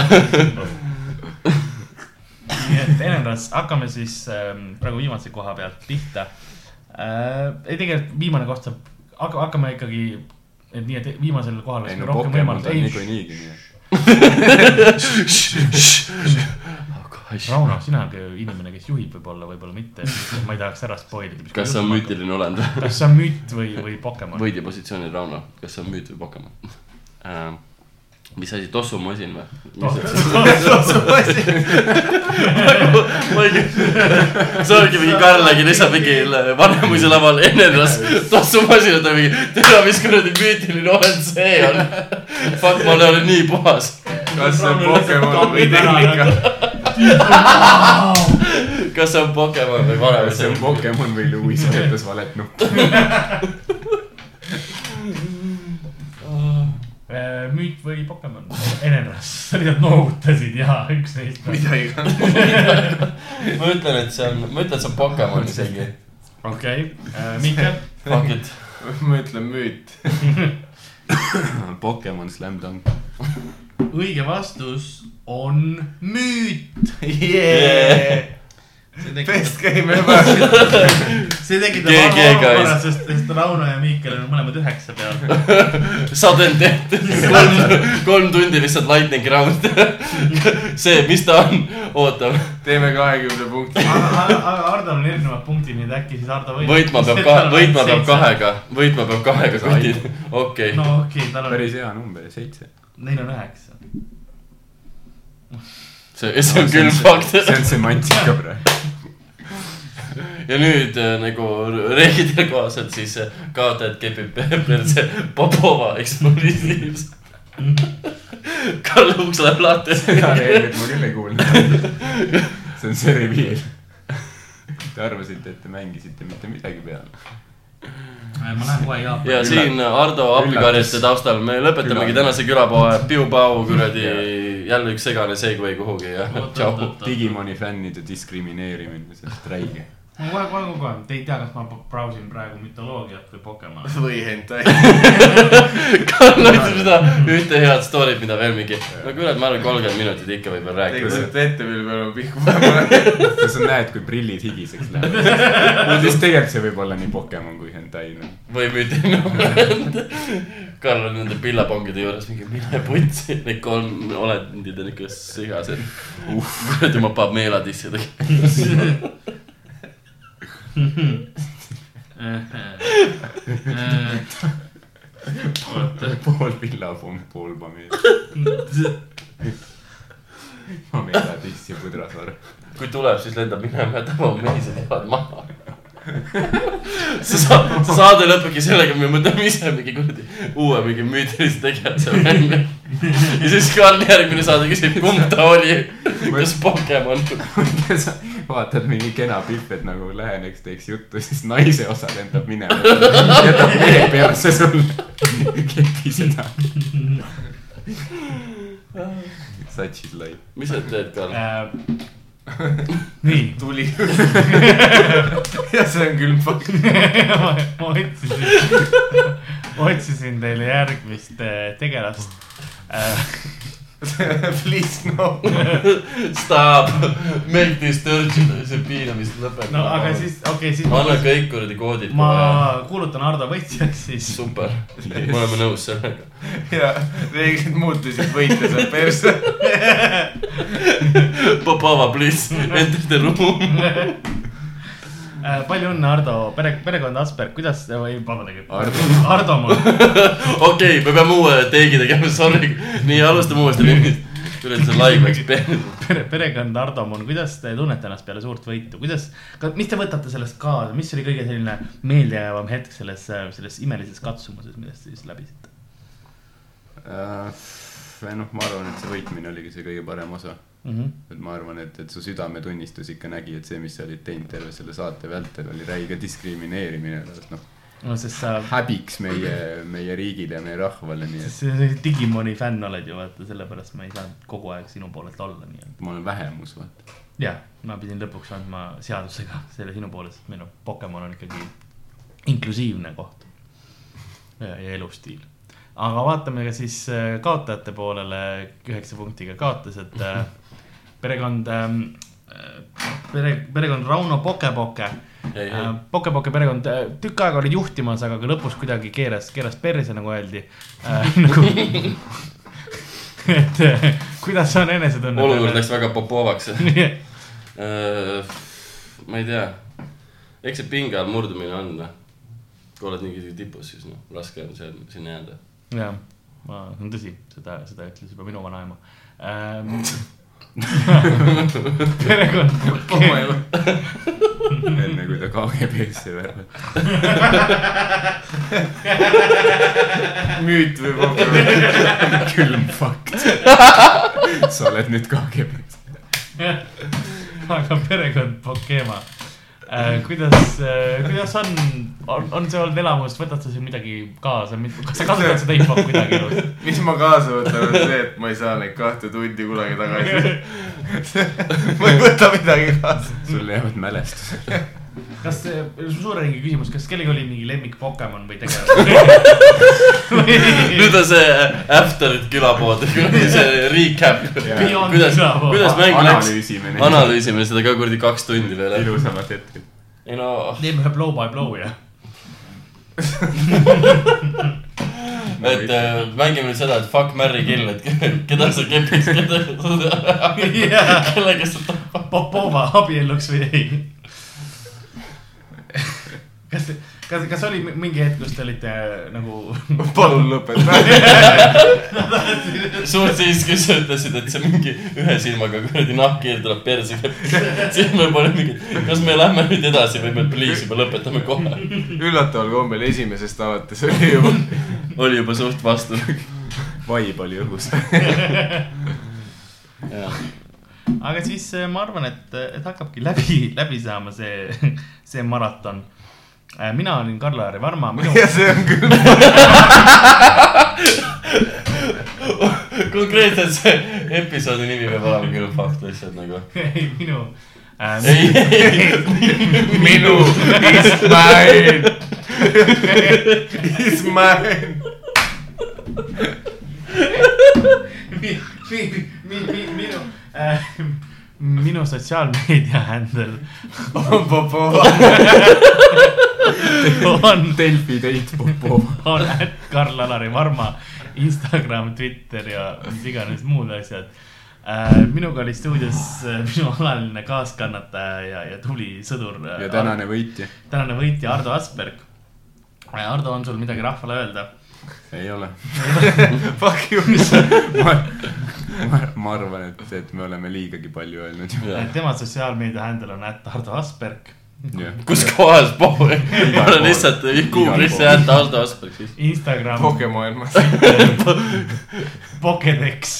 [SPEAKER 6] nii et Enenras , hakkame siis ähm, praegu viimase koha pealt pihta äh, . ei , tegelikult viimane koht saab , hakkame ikkagi , et nii , et viimasel kohal
[SPEAKER 3] ei
[SPEAKER 6] oleks
[SPEAKER 3] no
[SPEAKER 6] meil rohkem
[SPEAKER 3] Pokemon
[SPEAKER 6] võimalusi .
[SPEAKER 3] on
[SPEAKER 6] ei ,
[SPEAKER 3] niikuinii kinni .
[SPEAKER 6] Rauno , sina on inimene , kes juhib võib-olla , võib-olla mitte . ma ei tahaks ära spoil ida .
[SPEAKER 5] kas see on ? müütiline olend
[SPEAKER 6] kas see on müüt või , või Pokemon ?
[SPEAKER 5] võidja positsioonil , Rauno , kas see on müüt või Pokemon uh, ? mis asi , tossumasin või ? ma ei , see ongi mingi Karlagi lisab mingi Vanemuise laval Enenras tossumasin , ta mingi , tere , mis kuradi müütiline olend see on . Fuck , ma olen nii puhas .
[SPEAKER 4] kas see on Pokemon või tehnika ?
[SPEAKER 5] kas see on Pokemon või
[SPEAKER 3] see on
[SPEAKER 5] Vanemuise ?
[SPEAKER 3] Pokemon või Louis vajutas valet noh. nuppu .
[SPEAKER 6] müüt või Pokemon ? Enenras , sa lihtsalt noogutasid ja üks neist .
[SPEAKER 4] mida iganes .
[SPEAKER 5] ma ütlen , et see on , ma ütlen , et see on Pokemon isegi .
[SPEAKER 6] okei , Mihkel ,
[SPEAKER 5] Fuck it .
[SPEAKER 4] ma ütlen müüt .
[SPEAKER 3] Pokemon Slam Dunk .
[SPEAKER 6] õige vastus on müüt . see tekitab ,
[SPEAKER 4] Best game ever .
[SPEAKER 6] see tekitab
[SPEAKER 5] GG,
[SPEAKER 6] arvu olukorra ,
[SPEAKER 5] guys.
[SPEAKER 6] sest , sest Rauno ja Mihkel on mõlemad üheksa peal .
[SPEAKER 5] sadel tehtud , kolm , kolm tundi lihtsalt lightning round . see , mis ta on , ootab ,
[SPEAKER 4] teeme kahekümne punkti .
[SPEAKER 6] aga Hardol on erinevad punktid , nii et äkki siis Hardo võidab .
[SPEAKER 5] võitma peab ka , võitma peab . kahega , võitma peab kahega kõndi , okei
[SPEAKER 6] no okei okay, , tal on ,
[SPEAKER 3] päris hea number , seitse .
[SPEAKER 6] neil on üheksa .
[SPEAKER 5] see , see on küll fakt .
[SPEAKER 3] see on semantika praegu .
[SPEAKER 5] ja nüüd äh, nagu reeglite kohaselt siis äh, kaotajat kepib see Popova eksplosiivs . Karl Uks
[SPEAKER 3] seda
[SPEAKER 5] läheb lahti .
[SPEAKER 3] reeglit ma küll ei kuulnud . see on see reviil . Te arvasite , et te mängisite mitte midagi peale .
[SPEAKER 6] ma lähen kohe Jaapani .
[SPEAKER 5] ja siin Ardo appikarjete taustal me lõpetamegi
[SPEAKER 3] Üllatus.
[SPEAKER 5] tänase külapoe , piu-pau kuradi , jälle üks segane segway kuhugi ja tšau .
[SPEAKER 3] Digimoni fännide diskrimineerimine , see on räige .
[SPEAKER 6] ma kohe , kohe , kohe , te ei tea , kas ma brausin praegu mütoloogiat või Pokemoni .
[SPEAKER 4] või hentai .
[SPEAKER 5] Karl ütleb seda ühte head story't , mida veel mingi , no kurat , ma arvan , kolmkümmend minutit ikka võib veel
[SPEAKER 4] Te
[SPEAKER 5] rääkida .
[SPEAKER 4] kujutate ette , mille peal ma pihku panen ?
[SPEAKER 3] kas sa näed , kui prillid higiseks lähevad ? no siis tegelikult see võib olla nii Pokemon kui hentai .
[SPEAKER 5] või müütiline . Karl on nende pillapongide juures mingi , mine putsi , need kolm olendid on ikka segased . kuradi , ma pean meela tissida .
[SPEAKER 3] pool pillapump , pool pameel . ma meeldin tissi pudrasaare .
[SPEAKER 5] kui tuleb , siis lendab minema ja tõmbab mehised jalad maha . sa saad , saade lõpebki sellega , me mõtleme ise mingi kuradi uue mingi müütilise tegelase välja . ja siis Karl järgmine saade küsib , kumb ta oli , kas Pokemon .
[SPEAKER 3] kui sa vaatad mingi kena pilt , et nagu läheneks , teeks juttu , siis naise osa lendab minema . jätab mehe perse sulle . keegi seda . Such is life .
[SPEAKER 5] mis sa teed , Karl ?
[SPEAKER 6] nii ,
[SPEAKER 4] Äh, tuli . ja see on küll fakt .
[SPEAKER 6] ma ma otsisin , otsisin teile järgmist äh, tegelast .
[SPEAKER 4] Please no .
[SPEAKER 5] Stop , make this dirty , see piinamist lõpeta .
[SPEAKER 6] no aga siis , okei , siis
[SPEAKER 5] anna kõik kuradi koodid .
[SPEAKER 6] ma kuulutan Hardo võitjaks siis .
[SPEAKER 5] super , me oleme nõus sellega .
[SPEAKER 4] ja reeglid muutusid , võitja saab persse .
[SPEAKER 5] Popova , please , enter the room .
[SPEAKER 6] Äh, palju õnne , Hardo , pere , perekond Asperg , kuidas , ei , vabandage .
[SPEAKER 3] Ardo.
[SPEAKER 6] Hardo mul ,
[SPEAKER 5] okei , me peame uue teegi tegema , sorry . nii , alustame uuesti ringist . üleüldse live läks peale .
[SPEAKER 6] pere , perekond Hardo mul , kuidas te tunnete ennast peale suurt võitu , kuidas , mis te võtate sellest kaasa , mis oli kõige selline meeldejäävam hetk selles , selles imelises katsumuses , millest te siis läbisite ?
[SPEAKER 3] või noh , ma arvan , et see võitmine oligi see kõige parem osa . et ma arvan , et , et su südametunnistus ikka nägi , et see , mis sa olid teinud terve selle saate vältel , oli räige diskrimineerimine , noh ,
[SPEAKER 6] no sest sa ,
[SPEAKER 3] häbiks meie , meie riigile ja meie rahvale , nii et
[SPEAKER 6] sa Digimoni fänn oled ju vaata , sellepärast ma ei saanud kogu aeg sinu poolelt olla nii-öelda .
[SPEAKER 3] ma olen vähemus , vaata .
[SPEAKER 6] jah , ma pidin lõpuks andma seadusega selle sinu poole , sest meil on Pokemon on ikkagi inklusiivne koht ja, ja elustiil . aga vaatame ka siis äh, kaotajate poolele , üheksa punktiga kaotas , et äh, perekond ähm, , pere , perekond Rauno Pokepoke .
[SPEAKER 5] Ei, ei.
[SPEAKER 6] Pokepoke perekond äh, tükk aega oli juhtimas , aga ka lõpus kuidagi keeras , keeras perse , nagu öeldi äh, . Nagu, et äh, kuidas on enesetunne ?
[SPEAKER 5] olukord läks väga popovaks .
[SPEAKER 6] läks .
[SPEAKER 5] ma ei tea , eks see pinge all murdumine on , noh . kui oled mingi tipus , siis noh , raske on seal sinna jääda .
[SPEAKER 6] jah , ma , see on tõsi , seda , seda ütles juba minu vanaema ähm, . perekond ,
[SPEAKER 3] enne kui ta KGB-sse värvati .
[SPEAKER 4] müüt või popkorn .
[SPEAKER 3] külm fakt . sa oled nüüd KGB-s .
[SPEAKER 6] aga perekond Pokema äh, . kuidas äh, , kuidas on, on , on see olnud elamus , võtad sa siin midagi kaasa , kas sa kasutad seda infot kuidagi elus ?
[SPEAKER 4] mis ma kaasa võtan , on see , et ma ei saa neid kahte tundi kunagi tagasi . ma ei võta midagi kaasa .
[SPEAKER 3] sul jäävad mälestused .
[SPEAKER 6] kas see , suure ringi küsimus , kas kellelgi oli mingi lemmik Pokemon või tegelane
[SPEAKER 5] nüüd on see after'id külapood , see recap .
[SPEAKER 6] Beyond
[SPEAKER 5] kuidas ,
[SPEAKER 6] külapood.
[SPEAKER 5] kuidas mäng läks ?
[SPEAKER 3] analüüsime neid
[SPEAKER 5] analüüsime seda ka kuradi kaks tundi veel .
[SPEAKER 3] ilusamat hetke .
[SPEAKER 5] ei no , ah.
[SPEAKER 6] teeme ühe blow by blow ja .
[SPEAKER 5] et äh, mängime nüüd seda , et fuck , marry , kill , et ke- keda sa kepiks , keda sa , kellega sa tapad .
[SPEAKER 6] Popova abielluks või ei ? kas , kas , kas oli mi- mingi hetk , kus te olite nagu
[SPEAKER 4] palun lõpeta .
[SPEAKER 5] suurt siis , kui sa ütlesid , et see mingi ühe silmaga kuradi nahkhiir tuleb perse kätte , siis me panime mingi , kas me lähme nüüd edasi või me please juba lõpetame kohe .
[SPEAKER 4] üllataval kombel esimesest alates oli juba .
[SPEAKER 5] oli juba suht vastu .
[SPEAKER 3] vibe oli õhus .
[SPEAKER 6] aga siis äh, ma arvan , et , et hakkabki läbi , läbi saama see , see maraton . mina olin Karl-Laari Varma , minu ,
[SPEAKER 4] ja see on küll ,
[SPEAKER 5] konkreetselt see episoodi nimi peab olema küll fakt lihtsalt nagu .
[SPEAKER 6] ei minu . äh,
[SPEAKER 5] ei , ei ,
[SPEAKER 4] minu , is mine . Is mine .
[SPEAKER 6] minu , minu sotsiaalmeedia händel on
[SPEAKER 3] Delfi teid , Popov .
[SPEAKER 6] on ätt Karl-Alari Varma , Instagram , Twitter ja mis iganes muud asjad . minuga oli stuudios äh, minu alaline kaaskannataja ja , ja tubli sõdur .
[SPEAKER 3] ja tänane võitja .
[SPEAKER 6] tänane võitja Ardo Asperg . Ardo , on sul midagi rahvale öelda ?
[SPEAKER 3] ei ole .
[SPEAKER 4] Fuck you .
[SPEAKER 3] ma , ma , ma arvan , et , et me oleme liigagi palju öelnud .
[SPEAKER 6] tema sotsiaalmeedia händel on ätt Ardo Asperg .
[SPEAKER 5] kus kohas pool , ma olen lihtsalt Google'isse jäänud Aldo Asperg siis .
[SPEAKER 6] Instagram ,
[SPEAKER 4] pokemaailmas .
[SPEAKER 6] Pokedex .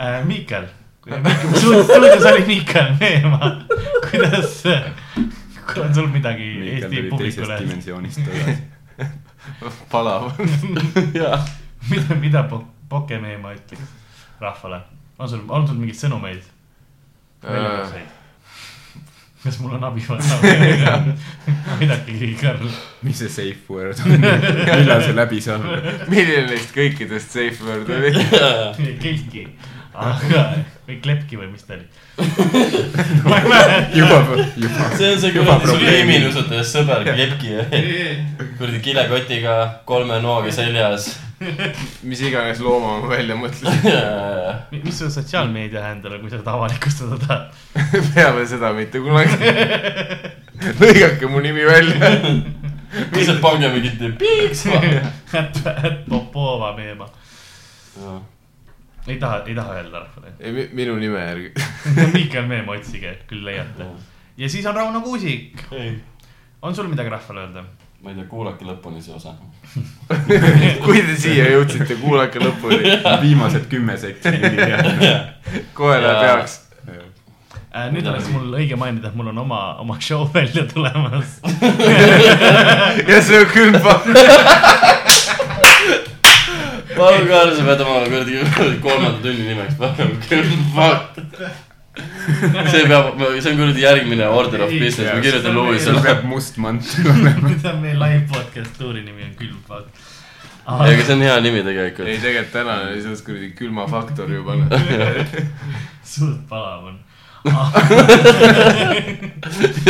[SPEAKER 6] Äh, Miikel , stuudios oli Miikel Meemaa , kuidas , on sul midagi Eesti publikule öelda ?
[SPEAKER 3] dimensioonist tagasi .
[SPEAKER 4] palav .
[SPEAKER 5] jaa .
[SPEAKER 6] mida , mida po- Pokemeema ütleks
[SPEAKER 4] Äh.
[SPEAKER 6] rahvale ? on sul , on sul mingeid sõnumeid ? kas mul on abi vaja ? midagi ei karda .
[SPEAKER 3] mis see safe word on , millal see läbi saab ?
[SPEAKER 4] milline neist kõikidest safe word oli ?
[SPEAKER 6] kelki , aga või klepki või mis ta oli ? ma ei mäleta .
[SPEAKER 3] juba , juba .
[SPEAKER 5] see on see
[SPEAKER 3] Juba
[SPEAKER 5] kuradi sul
[SPEAKER 3] probleem.
[SPEAKER 5] eelminusutajast sõber Klepki kuradi kilekotiga kolme noaga seljas .
[SPEAKER 4] mis iganes looma ma välja mõtlesin ,
[SPEAKER 6] mis su sotsiaalmeedia händel on , kui sa seda avalikustada tahad ?
[SPEAKER 4] peale seda mitte kunagi . lõigake mu nimi välja .
[SPEAKER 5] lihtsalt pange mingit piiks .
[SPEAKER 6] äpp , äpp Popova meema . ei taha , ei taha öelda rahvale .
[SPEAKER 4] ei , minu nime järgi .
[SPEAKER 6] Miikal Meemo otsige , küll leiate . ja siis on Rauno Kuusik .
[SPEAKER 5] ei ,
[SPEAKER 6] on sul midagi rahvale öelda ?
[SPEAKER 5] ma ei tea , kuulake lõpuni see osa .
[SPEAKER 4] kui te siia jõudsite , kuulake lõpuni .
[SPEAKER 3] viimased kümme sekundit .
[SPEAKER 4] kohe läheb
[SPEAKER 5] Jaa.
[SPEAKER 4] heaks .
[SPEAKER 6] Äh, nüüd oleks mul õige mainida , et mul on oma , oma show välja tulemas .
[SPEAKER 4] ja see on küll fakt .
[SPEAKER 5] palun , Karl , sa pead oma kuradi kolmanda tunni nimeks panema , külmfakt . see peab , see on kuradi järgmine order of business , ma kirjutan
[SPEAKER 3] sul
[SPEAKER 5] Lewisele .
[SPEAKER 3] peab must mantel olema .
[SPEAKER 6] see on meie live podcast tuuri nimi on külm fakt .
[SPEAKER 5] ei , aga see on hea nimi tegelikult
[SPEAKER 4] ei ,. tegelikult tänane oli selles kuradi külmafaktor juba . noh. ma
[SPEAKER 6] suht palav on .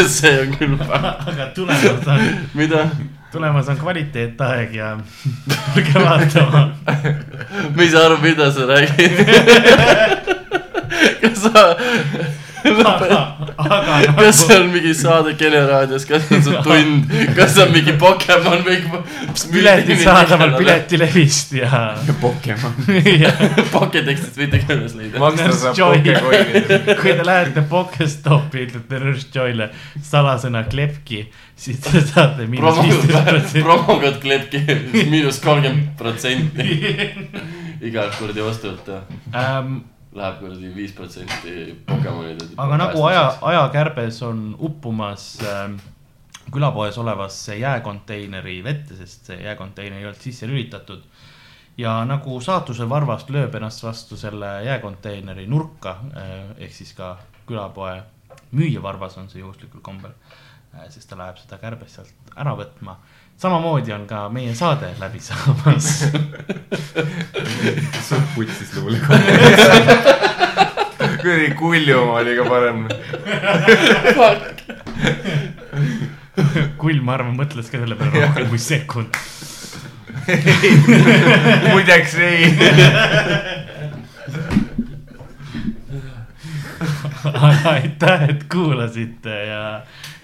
[SPEAKER 5] see on külmfakt .
[SPEAKER 6] aga tulemas on ,
[SPEAKER 5] mida ?
[SPEAKER 6] tulemas on kvaliteetaeg ja tulge vaatama .
[SPEAKER 5] ma ei saa aru , mida sa räägid . kas sa ,
[SPEAKER 6] aga , aga
[SPEAKER 5] kas see on mingi saade Kene raadios , kas see on su tund , kas see on mingi Pokemon või ?
[SPEAKER 6] pileti saadaval . piletilevist ja ,
[SPEAKER 3] Pokemon .
[SPEAKER 6] ja
[SPEAKER 5] Poketekstist võite ka üles leida .
[SPEAKER 4] Maksta saab
[SPEAKER 6] Joy.
[SPEAKER 4] Pokecoinidega.
[SPEAKER 6] kui te lähete Pokestopi , ütlete Nurse Joyle salasõna klepki , siis te saate miinus viisteist protsenti .
[SPEAKER 5] promokod kleebki miinus kolmkümmend protsenti igalt kuradi ostult
[SPEAKER 6] Ähm,
[SPEAKER 5] läheb kuradi viis protsenti Pokemonide .
[SPEAKER 6] aga nagu aja , ajakärbes on uppumas ähm, külapoes olevasse jääkonteineri vette , sest see jääkonteiner ei olnud sisse lülitatud . ja nagu saatuse varvast lööb ennast vastu selle jääkonteineri nurka äh, ehk siis ka külapoe müüja varvas on see juhuslikul kombel äh, , sest ta läheb seda kärbest sealt ära võtma samamoodi on ka meie saade läbi saamas .
[SPEAKER 3] sul putsis luulekogu .
[SPEAKER 4] kuradi Kulju oma oli ka parem .
[SPEAKER 6] Kull , ma arvan , mõtles ka selle peale rohkem kui sekund .
[SPEAKER 4] muideks ei .
[SPEAKER 6] aga aitäh , et kuulasite ja ,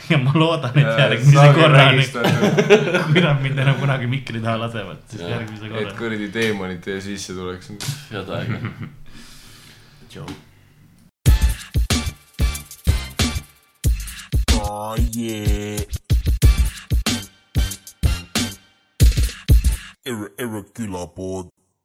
[SPEAKER 6] ja ma loodan ,
[SPEAKER 4] Äh,
[SPEAKER 6] et järgmise korra , kui nad mind enam kunagi mikri taha lasevad , siis
[SPEAKER 5] Jah.
[SPEAKER 6] järgmise
[SPEAKER 4] et
[SPEAKER 6] korra .
[SPEAKER 4] kuradi teemonid teie sisse tuleks
[SPEAKER 5] head aega .
[SPEAKER 1] Oh yeah. Ir- irregular board.